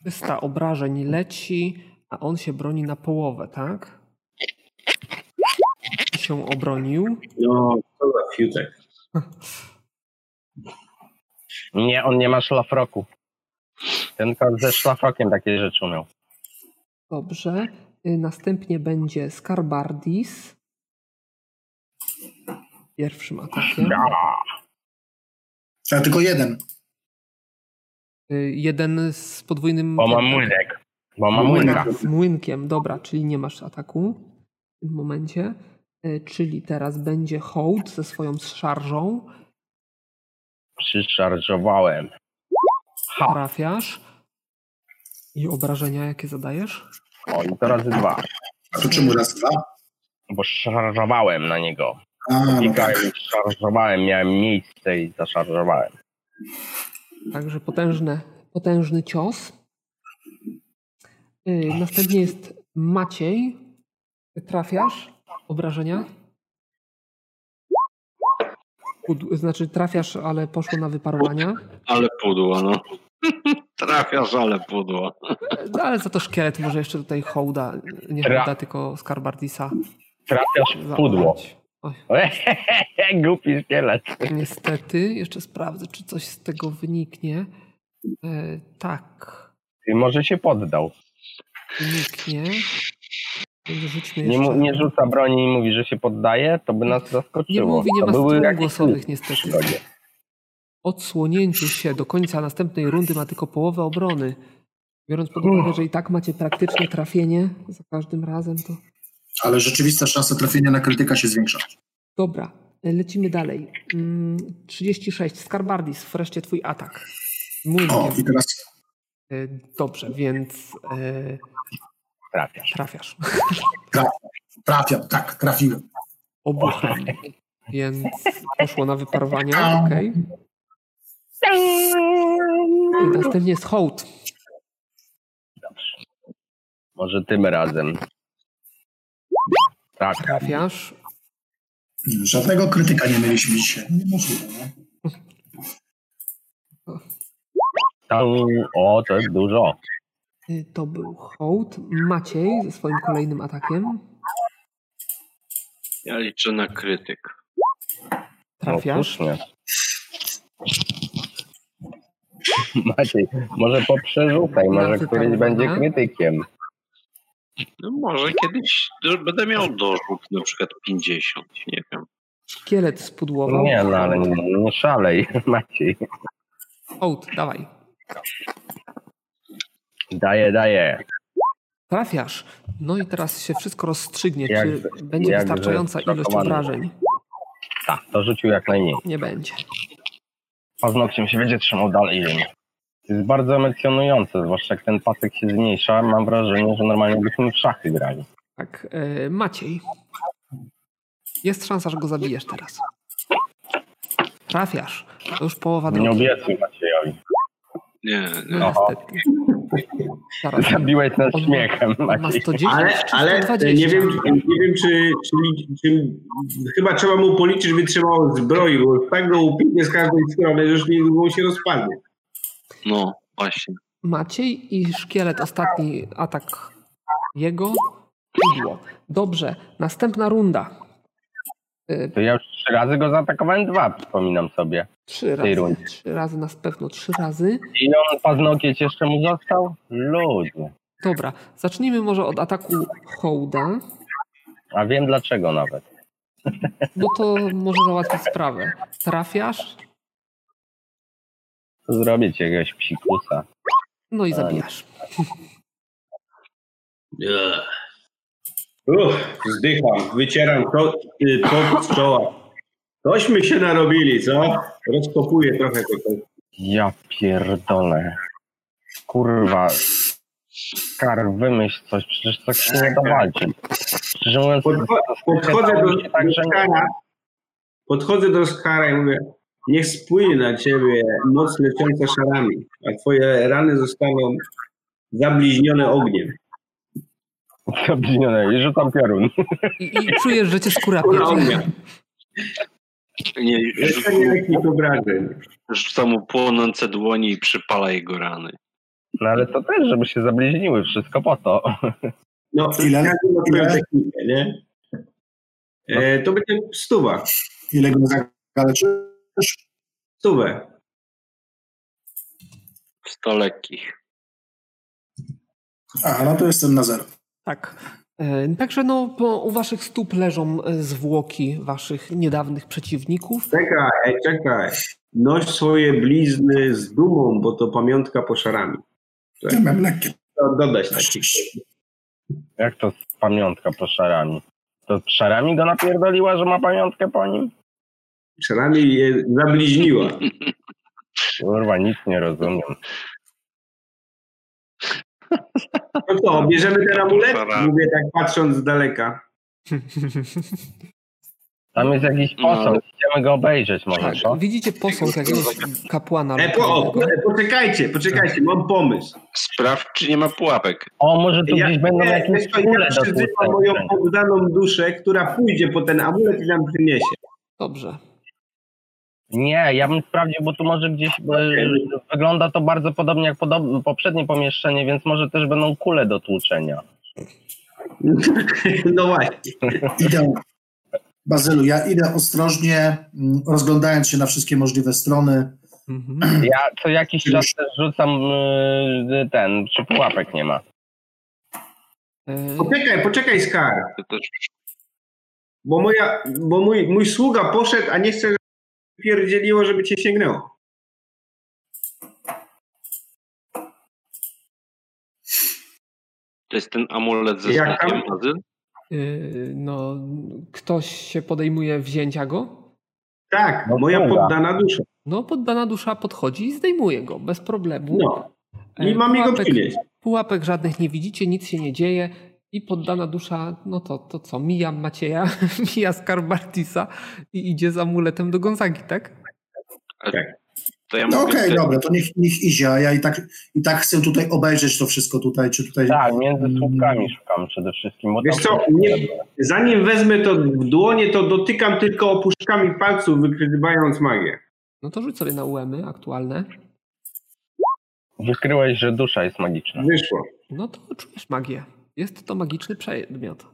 S1: 300 obrażeń leci, a on się broni na połowę, tak? I się obronił.
S6: No, to za fiutek.
S4: nie, on nie ma szlafroku. Tylko ze szlafrokiem takie rzeczy umiał.
S1: Dobrze. Y, Następnie będzie Skarbardis. Pierwszym atakiem.
S3: Ja tylko jeden.
S1: Y, Jeden z podwójnym.
S4: Bo ma
S1: piątkiem.
S4: młynek. Bo ma młynka.
S1: Z młynkiem, dobra, czyli nie masz ataku w tym momencie. Y, Czyli teraz będzie hołd ze swoją szarżą.
S4: Przyszarżowałem. Ha.
S1: Trafiasz. I obrażenia, jakie zadajesz?
S4: O, i to razy dwa.
S3: A to czemu raz dwa?
S4: Bo szarżowałem na niego.
S3: A, no
S4: Klikałem,
S3: tak.
S4: szarżowałem, miałem miejsce i zaszarżowałem.
S1: Także potężne, potężny cios. E, Y, Następnie jest Maciej. Trafiasz. obrażenia? Pudł- Znaczy trafiasz, ale poszło na wyparowania.
S5: Ale pudło, no. <laughs> Trafiasz, ale pudło.
S1: No, ale za to szkielet może jeszcze tutaj hołda, nie
S4: Tra-
S1: hołda, tylko skarbardisa.
S4: Trafiasz w pudło.
S1: zaorać.
S4: <laughs> Głupi szkielet.
S1: Niestety, jeszcze sprawdzę, czy coś z tego wyniknie. E, tak,
S4: I może się poddał.
S1: wyniknie. Więc Rzućmy
S4: Nie,
S1: jeszcze.
S4: mu, nie rzuca broni i mówi, że się poddaje, to by nas
S1: nie
S4: zaskoczyło.
S1: mówi, nie
S4: To
S1: ma
S4: były
S1: stron
S4: jakieś
S1: głosowych
S4: w
S1: niestety.
S4: przygodzie.
S1: Odsłonięcie się do końca następnej rundy ma tylko połowę obrony. Biorąc pod uwagę, że i tak macie praktyczne trafienie za każdym razem, to
S3: Ale rzeczywista szansa trafienia na krytyka się zwiększa.
S1: Dobra, lecimy dalej. Mm, 36. Skarbardis, wreszcie twój atak.
S3: O, i
S1: Młynkiem.
S3: teraz
S1: E, Dobrze, więc e,
S4: Trafiasz.
S1: trafiasz.
S3: trafiam, tak, trafiłem.
S1: Obuchem. Więc poszło na wyparowania. Okej. Następnie jest hołd.
S4: Może tym razem. Tak,
S1: Trafiasz.
S3: Żadnego krytyka nie mieliśmy dzisiaj. No Niemożliwe, nie?
S4: tam, o, to jest dużo.
S1: E, To był hołd. Maciej ze swoim kolejnym atakiem.
S5: Ja liczę na krytyk.
S1: Trafiasz.
S4: No, słusznie. <laughs> Maciej, może poprzerzucaj, może
S1: Bardzo
S4: któryś
S1: fajna.
S4: będzie krytykiem.
S5: No może kiedyś do, będę miał dorzut, na przykład 50, nie wiem.
S1: Szkielet spudłował.
S4: Nie, no ale nie, nie szalej, <laughs> Maciej.
S1: Hołd, dawaj.
S4: Daję, daję.
S1: Trafiasz. No i teraz się wszystko rozstrzygnie,
S4: Jak-
S1: czy będzie
S4: jak
S1: wystarczająca ilość
S4: zszokowany.
S1: obrażeń.
S4: Tak, to rzucił jak najmniej.
S1: Nie będzie.
S4: Paznokciem się będzie trzymał dalej. To jest bardzo emocjonujące, zwłaszcza jak ten pasek się zmniejsza. Mam wrażenie, że normalnie byśmy w szachy grali.
S1: Tak, e, Maciej. Jest szansa, że go zabijesz teraz. Trafiasz. To już połowa
S4: Nie
S1: drogi.
S4: obiecuj Maciejowi. <laughs>
S5: Nie, nie.
S1: No niestety. Zaraz.
S4: Zabiłeś nas
S1: On ma-
S4: śmiechem,
S1: On ma
S4: Maciej.
S1: 110
S6: Ale,
S1: czy
S6: ale e,
S1: 120.
S6: nie wiem, nie wiem czy, czy, czy, chyba trzeba mu policzyć, żeby trzymał zbroi, bo tak go upinie z każdej strony, że już niedługo się rozpadnie.
S5: No właśnie.
S1: Maciej i szkielet, ostatni atak jego. Pudło. Dobrze, następna runda. E,
S4: To ja już trzy razy go zaatakowałem, dwa przypominam sobie.
S1: trzy
S4: tej
S1: razy.
S4: rundzie.
S1: Trzy razy na pewno, trzy razy.
S4: I on paznokieć jeszcze mu został? Ludzie.
S1: Dobra, zacznijmy może od ataku hołda,
S4: A wiem dlaczego nawet.
S1: bo to może załatwić sprawę. Trafiasz,
S4: To Zrobię ci jakiegoś psikusa.
S1: no i zabijasz.
S6: Uff, zdycham, wycieram to, y, pot z czoła. Tośmy się narobili, co? Rozkopuję trochę tego.
S4: Ja pierdolę. Kurwa. Kar, wymyśl coś, przecież tak się nie da walczyć. Szczerze mówiąc,
S6: Podcho- Podchodzę do, do Skara, podchodzę do Skara i mówię, niech spłynie na ciebie moc lecząca szarami, a twoje rany zostaną zabliźnione ogniem.
S4: Zabinione i rzucam piorun.
S1: I, i czujesz, że cię skóra
S6: Kula
S1: pierze.
S6: ognia.
S5: Nie,
S6: Jeszcze nie lekkich obrażeń.
S5: rzuca mu płonące dłonie i przypala jego rany.
S4: No ale to też, żeby się zabliźniły, wszystko po to.
S6: No,
S3: Ile?
S6: każdy ma swoją
S3: Ile?
S6: technikę, nie? E, to będzie stuwa.
S3: Ile go zagaleczysz?
S6: Stówę.
S5: Sto lekkich.
S3: A, no to jestem na zero.
S1: Tak. E, Także no, po, u waszych stóp leżą e, zwłoki waszych niedawnych przeciwników.
S6: Czekaj, czekaj. Noś swoje blizny z dumą, bo to pamiątka po szarami.
S3: Ja mam lekkie
S6: To dodać tak.
S3: szczęście.
S4: Jak to z pamiątka po szarami? To szarami go napierdoliła, że ma pamiątkę po nim?
S6: Szarami je zabliźniła.
S4: Kurwa, nic nie rozumiem.
S6: No co, bierzemy ten amulet?
S5: Szara.
S6: Mówię tak patrząc z daleka.
S4: Tam jest jakiś posąg,
S5: No.
S4: chcemy go obejrzeć może, co?
S1: Tak, Widzicie posąg jakiegoś kapłana.
S6: E, po, o,
S1: lokalnego.
S6: e, poczekajcie, poczekajcie, mam pomysł.
S5: Sprawdź, czy nie ma pułapek.
S4: O, może tu
S6: Ja,
S4: gdzieś będą
S6: ja,
S4: jakieś
S6: ja, ja
S4: kule do
S6: przyzywam moją
S4: tłuczenia.
S6: poddaną duszę, która pójdzie po ten amulet i nam przyniesie.
S1: Dobrze.
S4: Nie, ja bym sprawdził, bo tu może gdzieś e, wygląda to bardzo podobnie jak podob- poprzednie pomieszczenie, więc może też będą kule do tłuczenia.
S6: No właśnie.
S3: Idę, Bazylu, ja idę ostrożnie, mm, rozglądając się na wszystkie możliwe strony.
S1: Mhm.
S4: Ja co jakiś czas też rzucam e, ten, czy pułapek nie ma.
S1: E,
S6: Poczekaj, poczekaj, Skar.
S5: To też
S6: Bo, moja, bo mój, mój sługa poszedł, a nie chce, żeby pierdzieliło, żeby cię sięgnęło.
S5: to jest ten amulet ze
S6: Jak tam?
S5: znakiem Azyl.
S1: y, no, ktoś się podejmuje wzięcia go?
S6: Tak,
S4: No
S6: moja
S4: dobra.
S6: poddana dusza.
S1: No, poddana dusza podchodzi i zdejmuje go bez problemu.
S6: No.
S1: E,
S6: I mam jego
S1: pułapek-
S6: przynieść.
S1: Pułapek żadnych nie widzicie, nic się nie dzieje. I poddana dusza, no to, to co, mija Macieja, <laughs> mija Skarbartisa i idzie z amuletem do Gonzagi, tak?
S5: To ja
S3: No
S5: mogę
S3: okej,
S5: te-
S3: dobra, to niech, niech idzie, a ja i tak, i tak chcę tutaj obejrzeć to wszystko tutaj, czy tutaj...
S4: Tak, między słupkami szukam przede wszystkim. Bo tam
S6: Mm. Wiesz co, nie, zanim wezmę to w dłonie, to dotykam tylko opuszczkami palców, wykrywając magię.
S1: No to rzuć sobie na uemy aktualne.
S4: Wykryłeś, że dusza jest magiczna.
S6: Wyszło.
S1: No to czujesz magię. Jest to magiczny przedmiot.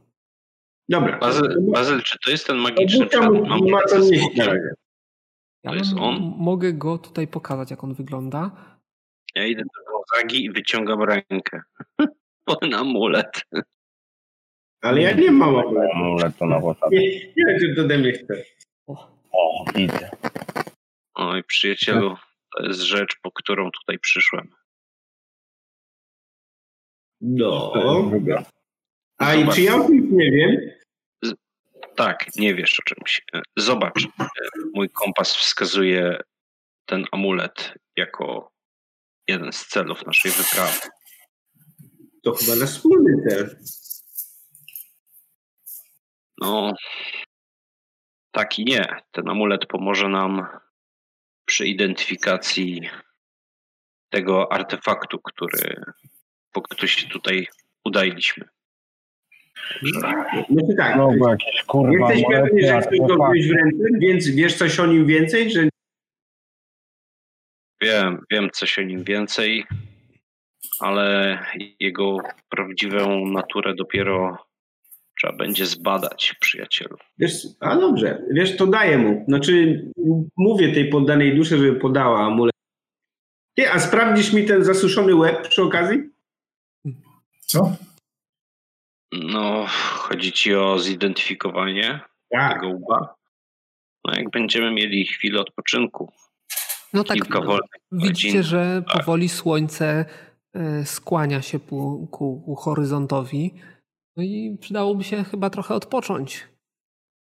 S6: Dobra.
S5: Bazyl, Bazyl, czy to jest ten magiczny
S6: Odrzucam
S5: przedmiot?
S6: mu ma
S5: Amulet
S6: to
S5: ze
S6: nieść na
S5: znakiem?
S6: razie.
S1: Ja
S5: To jest
S1: wam
S5: on?
S1: mogę go tutaj pokazać, jak on wygląda.
S5: Ja idę do Gonzagi i wyciągam rękę. <laughs> Po ten amulet.
S6: Ale ja nie mam ogólnie.
S4: Amulet to na włosach.
S6: Nie nie wiem, czy to ode mnie chce.
S4: O, widzę.
S5: Oj, przyjacielu, to jest rzecz, po którą tutaj przyszłem.
S6: No.
S4: Druga.
S6: A i czy ja o tym nie wiem?
S5: Tak, nie wiesz o czymś. E, Zobacz, e, mój kompas wskazuje ten amulet jako jeden z celów naszej wyprawy.
S6: To chyba na wspólny cel.
S5: No, tak i nie. Ten amulet pomoże nam przy identyfikacji tego artefaktu, który po który się tutaj udaliśmy.
S6: No to tak.
S4: No, bo jakieś kurwa
S6: Jesteś pewny, że
S4: amulety,
S6: chcesz go
S4: artefakty.
S6: wziąć w ręce, więc wiesz coś o nim więcej, że
S5: Wiem, wiem coś o nim więcej, ale jego prawdziwą naturę dopiero trzeba będzie zbadać, przyjacielu.
S6: Wiesz, a dobrze, wiesz, to daję mu. Znaczy, mówię tej poddanej duszy, żeby podała amulet. Ty, a sprawdzisz mi ten zasuszony łeb przy okazji?
S3: Co?
S5: No, chodzi ci o zidentyfikowanie
S6: Tak.
S5: tego łba. No, jak będziemy mieli chwilę odpoczynku,
S1: No tak,
S5: kilka wolnych Tak.
S1: widzicie,
S5: godzin.
S1: że powoli słońce e, skłania się ku, ku, ku horyzontowi. No i przydałoby się chyba trochę odpocząć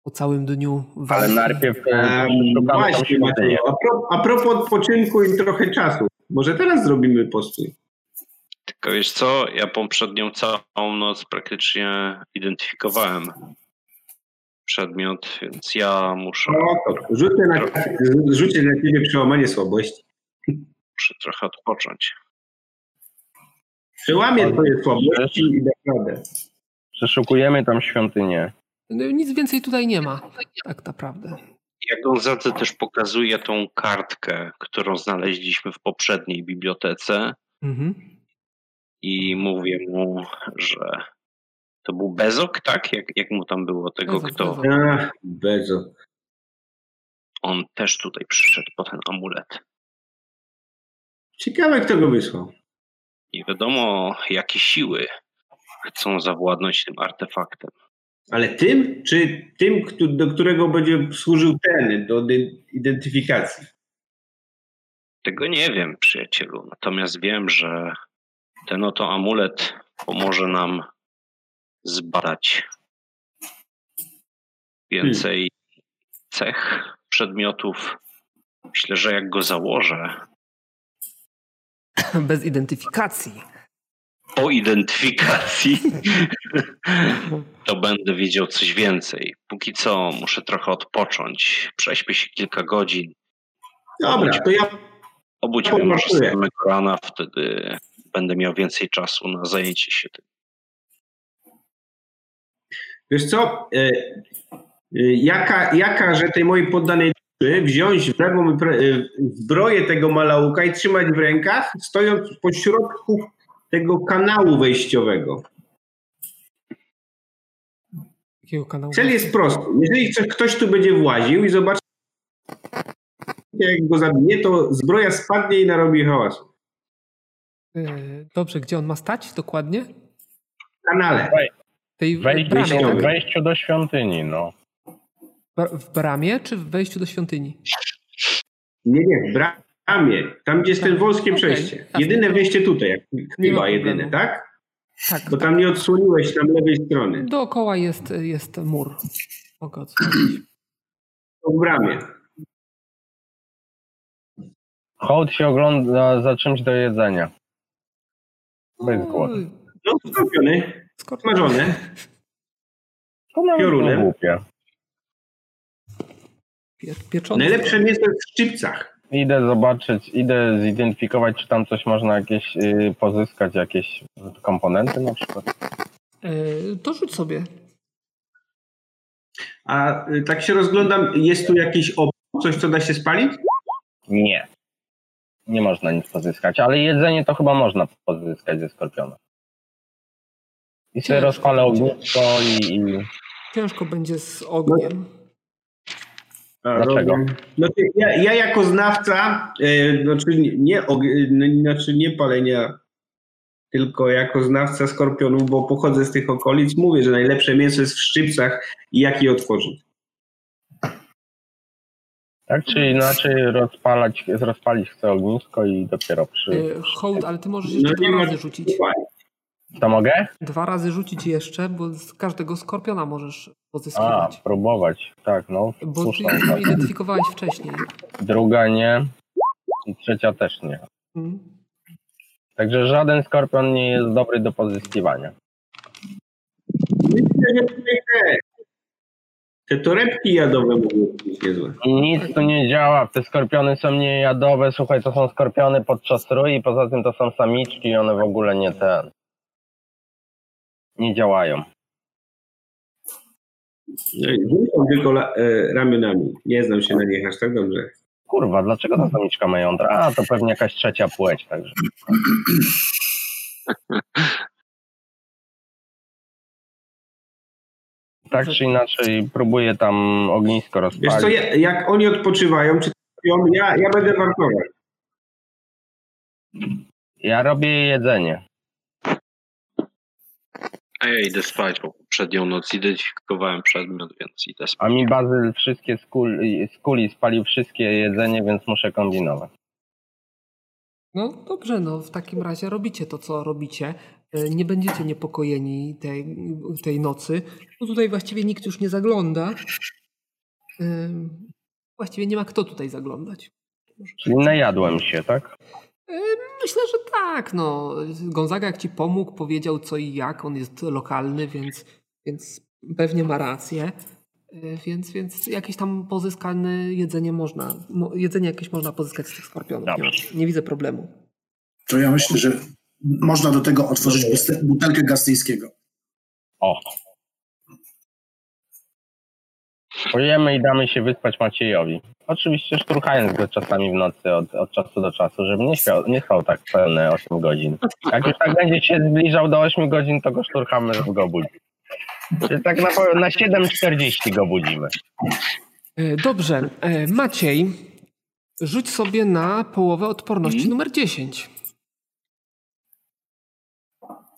S1: po całym dniu
S4: Ale
S1: walki.
S4: najpierw e,
S6: Em,
S4: szukamy tam
S6: właśnie,
S4: świątynię.
S6: Mateo, a, pro, a propos odpoczynku i trochę czasu. Może teraz zrobimy postój.
S5: Tylko wiesz co, ja poprzednią całą noc praktycznie identyfikowałem przedmiot, więc ja muszę,
S6: No to rzucę na, rzucę na ciebie przełamanie słabości.
S5: muszę trochę odpocząć.
S6: Przełamię twoje słabości i naprawdę.
S4: Przeszukujemy tam świątynię.
S1: No, nic więcej tutaj nie ma, tak naprawdę.
S5: Ja Gonzadze też pokazuję tą kartkę, którą znaleźliśmy w poprzedniej bibliotece
S1: <clears throat> Mhm.
S5: i mówię mu, że to był Bezok, tak? Jak, jak mu tam było tego,
S1: Bezok,
S5: kto...
S1: Bezok.
S6: Ach, bezo.
S5: On też tutaj przyszedł po ten amulet.
S6: Ciekawe, kto go wysłał.
S5: Nie wiadomo, jakie siły chcą zawładnąć tym artefaktem.
S6: Ale tym, czy tym, kto- do którego będzie służył ten, do ide- identyfikacji?
S5: Tego nie wiem, przyjacielu. Natomiast wiem, że ten oto amulet pomoże nam zbadać więcej cech przedmiotów. Myślę, że jak go założę,
S1: Bez identyfikacji.
S5: po identyfikacji <laughs> to będę wiedział coś więcej. Póki co muszę trochę odpocząć. Prześpię się kilka godzin.
S6: Dobra, to ja
S5: Obudź mnie może z samego rana, wtedy będę miał więcej czasu na zajęcie się tym.
S6: Wiesz co, e, e, jaka, jaka, że tej mojej poddanej duszy wziąć w lewą pre- e, zbroję tego malauka i trzymać w rękach, stojąc po środku tego kanału wejściowego.
S1: Jakiego kanału?
S6: Cel jest prosty. Jeżeli chce- ktoś tu będzie właził i zobaczy, jak go zabije, to zbroja spadnie i narobi hałasu.
S1: E, Dobrze, gdzie on ma stać dokładnie?
S6: W kanale.
S1: Tej w
S4: Wejść,
S1: bramie,
S4: wejściu,
S1: tak?
S4: wejściu do świątyni, no.
S1: Bra- W bramie czy w wejściu do świątyni?
S6: Nie, nie, w bramie. Tam, gdzie jest ten wąskie
S1: Okej.
S6: przejście. Jedyne wejście tutaj, jak
S1: Nie ma
S6: chyba
S1: problemu.
S6: jedyne, tak?
S1: Tak.
S6: Bo tam nie odsłoniłeś tam lewej strony.
S1: Dookoła jest, y, jest mur. Mogę odsłonić.
S6: To w bramie.
S4: Hołd się ogląda za czymś do jedzenia.
S1: Mm.
S4: Bez głodu.
S1: Oj,
S6: No, skupiony,
S1: Skorpion.
S6: smażony.
S4: To nawet nie
S6: Piorunem.
S4: głupie.
S1: Pie- Pieczony.
S6: Najlepsze miejsce jest w szczypcach.
S4: Idę zobaczyć, idę zidentyfikować, czy tam coś można jakieś y, pozyskać, jakieś komponenty na przykład.
S1: E, To rzuć sobie.
S6: A y, tak się rozglądam, jest tu jakiś opór, coś, co da się spalić?
S4: Nie. Nie można nic pozyskać, ale jedzenie to chyba można pozyskać ze skorpiona. I sobie
S1: Ciężko.
S4: rozpalę ognisko i, i...
S1: Ciężko będzie z ogniem.
S4: Dlaczego?
S6: No, to ja, ja jako znawca, y, znaczy nie- nie, og- y, n- znaczy nie palenia, tylko jako znawca skorpionów, bo pochodzę z tych okolic, mówię, że najlepsze mięso jest w szczypcach i jak je otworzyć.
S4: Tak
S1: Mhm.
S4: czy inaczej rozpalać, rozpalić chcę ognisko i dopiero przy...
S1: E, Hołd, ale ty możesz
S6: No
S1: jeszcze
S6: nie
S1: dwa
S6: ma-
S1: razy rzucić.
S4: To mogę?
S1: Dwa razy rzucić jeszcze, bo z każdego skorpiona możesz
S4: A,
S1: pozyskiwać.
S4: próbować. Tak, no.
S1: Bo ty
S4: Puszczam.
S1: już mnie identyfikowałeś wcześniej.
S4: Druga nie. I trzecia też nie.
S1: Mm.
S4: Także żaden skorpion nie jest dobry do pozyskiwania.
S6: Myślę, że tutaj te- Te torebki jadowe mogą być niezłe.
S4: Nic tu nie działa. Te skorpiony są niejadowe. Słuchaj, to są skorpiony podczas rui. Poza tym to są samiczki i one w ogóle nie te. Nie działają.
S6: Rzucam No tylko la, e, ramionami. Nie znam się na nich aż tak dobrze.
S4: Kurwa, dlaczego ta samiczka ma jądra? A, to pewnie jakaś trzecia płeć, także. Tak czy inaczej, próbuję tam ognisko
S6: Wiesz co,
S4: rozpalić.
S6: ja, jak oni odpoczywają, czy śpią, ja, ja będę markował.
S4: Ja robię jedzenie.
S5: A ja idę spać, bo poprzednią noc identyfikowałem przedmiot, więc idę spać.
S4: A mi Bazyl wszystkie z kuli, z kuli spalił wszystkie jedzenie, więc muszę kombinować.
S1: No dobrze, no w takim razie robicie to, co robicie. E, Nie będziecie niepokojeni tej, tej nocy. No tutaj właściwie nikt już nie zagląda. Ym, Właściwie nie ma kto tutaj zaglądać.
S4: Czyli najadłem się, tak?
S1: Yy, Myślę, że tak. No. Gonzaga jak ci pomógł, powiedział co i jak. On jest lokalny, więc, więc pewnie ma rację. Y, Więc, więc jakieś tam pozyskane jedzenie można, mo- jedzenie jakieś można pozyskać z tych skorpionów. Nie, ma- nie widzę problemu.
S3: To ja myślę, że można do tego otworzyć buste- butelkę gastyjskiego.
S4: O. Pojemy i damy się wyspać Maciejowi. Oczywiście szturchając go czasami w nocy od, od czasu do czasu, żeby nie śpiał, nie spał tak pełne 8 godzin. Jak już tak będzie się zbliżał do 8 godzin, to go szturchamy, żeby go budzić. Czyli tak na, po- na 7.40 go budzimy.
S1: E, Dobrze. E, Maciej, rzuć sobie na połowę odporności numer 10.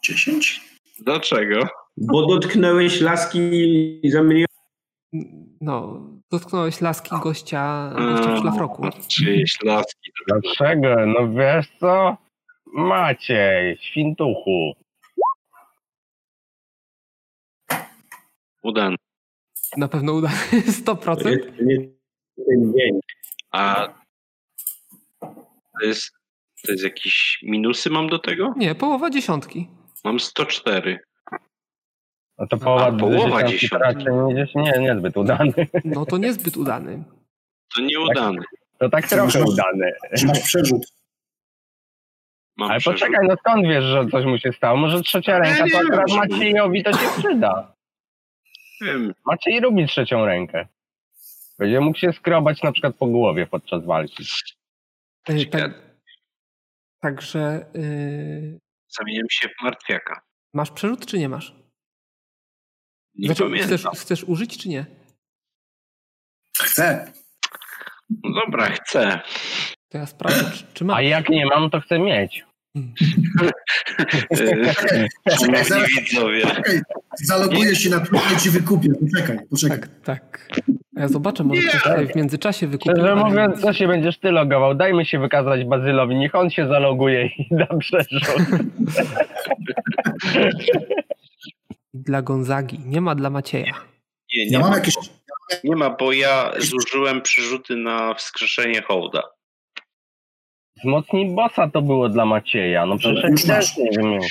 S3: 10?
S5: Dlaczego?
S6: Bo dotknąłeś laski i zamieniłeś.
S1: N- No, dotknąłeś laski gościa, gościa w szlafroku.
S5: Czyjeś laski.
S4: Dlaczego? No wiesz co? Maciej, świntuchu.
S5: Udan.
S1: Na pewno uda <laughs> 100%.
S6: Nie, ten dzień.
S5: A to jest, to jest jakieś minusy mam do tego?
S1: Nie, połowa dziesiątki.
S5: Mam 104.
S4: No to połowa,
S5: A, połowa
S4: dziesiątki to
S5: dziesiątki.
S4: Raczej nie, nie, niezbyt udany.
S1: No to niezbyt udany.
S5: To nieudany.
S4: To tak
S3: To
S4: trochę
S3: masz-
S4: udany.
S3: Czy masz przerzut?
S5: Mam
S4: Ale
S5: przerzut.
S4: poczekaj, no skąd wiesz, że coś mu się stało? Może trzecia ręka,
S5: nie
S4: to akurat
S5: wiem.
S4: Maciejowi to się przyda.
S5: Nie wiem.
S4: Maciej lubi trzecią rękę. Będzie mógł się skrobać na przykład po głowie podczas walki.
S1: E,
S5: Ciekawe.
S1: Tak, także y,
S5: Zamieniam się w martwiaka.
S1: masz przerzut czy nie masz?
S5: Nie
S1: Znaczy,
S5: pamiętam.
S1: chcesz, chcesz użyć czy nie?
S3: Chcę.
S5: No dobra, chcę.
S1: To ja sprawdzę, czy, czy
S4: A
S1: masz.
S4: jak nie mam, to chcę mieć.
S5: E,
S3: Czekaj,
S5: Szanowni
S3: zaraz,
S5: widzowie.
S3: zaloguję się na Twitterze i ci wykupię. Poczekaj, poczekaj.
S1: Tak, tak. A Ja zobaczę, może ktoś tutaj w międzyczasie wykupił.
S4: Szczerze
S1: ale-
S4: mówiąc, co się będziesz ty logował? Dajmy się wykazać Bazylowi, niech on się zaloguje i <laughs> da przerzut.
S1: Dla Gonzagi, nie ma dla Macieja.
S5: Nie, nie,
S3: Ja mam
S5: ma,
S3: jakieś...
S5: nie ma, bo ja zużyłem przerzuty na wskrzeszenie hołda.
S4: Wzmocnij bossa to było dla Macieja. No
S3: Już
S4: przecież
S3: masz.
S4: też nie wiem.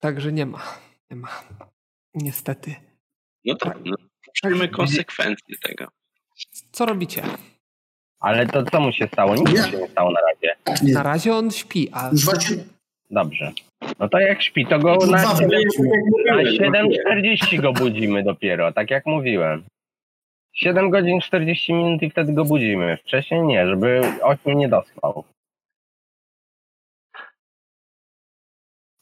S1: Także nie ma. Nie ma. Niestety.
S5: No tak, no, przyjmy konsekwencje tego.
S1: Co robicie?
S4: Ale to co mu się stało? Nic mu się nie stało na razie.
S3: Tak, nie.
S1: Na razie on śpi, a
S3: Już właśnie...
S4: Dobrze. No to jak śpi, to go
S3: Już
S4: na
S3: dwa wyleciły.
S4: A 7.40 go budzimy dopiero, tak jak mówiłem. 7 godzin 40 minut i wtedy go budzimy. Wcześniej nie, żeby 8 nie dospał.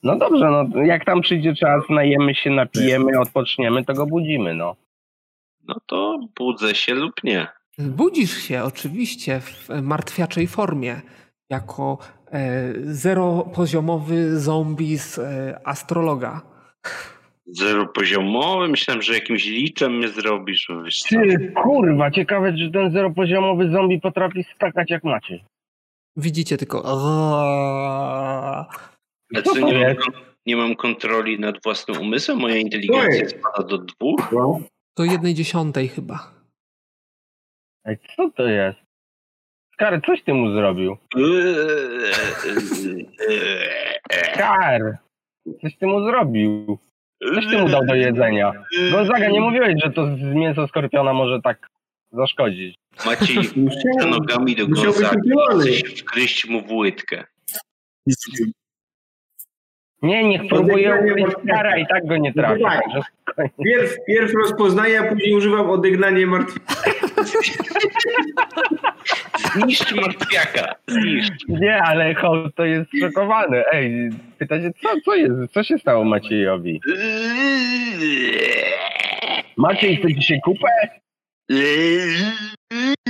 S4: No dobrze, no jak tam przyjdzie czas, najemy się, napijemy, odpoczniemy, to go budzimy, no.
S5: No to budzę się lub nie.
S1: budzisz się oczywiście w martwiaczej formie. Jako e, zeropoziomowy zombie z e, astrologa.
S5: Zeropoziomowy, myślałem, że jakimś liczem mnie zrobisz. bo Wiesz co?
S4: Ty, kurwa, ciekawe, czy ten zeropoziomowy zombie potrafi skakać jak macie.
S1: Widzicie tylko.
S5: Ale co,
S4: <laughs>
S5: nie, mam, nie mam kontroli nad własnym umysłem? Moja inteligencja spada do dwóch?
S6: No,
S1: Do jednej dziesiątej chyba.
S4: Ej, co to jest? Kar, coś ty mu zrobił.
S5: Eee, eee,
S4: Kar! Coś ty mu zrobił. Coś ty mu dał do jedzenia. Gonzaga,
S5: <laughs>
S4: nie mówiłeś, że to z mięso skorpiona może tak zaszkodzić.
S5: Maciej
S6: musiałem-
S5: za nogami do
S6: Musiał być
S5: Gonzagi.
S6: upiony.
S5: Chce się wgryźć mu w łydkę.
S4: Nie, niech próbuje ukryć kara i tak go nie trafi.
S6: No tak.
S4: Także
S6: Pierw, pierw rozpoznaję, a później używam odegnania martwych.
S5: Zniszcz martwiaka. Zniszcz.
S4: nie, ale hołd to jest szokowany. Ej, pyta się, co, co, jest, co się stało Maciejowi? Maciej, chce dzisiaj kupę?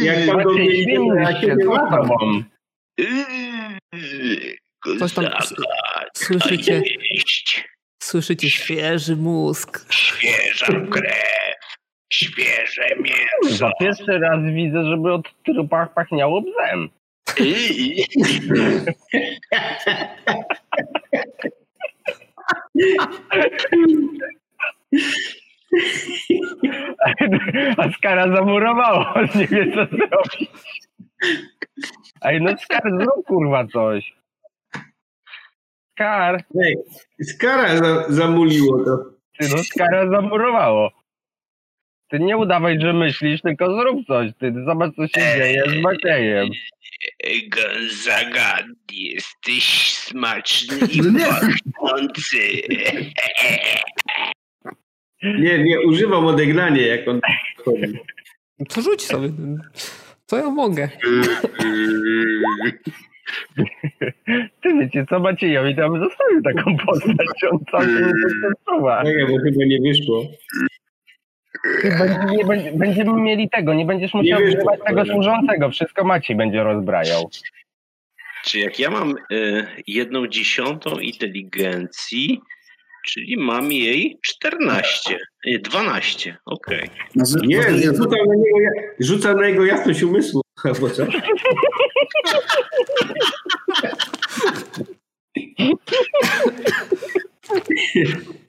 S6: Jak pan do
S4: Maciej,
S6: mnie idzie, to ja
S4: zmienisz się, no.
S6: ciebie
S4: co z
S6: łapam.
S4: tobą?
S1: Coś tam s- słyszycie,
S5: Słyszycie?
S1: słyszycie świeży mózg.
S5: Świeża krew. Świeże
S4: Za
S5: mięso.
S4: pierwszy raz widzę, żeby od trupa pachniało bzem. <laughs> A Skara zamurowała, <laughs> on nie wie co zrobić. Ej, no Skar, zrób kurwa coś. Skar,
S6: Ej, Skara za, zamuliło to.
S4: ty no Skara zamurowało. Ty nie udawaj, że myślisz, tylko zrób coś. Ty zobacz, co się dzieje z Maciejem.
S5: Gonzaga, jesteś smaczny i
S3: No nie.
S5: pachnący.
S6: Nie, nie, używam odegnania, jak on chodzi.
S1: To rzuć sobie. Co ja mogę?
S4: Ty wiecie co, Maciejowi tam zostawił taką postać, on cały się nie dostosowa.
S6: Tak, bo chyba nie wyszło.
S4: Ty będzie- nie będzie- Będziemy mieli tego, nie będziesz musiał
S6: wiesz,
S4: używać
S6: co
S4: tego
S6: powiedział.
S4: służącego, wszystko Maciej będzie rozbrajał.
S5: Czy jak ja mam y, jedną dziesiątą inteligencji, czyli mam jej 14, y, 12, okej.
S3: Nazy-
S6: Nie,
S3: nazy-
S6: rzucam na niego, ja- rzucam na jego jasność umysłu. <laughs> Albo co?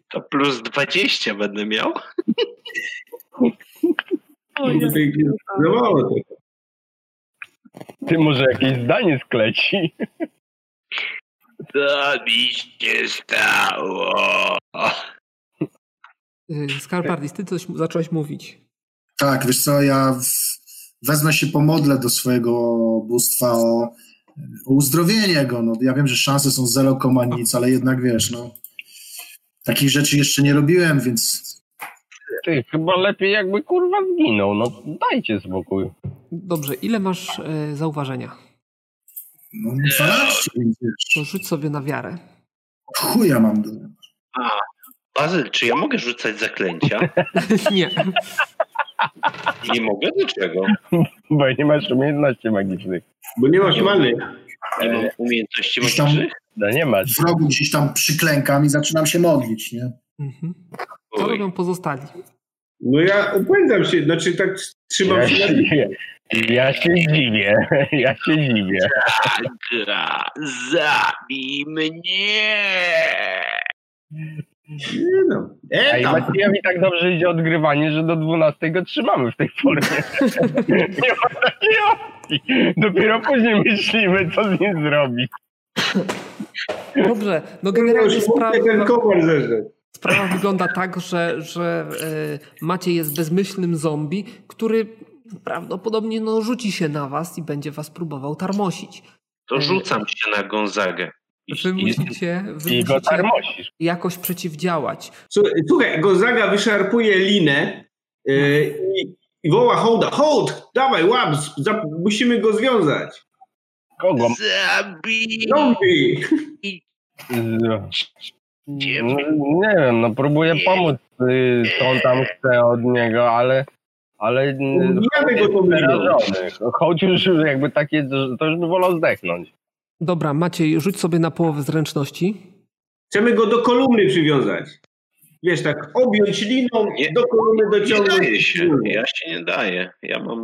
S5: To plus 20 będę miał.
S6: No mało to.
S4: Ty może jakieś zdanie skleci.
S5: Co Tak mi się stało?
S1: Y, Skarbardis, ty coś zacząłeś mówić.
S3: Tak, wiesz co, ja w- wezmę się pomodlę do swojego bóstwa o, o uzdrowienie go. No, ja wiem, że szanse są zero koma nic, ale jednak wiesz, no, takich rzeczy jeszcze nie robiłem, więc
S4: Ty, chyba lepiej jakby kurwa zginął, no dajcie spokój.
S1: Dobrze, ile masz y, zauważenia?
S3: no, 12, więc
S1: To
S3: wiesz,
S1: rzuć sobie na wiarę. <laughs>
S3: chuja mam do...
S5: A, Bazyl, czy ja mogę rzucać zaklęcia?
S1: Nie.
S5: Nie mogę? Dlaczego?
S4: Bo nie masz umiejętności magicznych.
S6: Bo nie masz many.
S5: Nie mam umiejętności
S3: Gdzieś tam
S5: magicznych?
S4: No nie masz.
S3: W rogu gdzieś tam przyklękam i zaczynam się modlić, nie? <clears throat>
S1: Mhm. Co
S5: Oj,
S1: robią pozostali?
S6: No ja upędzam się, znaczy tak trzymam
S4: Ja
S6: się.
S4: się, ja się dziwię, <laughs> ja się dziwię.
S5: gra, zabij mnie!
S6: Nie no.
S4: A
S6: E,
S4: i
S6: tam.
S4: Maciejowi tak dobrze idzie odgrywanie, że do 12 go trzymamy w tej formie. Nie ma takiej opcji. Dopiero później myślimy, co z nim zrobić.
S1: Dobrze, no generalnie
S6: Już ten
S1: sprawa,
S6: komar zerzedł.
S1: sprawa wygląda tak, że, że y, Maciej jest bezmyślnym zombie, który prawdopodobnie no, rzuci się na was i będzie was próbował tarmosić.
S5: To rzucam się na Gonzagę. I,
S1: Wy
S5: i,
S1: musicie, wy
S4: I go
S1: musicie
S4: tarmosisz.
S1: jakoś przeciwdziałać.
S6: Słuchaj, Słuchaj, Gonzaga wyszarpuje linę e, i, i woła hołda. Hołd, dawaj, łap, z- za, musimy go związać.
S4: Kogo?
S5: zabij
S6: No, Zombie.
S4: Z- No, nie wiem, no próbuję pomóc, y, co on tam chce od niego, ale... Ale... y,
S6: Ubijamy go tą liną.
S4: przerażony. Choć już jakby takie, to już by wolał zdechnąć.
S1: Dobra, Maciej, rzuć sobie na połowę zręczności.
S6: Chcemy go do kolumny przywiązać. Wiesz, tak objąć liną,
S5: Nie-
S6: do kolumny
S5: Nie
S6: dociągnąć.
S5: daje się, ja się nie daję. Ja mam...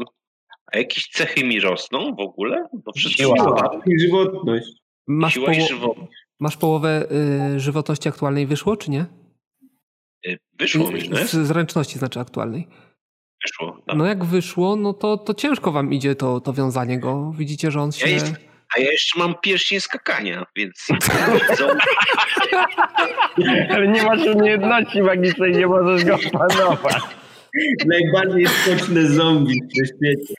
S5: A jakieś cechy mi rosną w ogóle? Bo wszystko
S4: Siła.
S6: Siła i żywotność.
S1: Masz,
S5: Siła i
S1: poło-
S5: żywotność.
S1: masz połowę y, żywotności aktualnej wyszło, czy nie?
S5: Y, Wyszło mi, nie?
S1: Z <laughs> zręczności znaczy aktualnej.
S5: Wyszło. tak.
S1: No jak wyszło, no to, to ciężko wam idzie to, to wiązanie go. Widzicie, że on się...
S5: jest- A ja jeszcze mam pierścień skakania, więc... Co?
S4: Ale nie masz umiejętności magicznej, nie możesz go opanować.
S6: Najbardziej skoczne zombie na świecie.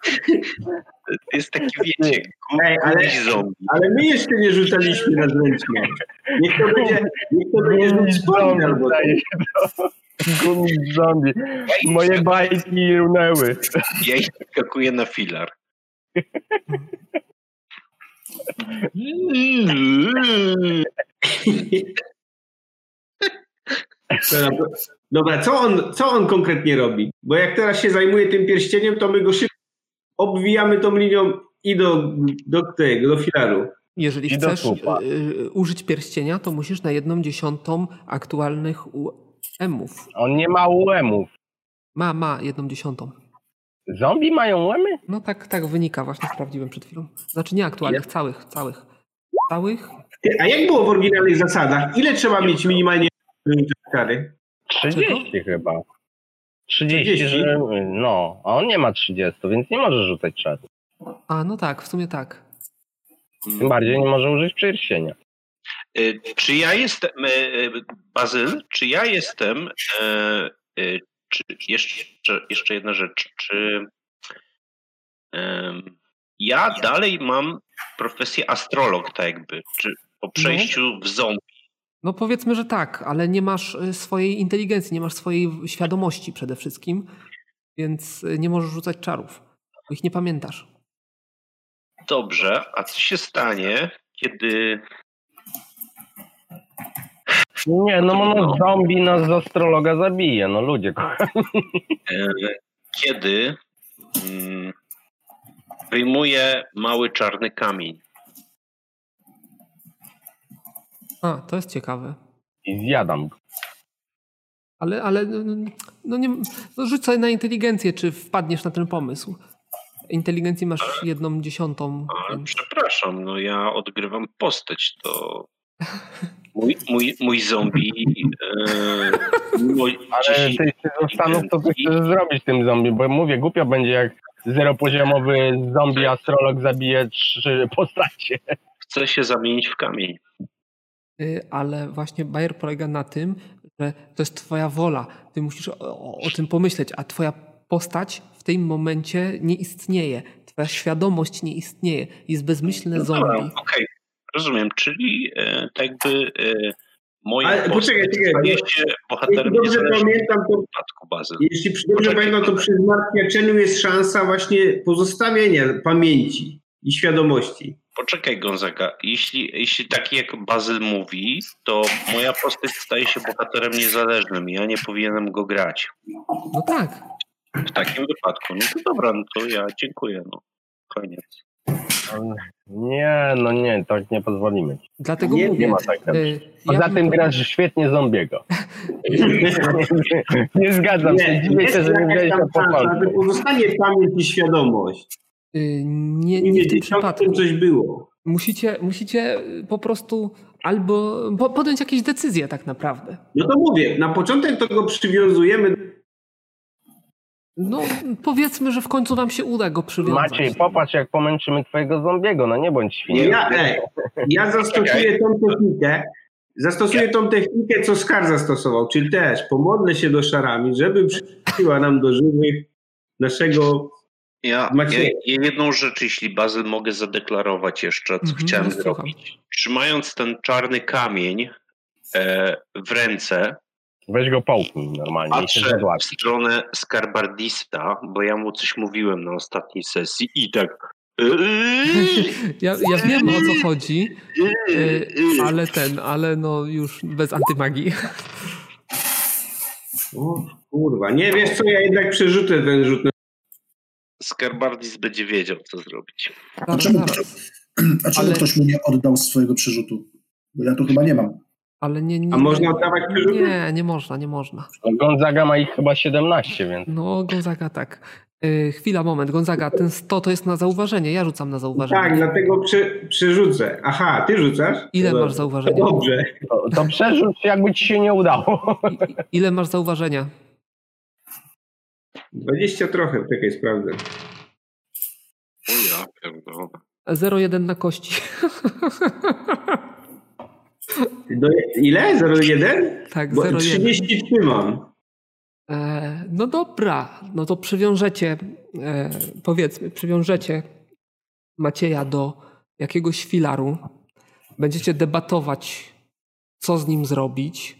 S5: Jest taki, wiecie,
S6: Ej, ale,
S5: ale... zombie.
S6: ale my jeszcze nie rzucaliśmy na zręczną. Niech to będzie, niech to będzie
S4: Gumić
S6: rzut
S4: zombie,
S6: wspomnień albo coś.
S4: zdaje się to. Gumić zombie. Moje bajki runęły.
S5: Ja ich skakuję na filar.
S6: Dobra, Dobra, co on, co on konkretnie robi? Bo jak teraz się zajmuje tym pierścieniem, to my go szybko obwijamy tą linią i do, do tego, do filaru.
S1: Jeżeli
S4: I do
S1: chcesz
S4: trupa.
S1: y, y, użyć pierścienia, to musisz na jedną dziesiątą aktualnych UM-ów.
S4: On nie ma łemów.
S1: Ma, ma jedną dziesiątą.
S4: Zombie mają łemy?
S1: No tak, tak wynika, właśnie sprawdziłem przed chwilą. Znaczy nie aktualnych, całych, całych. Całych?
S6: Ty, A jak było w oryginalnych zasadach? Ile trzeba mieć minimalnie kary?
S4: 30 chyba. 30,
S6: 30?
S4: Że, no, a on nie ma 30, więc nie może rzucać czasu.
S1: A, no tak, w sumie tak.
S4: Tym bardziej nie może użyć pierścienia.
S5: Y, Czy ja jestem, y, y, Bazyl, czy ja jestem, e, y, czy jeszcze, jeszcze jedna rzecz, czy em, ja dalej mam profesję astrolog, tak jakby, czy po przejściu w ząb.
S1: No powiedzmy, że tak, ale nie masz y, swojej inteligencji, nie masz swojej w- świadomości przede wszystkim, więc y, nie możesz rzucać czarów, bo ich nie pamiętasz.
S5: Dobrze, a co się stanie, kiedy
S4: Nie, no, no, no zombie nas z astrologa zabije, no ludzie.
S5: E, kiedy mm, wyjmuje mały czarny kamień.
S1: A, to jest ciekawe.
S4: I zjadam.
S1: Ale, ale mm, no nie, no rzuć sobie na inteligencję, czy wpadniesz na ten pomysł. Inteligencji masz jedną dziesiątą.
S5: Ale
S1: więc-
S5: przepraszam, no ja odgrywam postać, to mój, mój, mój zombie e, mimo
S4: Ale ty się zastanów, co ty chcesz zrobić tym zombie, bo mówię, głupio będzie jak zeropoziomowy zombie astrolog zabije trzy postacie.
S5: chce się zamienić w kamień.
S1: y, ale właśnie Bayer polega na tym, że to jest twoja wola. Ty musisz o, o, o tym pomyśleć, a twoja postać w tym momencie nie istnieje. Twoja świadomość nie istnieje. Jest
S4: No
S1: bezmyślne zombie.
S5: No Dobra,
S4: tak.
S5: Okej, rozumiem, czyli e, tak jakby e, moja
S6: Ale
S5: postać
S6: poczekaj, czekaj,
S5: staje
S6: bo-
S5: się
S6: Jeśli
S5: bohaterem
S6: dobrze
S5: niezależnym
S6: pamiętam, to,
S5: w przypadku bazy.
S6: jeśli dobrze
S5: Poczekaj,
S6: pamiętam, to
S5: poczekaj.
S6: przy zmartwiaczeniu jest szansa właśnie pozostawienia pamięci i świadomości.
S5: Poczekaj Gonzaga, jeśli, jeśli tak jak Bazyl mówi, to moja postać staje się bohaterem niezależnym i ja nie powinienem go grać.
S1: No tak.
S5: W takim wypadku, no to dobra, no to ja dziękuję, no. Koniec.
S4: <laughs> Nie, no nie, tak nie pozwolimy. ci.
S1: Dlatego
S6: Nie, nie
S1: mówię.
S4: Nie ma tak.
S1: e,
S4: Poza
S1: ja bym-
S4: tym grasz świetnie
S6: <laughs>
S4: zombiego. nie zgadzam się, dziwię się, że nie wziąłeś
S6: tam
S4: to po
S6: szansa, że
S4: polsku.
S6: pozostanie pamięć i świadomość.
S1: e, Nie, nie
S6: I
S1: w tym
S6: wiedzieć, o
S1: przypadku.
S6: tym coś było.
S1: Musicie, musicie y, po prostu albo po- podjąć jakieś decyzje tak naprawdę.
S6: No to mówię, na początek to go przywiązujemy
S1: No powiedzmy, że w końcu wam się uda go przywiązać.
S4: Maciej, popatrz jak pomęczymy twojego zombiego, no nie bądź
S6: Nie,
S4: świniem.
S6: ja, ej, ja zastosuję tą technikę, zastosuję tą technikę, co Skar zastosował, czyli też pomodlę się do szarami, żeby przyczyniła nam do żywych naszego...
S5: Ja, ja,
S6: Maciej.
S5: ja jedną rzecz, jeśli Bazyl mogę zadeklarować jeszcze, co
S1: Mhm,
S5: chciałem
S1: no, słucham.
S5: zrobić. Trzymając ten czarny kamień e, w ręce,
S4: Weź go połknij normalnie i się
S5: patrzę w
S4: zadłapisz.
S5: stronę Skarbardista, bo ja mu coś mówiłem na ostatniej sesji i tak... "Eee,
S1: <laughs> Ja, ja wiem o co chodzi,
S5: eee,
S1: y,
S5: eee".
S1: <laughs> ale ten, ale no już bez antymagii.
S6: O, kurwa, nie, wiesz co, ja jednak przerzucę ten rzut. na-
S5: Skarbardist będzie wiedział, co zrobić.
S1: Zaraz,
S3: czemu-
S1: zaraz.
S3: A czemu
S1: Ale-
S3: ktoś mu nie oddał swojego przerzutu? Bo ja tu chyba nie mam.
S1: Ale nie, nie,
S6: A można tak, oddawać przerzuty?
S1: nie, nie można, nie można.
S4: No, Gonzaga ma ich chyba 17, więc
S1: No Gonzaga tak. Y, chwila, moment. Gonzaga, ten 100 to jest na zauważenie. Ja rzucam na zauważenie.
S6: Tak, dlatego prze, przerzucę. Aha, ty rzucasz?
S1: Ile
S6: No,
S1: masz zauważenia?
S6: Dobrze.
S4: to, to przerzuć jakby ci się nie udało.
S1: I, ile masz zauważenia?
S6: 20 trochę, czekaj, sprawdzę.
S5: O ja, pierdolę.
S1: 0,1 na kości.
S6: Do, ile? 0,1?
S1: tak,
S6: Bo
S1: 0,1.
S6: 33 mam.
S1: E, no dobra, no to przywiążecie, e, powiedzmy, przywiążecie Macieja do jakiegoś filaru. Będziecie debatować, co z nim zrobić.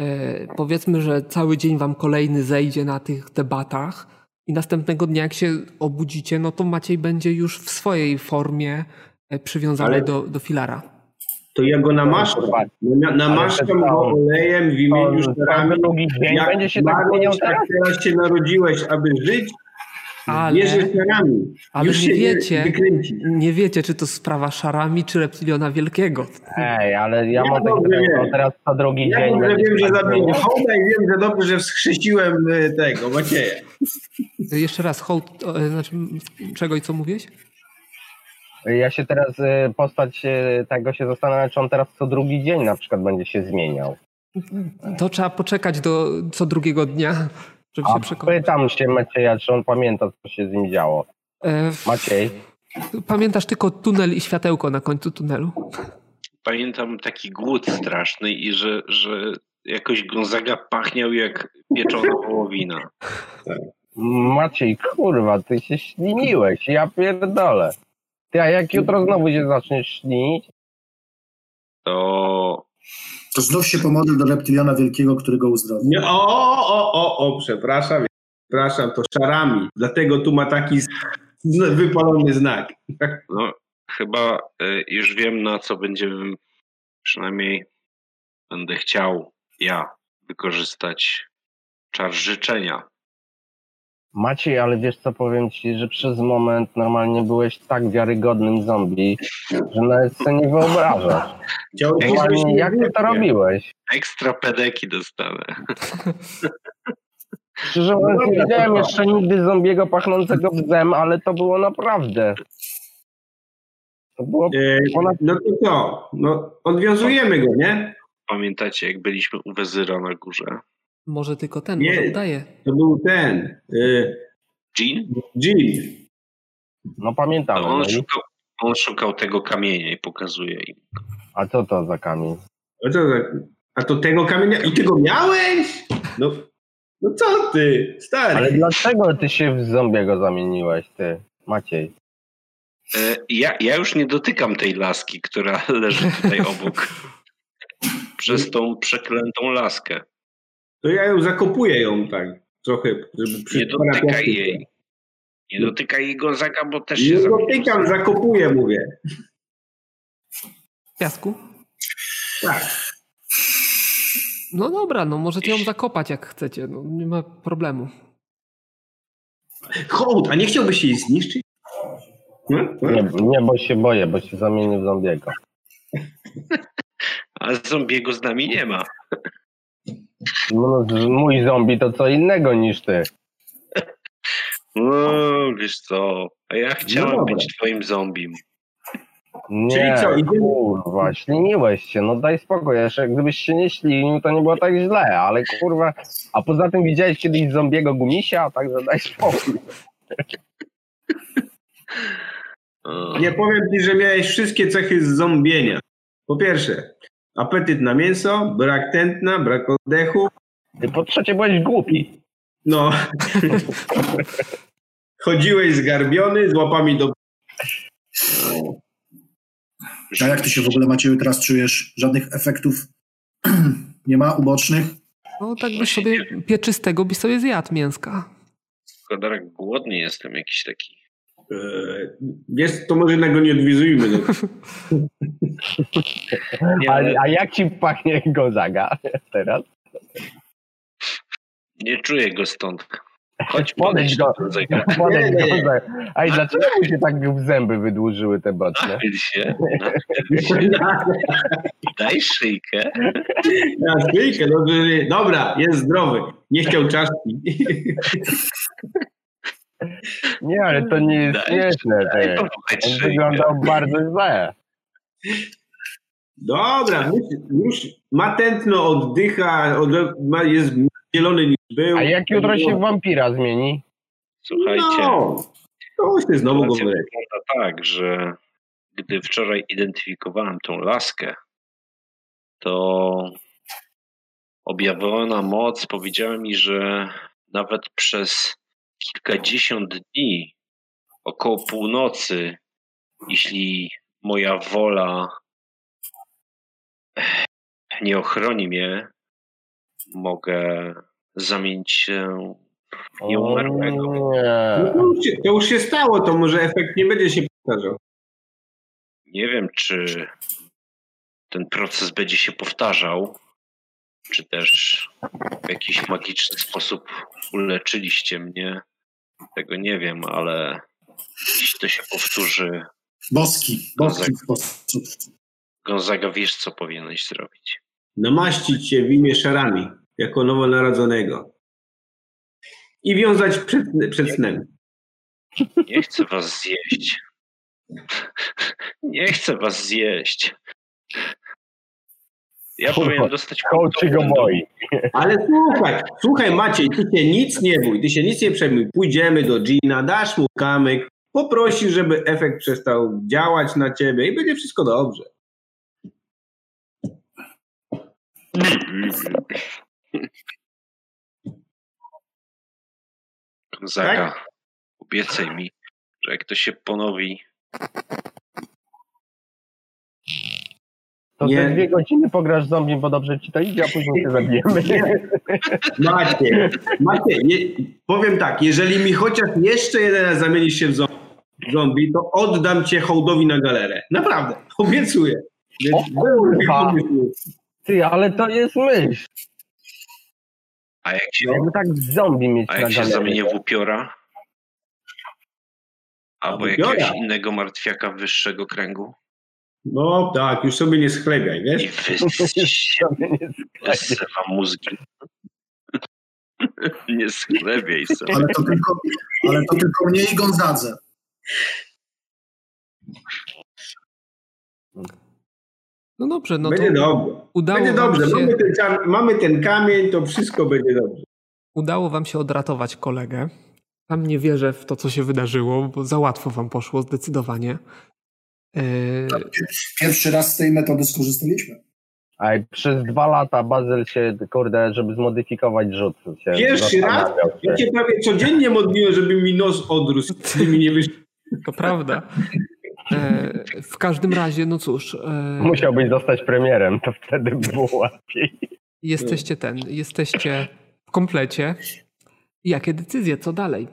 S1: E, powiedzmy, że cały dzień wam kolejny zejdzie na tych debatach i następnego dnia, jak się obudzicie, no to Maciej będzie już w swojej formie e, przywiązany
S6: Ale-
S1: do, do filara.
S6: To ja go
S4: <laughs>
S6: namaszczam. No, Na- Namaszczam
S4: Ale
S6: go
S4: przestało.
S6: olejem w imieniu szarami.
S4: Cały drugi dzień
S6: tak. Jak
S4: będzie się tak
S6: zmarłeś,
S4: zmieniał
S6: tak
S4: teraz.
S6: teraz się narodziłeś, aby żyć,
S1: Ale,
S6: wierzysz czarami.
S1: ale
S6: Już
S1: nie
S6: się
S1: wiecie,
S6: wykręci.
S1: nie wiecie, czy to sprawa szarami, czy reptiliona wielkiego.
S4: Ej, ale ja
S6: tak- Ja
S4: mam takie
S6: dobrze
S4: pytanie,
S6: wiem.
S4: no teraz co drugi
S6: Ja
S4: dzień.
S6: dobrze
S4: będzie
S6: wiem, że
S4: się tak
S6: zabiję
S4: zmieniał.
S6: Hołda i wiem, że dobrze, że wskrzesiłem y, tego Macieja.
S1: Jeszcze raz, hołd, o, e, znaczy, m, czego i co mówiłeś?
S4: Ja się teraz, y, postać y, tego się zastanawiam, czy on teraz co drugi dzień na przykład będzie się zmieniał.
S1: To trzeba poczekać do co drugiego dnia, żeby
S4: A
S1: się przekonać.
S4: pytam się Macieja, czy on pamięta, co się z nim działo.
S1: E, f-
S4: Maciej,
S1: Pamiętasz tylko tunel i światełko na końcu tunelu?
S5: pamiętam taki głód straszny i że, że jakoś Gonzaga pachniał jak pieczona wołowina.
S4: Maciej, kurwa, ty się śliniłeś, ja pierdolę. Ty, a jak jutro znowu się zaczniesz ślinić?
S5: To
S3: To znów się pomodlił do reptiliona wielkiego, który go uzdrowi.
S6: Nie, o, o, o, o, o, przepraszam. Przepraszam, to szarami. Dlatego tu ma taki z- z- wypalony znak.
S5: no, chyba y, już wiem na co będziemy, przynajmniej będę chciał ja wykorzystać czar życzenia.
S4: Maciej, ale wiesz co, powiem ci, że przez moment normalnie byłeś tak wiarygodnym zombie, że nawet sobie nie wyobrażasz.
S6: Chciałbym
S5: Ej,
S6: żebyś
S4: Normalnie,
S6: nie
S4: jak ty to
S6: wypił.
S4: robiłeś?
S5: Ekstra pedeki dostanę.
S4: Szczerze mówiąc, nie widziałem jeszcze nigdy zombiego pachnącego bzem, ale to było naprawdę. To było.
S6: E, No to co? No, odwiązujemy go, nie?
S5: Pamiętacie jak byliśmy u Wezyra na górze?
S1: Może tylko ten,
S6: Nie.
S1: może udaje.
S6: To był ten. E,
S5: Jean?
S6: Jill.
S4: No pamiętam.
S5: A
S4: No
S5: on
S4: i,
S5: szukał, on szukał tego kamienia i pokazuje im.
S4: a co to za kamień?
S6: A co za- A to tego kamienia... I ty go miałeś? No, no co ty, stary?
S4: Ale dlaczego ty się w zombiego zamieniłeś, ty, Maciej?
S5: E, Ja, ja już nie dotykam tej laski, która <laughs> leży tutaj obok. Przez tą przeklętą laskę.
S6: To ja ją zakopuję ją tak trochę, żeby przy-
S5: Nie dotykaj
S6: plastiku.
S5: jej. Nie dotykaj jego zaga, bo też się
S6: Nie
S5: zamienił.
S6: dotykam, zakopuję, mówię.
S1: W piasku?
S6: Tak.
S1: No dobra, no możecie ją zakopać jak chcecie, no nie ma problemu.
S6: Hołd, a nie chciałbyś jej zniszczyć? Hmm?
S4: Nie, nie, bo się boję, bo się zamienię w zombiego.
S5: A zombiego z nami nie ma.
S4: No, z- mój zombie to co innego niż ty.
S5: No, wiesz co, a ja chciałem
S6: dobra.
S5: być twoim zombiem.
S4: Nie,
S6: Czyli co, idziemy-
S4: kurwa, śliniłeś się, no daj spokój, jeszcze gdybyś się nie ślinił, to nie było tak źle, ale kurwa, a poza tym widziałeś kiedyś zombiego gumisia, także daj spokój.
S5: E,
S6: Nie powiem ci, że miałeś wszystkie cechy zombienia. Po pierwsze, apetyt na mięso, brak tętna, brak oddechu.
S4: Ty po trzecie byłeś głupi.
S6: No. Chodziłeś zgarbiony, z łapami do...
S3: A jak ty się w ogóle, Macieju, teraz czujesz? Żadnych efektów <clears throat> nie ma ubocznych?
S1: No tak byś sobie pieczystego byś sobie zjadł mięska.
S5: Kodarek głodny jestem jakiś taki.
S6: Eee, Wiesz, to może jednak go nie odwizujmy. No.
S5: Nie,
S4: A,
S5: ale
S4: a jak ci pachnie Gonzaga <laughs> teraz?
S5: nie czuję go stąd.
S4: <laughs>
S5: Chodź
S4: Podejdź
S5: podejdź
S4: do- <laughs>
S5: do tego.
S4: Podejdź
S6: nie, nie.
S4: Gonzaga. Ej, dlaczego mu się tak w zęby wydłużyły te boczne?
S5: Nachyl się, nachyl się, daj szyjkę.
S6: Na chwilkę, dobrze, że- dobra, jest zdrowy. Nie chciał czaszki.
S4: Nie, ale to nie jest
S5: Daj,
S4: śmieszne.
S5: Daj
S4: ty.
S5: połamać
S4: On
S5: szyjkę.
S4: wyglądał bardzo źle. Tak.
S6: Dobra, już, już ma tętno, oddycha, od, ma, jest zielony niż był.
S4: A jak jutro się w wampira zmieni?
S5: Słuchajcie.
S6: No, to się znowu go
S5: Sytuacja
S6: wyleci.
S5: wygląda tak, że gdy wczoraj identyfikowałem tą laskę, to objawiona moc powiedziała mi, że nawet przez kilkadziesiąt dni, około północy, jeśli moja wola eh, nie ochroni mnie, mogę zamienić się w nieumarłego.
S4: O, Nie.
S6: No to, już się, to już się stało, to może efekt nie będzie się powtarzał.
S5: Nie wiem, czy ten proces będzie się powtarzał, czy też w jakiś magiczny sposób uleczyliście mnie. Tego nie wiem, ale jeśli to się powtórzy,
S3: Boski, boski
S5: Kozak.
S3: sposób.
S5: Gonzaga, wiesz, co powinieneś zrobić.
S6: Namaścić się w imię szarami, jako nowonarodzonego. I wiązać przed, przed snem.
S5: Nie chcę was zjeść. Nie chcę was zjeść. Ja
S4: Kurwa,
S5: powinienem dostać
S4: Kołd się go boi.
S6: Ale słuchaj, słuchaj Maciej, ty się nic nie bój, ty się nic nie przejmuj. Pójdziemy do Gina, dasz mu kamyk, poprosi, żeby efekt przestał działać na ciebie i będzie wszystko dobrze.
S5: Gonzaga, obiecaj mi, że jak to się ponowi,
S4: To
S6: Nie.
S4: te dwie godziny pograsz zombie, bo dobrze ci to idzie, a później cię zabijemy.
S6: Maciej, Maciej nie, powiem tak, jeżeli mi chociaż jeszcze jeden raz zamienisz się w zo- zombie, to oddam cię hołdowi na galerę. Naprawdę, <laughs> obiecuję.
S4: <laughs> O kurwa! Ty, ale to jest myśl.
S5: a jak się
S4: Jakby tak zombie mieć
S5: A
S4: na
S5: jak się
S4: galerii. <laughs>
S5: zamienię w upiora? Albo
S6: upiora.
S5: jakiegoś innego martwiaka wyższego kręgu?
S6: No tak, już sobie nie schlebiaj,
S5: I
S6: wiesz?
S4: <laughs> Zamienię z-
S5: wysyła mózgi. <laughs> Nie sklebiej sobie.
S3: Ale to tylko, ale to tylko mnie i Gonzadze.
S1: No dobrze, no to
S6: będzie dobrze.
S1: udało
S6: Będzie
S1: wam
S6: dobrze,
S1: się...
S6: mamy ten, czar- mamy ten kamień, to wszystko będzie dobrze.
S1: Udało wam się odratować kolegę. Tam nie wierzę w to, co się wydarzyło, bo za łatwo wam poszło zdecydowanie. Yy,
S3: Pierwszy raz z tej metody skorzystaliśmy.
S4: A przez dwa lata Bazyl się, kurde, żeby zmodyfikować rzut. Się
S6: Pierwszy raz?
S4: zastanawiał się.
S6: Ja się prawie codziennie modliłem, żeby mi nos odrósł, gdy mi nie wyszło.
S1: To prawda. E, w każdym razie, no cóż, e,
S4: Musiałbyś zostać premierem, to wtedy by było łatwiej.
S1: jesteście ten, jesteście w komplecie. Jakie decyzje, co dalej?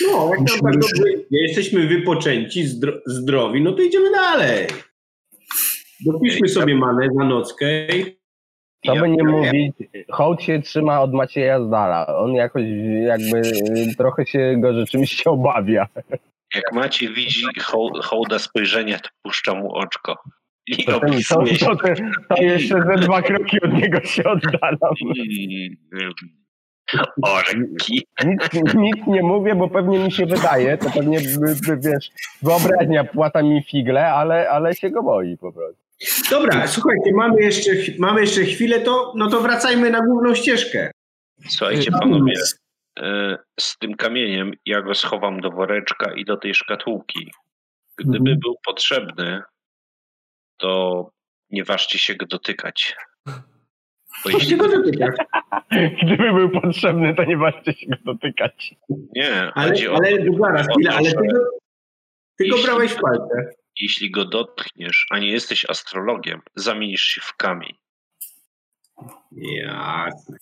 S6: No, jak tam
S3: Musimy
S6: tak
S3: ruszyć.
S6: dobrze idzie, jesteśmy wypoczęci, zdro, zdrowi, no to idziemy dalej. Dopiszmy sobie manę na nockę i
S4: To
S5: Ja-
S4: by nie
S5: ja-
S4: mówić, hołd się trzyma od Macieja z dala. On jakoś jakby y, trochę się go rzeczywiście obawia.
S5: Jak Maciej widzi ho- hołda spojrzenia, to puszcza mu oczko. I
S4: To, ten, to,
S5: opisuje się.
S4: to, to jeszcze ze dwa kroki od niego się oddalam.
S5: Mm, Orki.
S4: Nic, nic nie mówię, bo pewnie mi się wydaje, to pewnie by, by, wiesz, wyobraźnia płata mi figle, ale, ale się go boi po prostu.
S6: Dobra, słuchajcie, mamy jeszcze, mamy jeszcze chwilę, to, no to wracajmy na główną ścieżkę.
S5: Słuchajcie panowie, e, z tym kamieniem ja go schowam do woreczka i do tej szkatułki. Gdyby
S3: Mhm.
S5: był potrzebny, to nie ważcie się go dotykać. Bo
S6: Właśnie
S5: jeśli
S6: go dotykać.
S4: Gdyby był potrzebny, to nie warto się go dotykać.
S5: nie,
S6: Ale,
S5: chodzi o
S6: ale zaraz,
S5: o
S6: chwilę,
S5: to,
S6: ale
S5: że
S6: ty go, ty go
S5: jeśli-
S6: brałeś w palce.
S5: jeśli go dotkniesz, a nie jesteś astrologiem, zamienisz się w kamień.
S6: Jasne.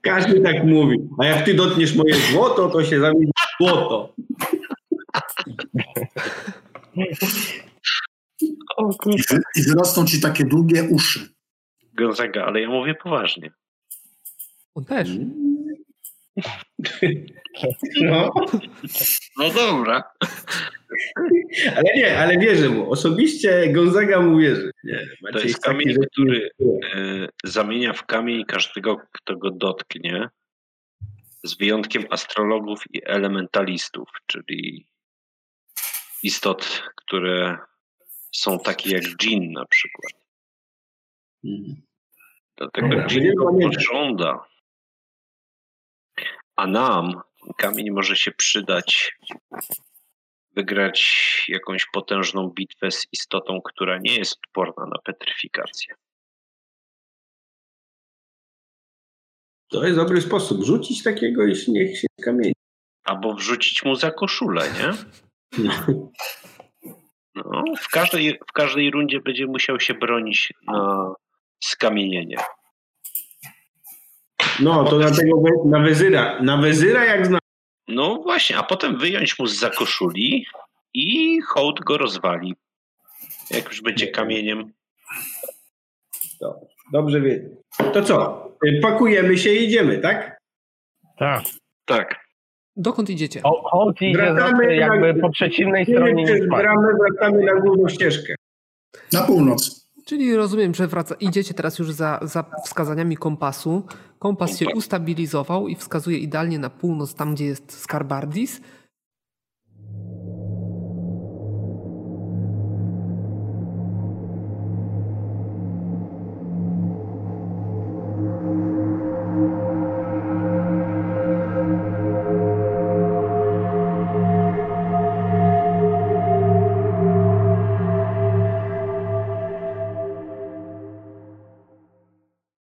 S6: Każdy tak mówi. A jak ty dotkniesz moje złoto, to się zamieni w złoto.
S3: I, wy, I wyrosną ci takie długie uszy.
S5: Gonzaga, ale ja mówię poważnie.
S1: On też.
S6: No.
S5: No dobra.
S6: Ale nie, ale wierzę mu. Osobiście Gonzaga mu wierzy. Nie,
S5: To
S6: Maciej
S5: jest
S6: taki,
S5: kamień,
S6: że-
S5: który e, zamienia w kamień każdego, kto go dotknie, z wyjątkiem astrologów i elementalistów, czyli istot, które są takie jak dżin na przykład. Dlatego
S6: Mhm. Dobra,
S5: dżin
S6: będziemy
S5: go
S6: pamiętać.
S5: pożąda. A nam ten kamień może się przydać wygrać jakąś potężną bitwę z istotą, która nie jest odporna na petryfikację.
S6: To jest dobry sposób. Rzucić takiego i niech się kamieni.
S5: Albo wrzucić mu za koszulę, nie? No, w, każdej, w każdej rundzie będzie musiał się bronić na skamienienie.
S6: No, to dlatego we- na wezyra. Na wezyra jak zna.
S5: No właśnie, a potem wyjąć mu z za koszuli i hołd go rozwali. Jak już będzie kamieniem.
S6: Dobrze wie. To co? Y, Pakujemy się i idziemy, tak?
S4: Tak.
S5: Tak.
S1: Dokąd idziecie?
S4: Hołd idzie
S6: Wracamy
S4: zawsze jakby
S6: na-
S4: po przeciwnej
S6: Idziemy
S4: stronie
S6: przez
S4: niż pan.
S6: bramę, wracamy na główną ścieżkę.
S3: Na północ.
S1: Czyli rozumiem, że wraca, idziecie teraz już za, za wskazaniami kompasu. Kompas się ustabilizował i wskazuje idealnie na północ, tam gdzie jest Skarbardis.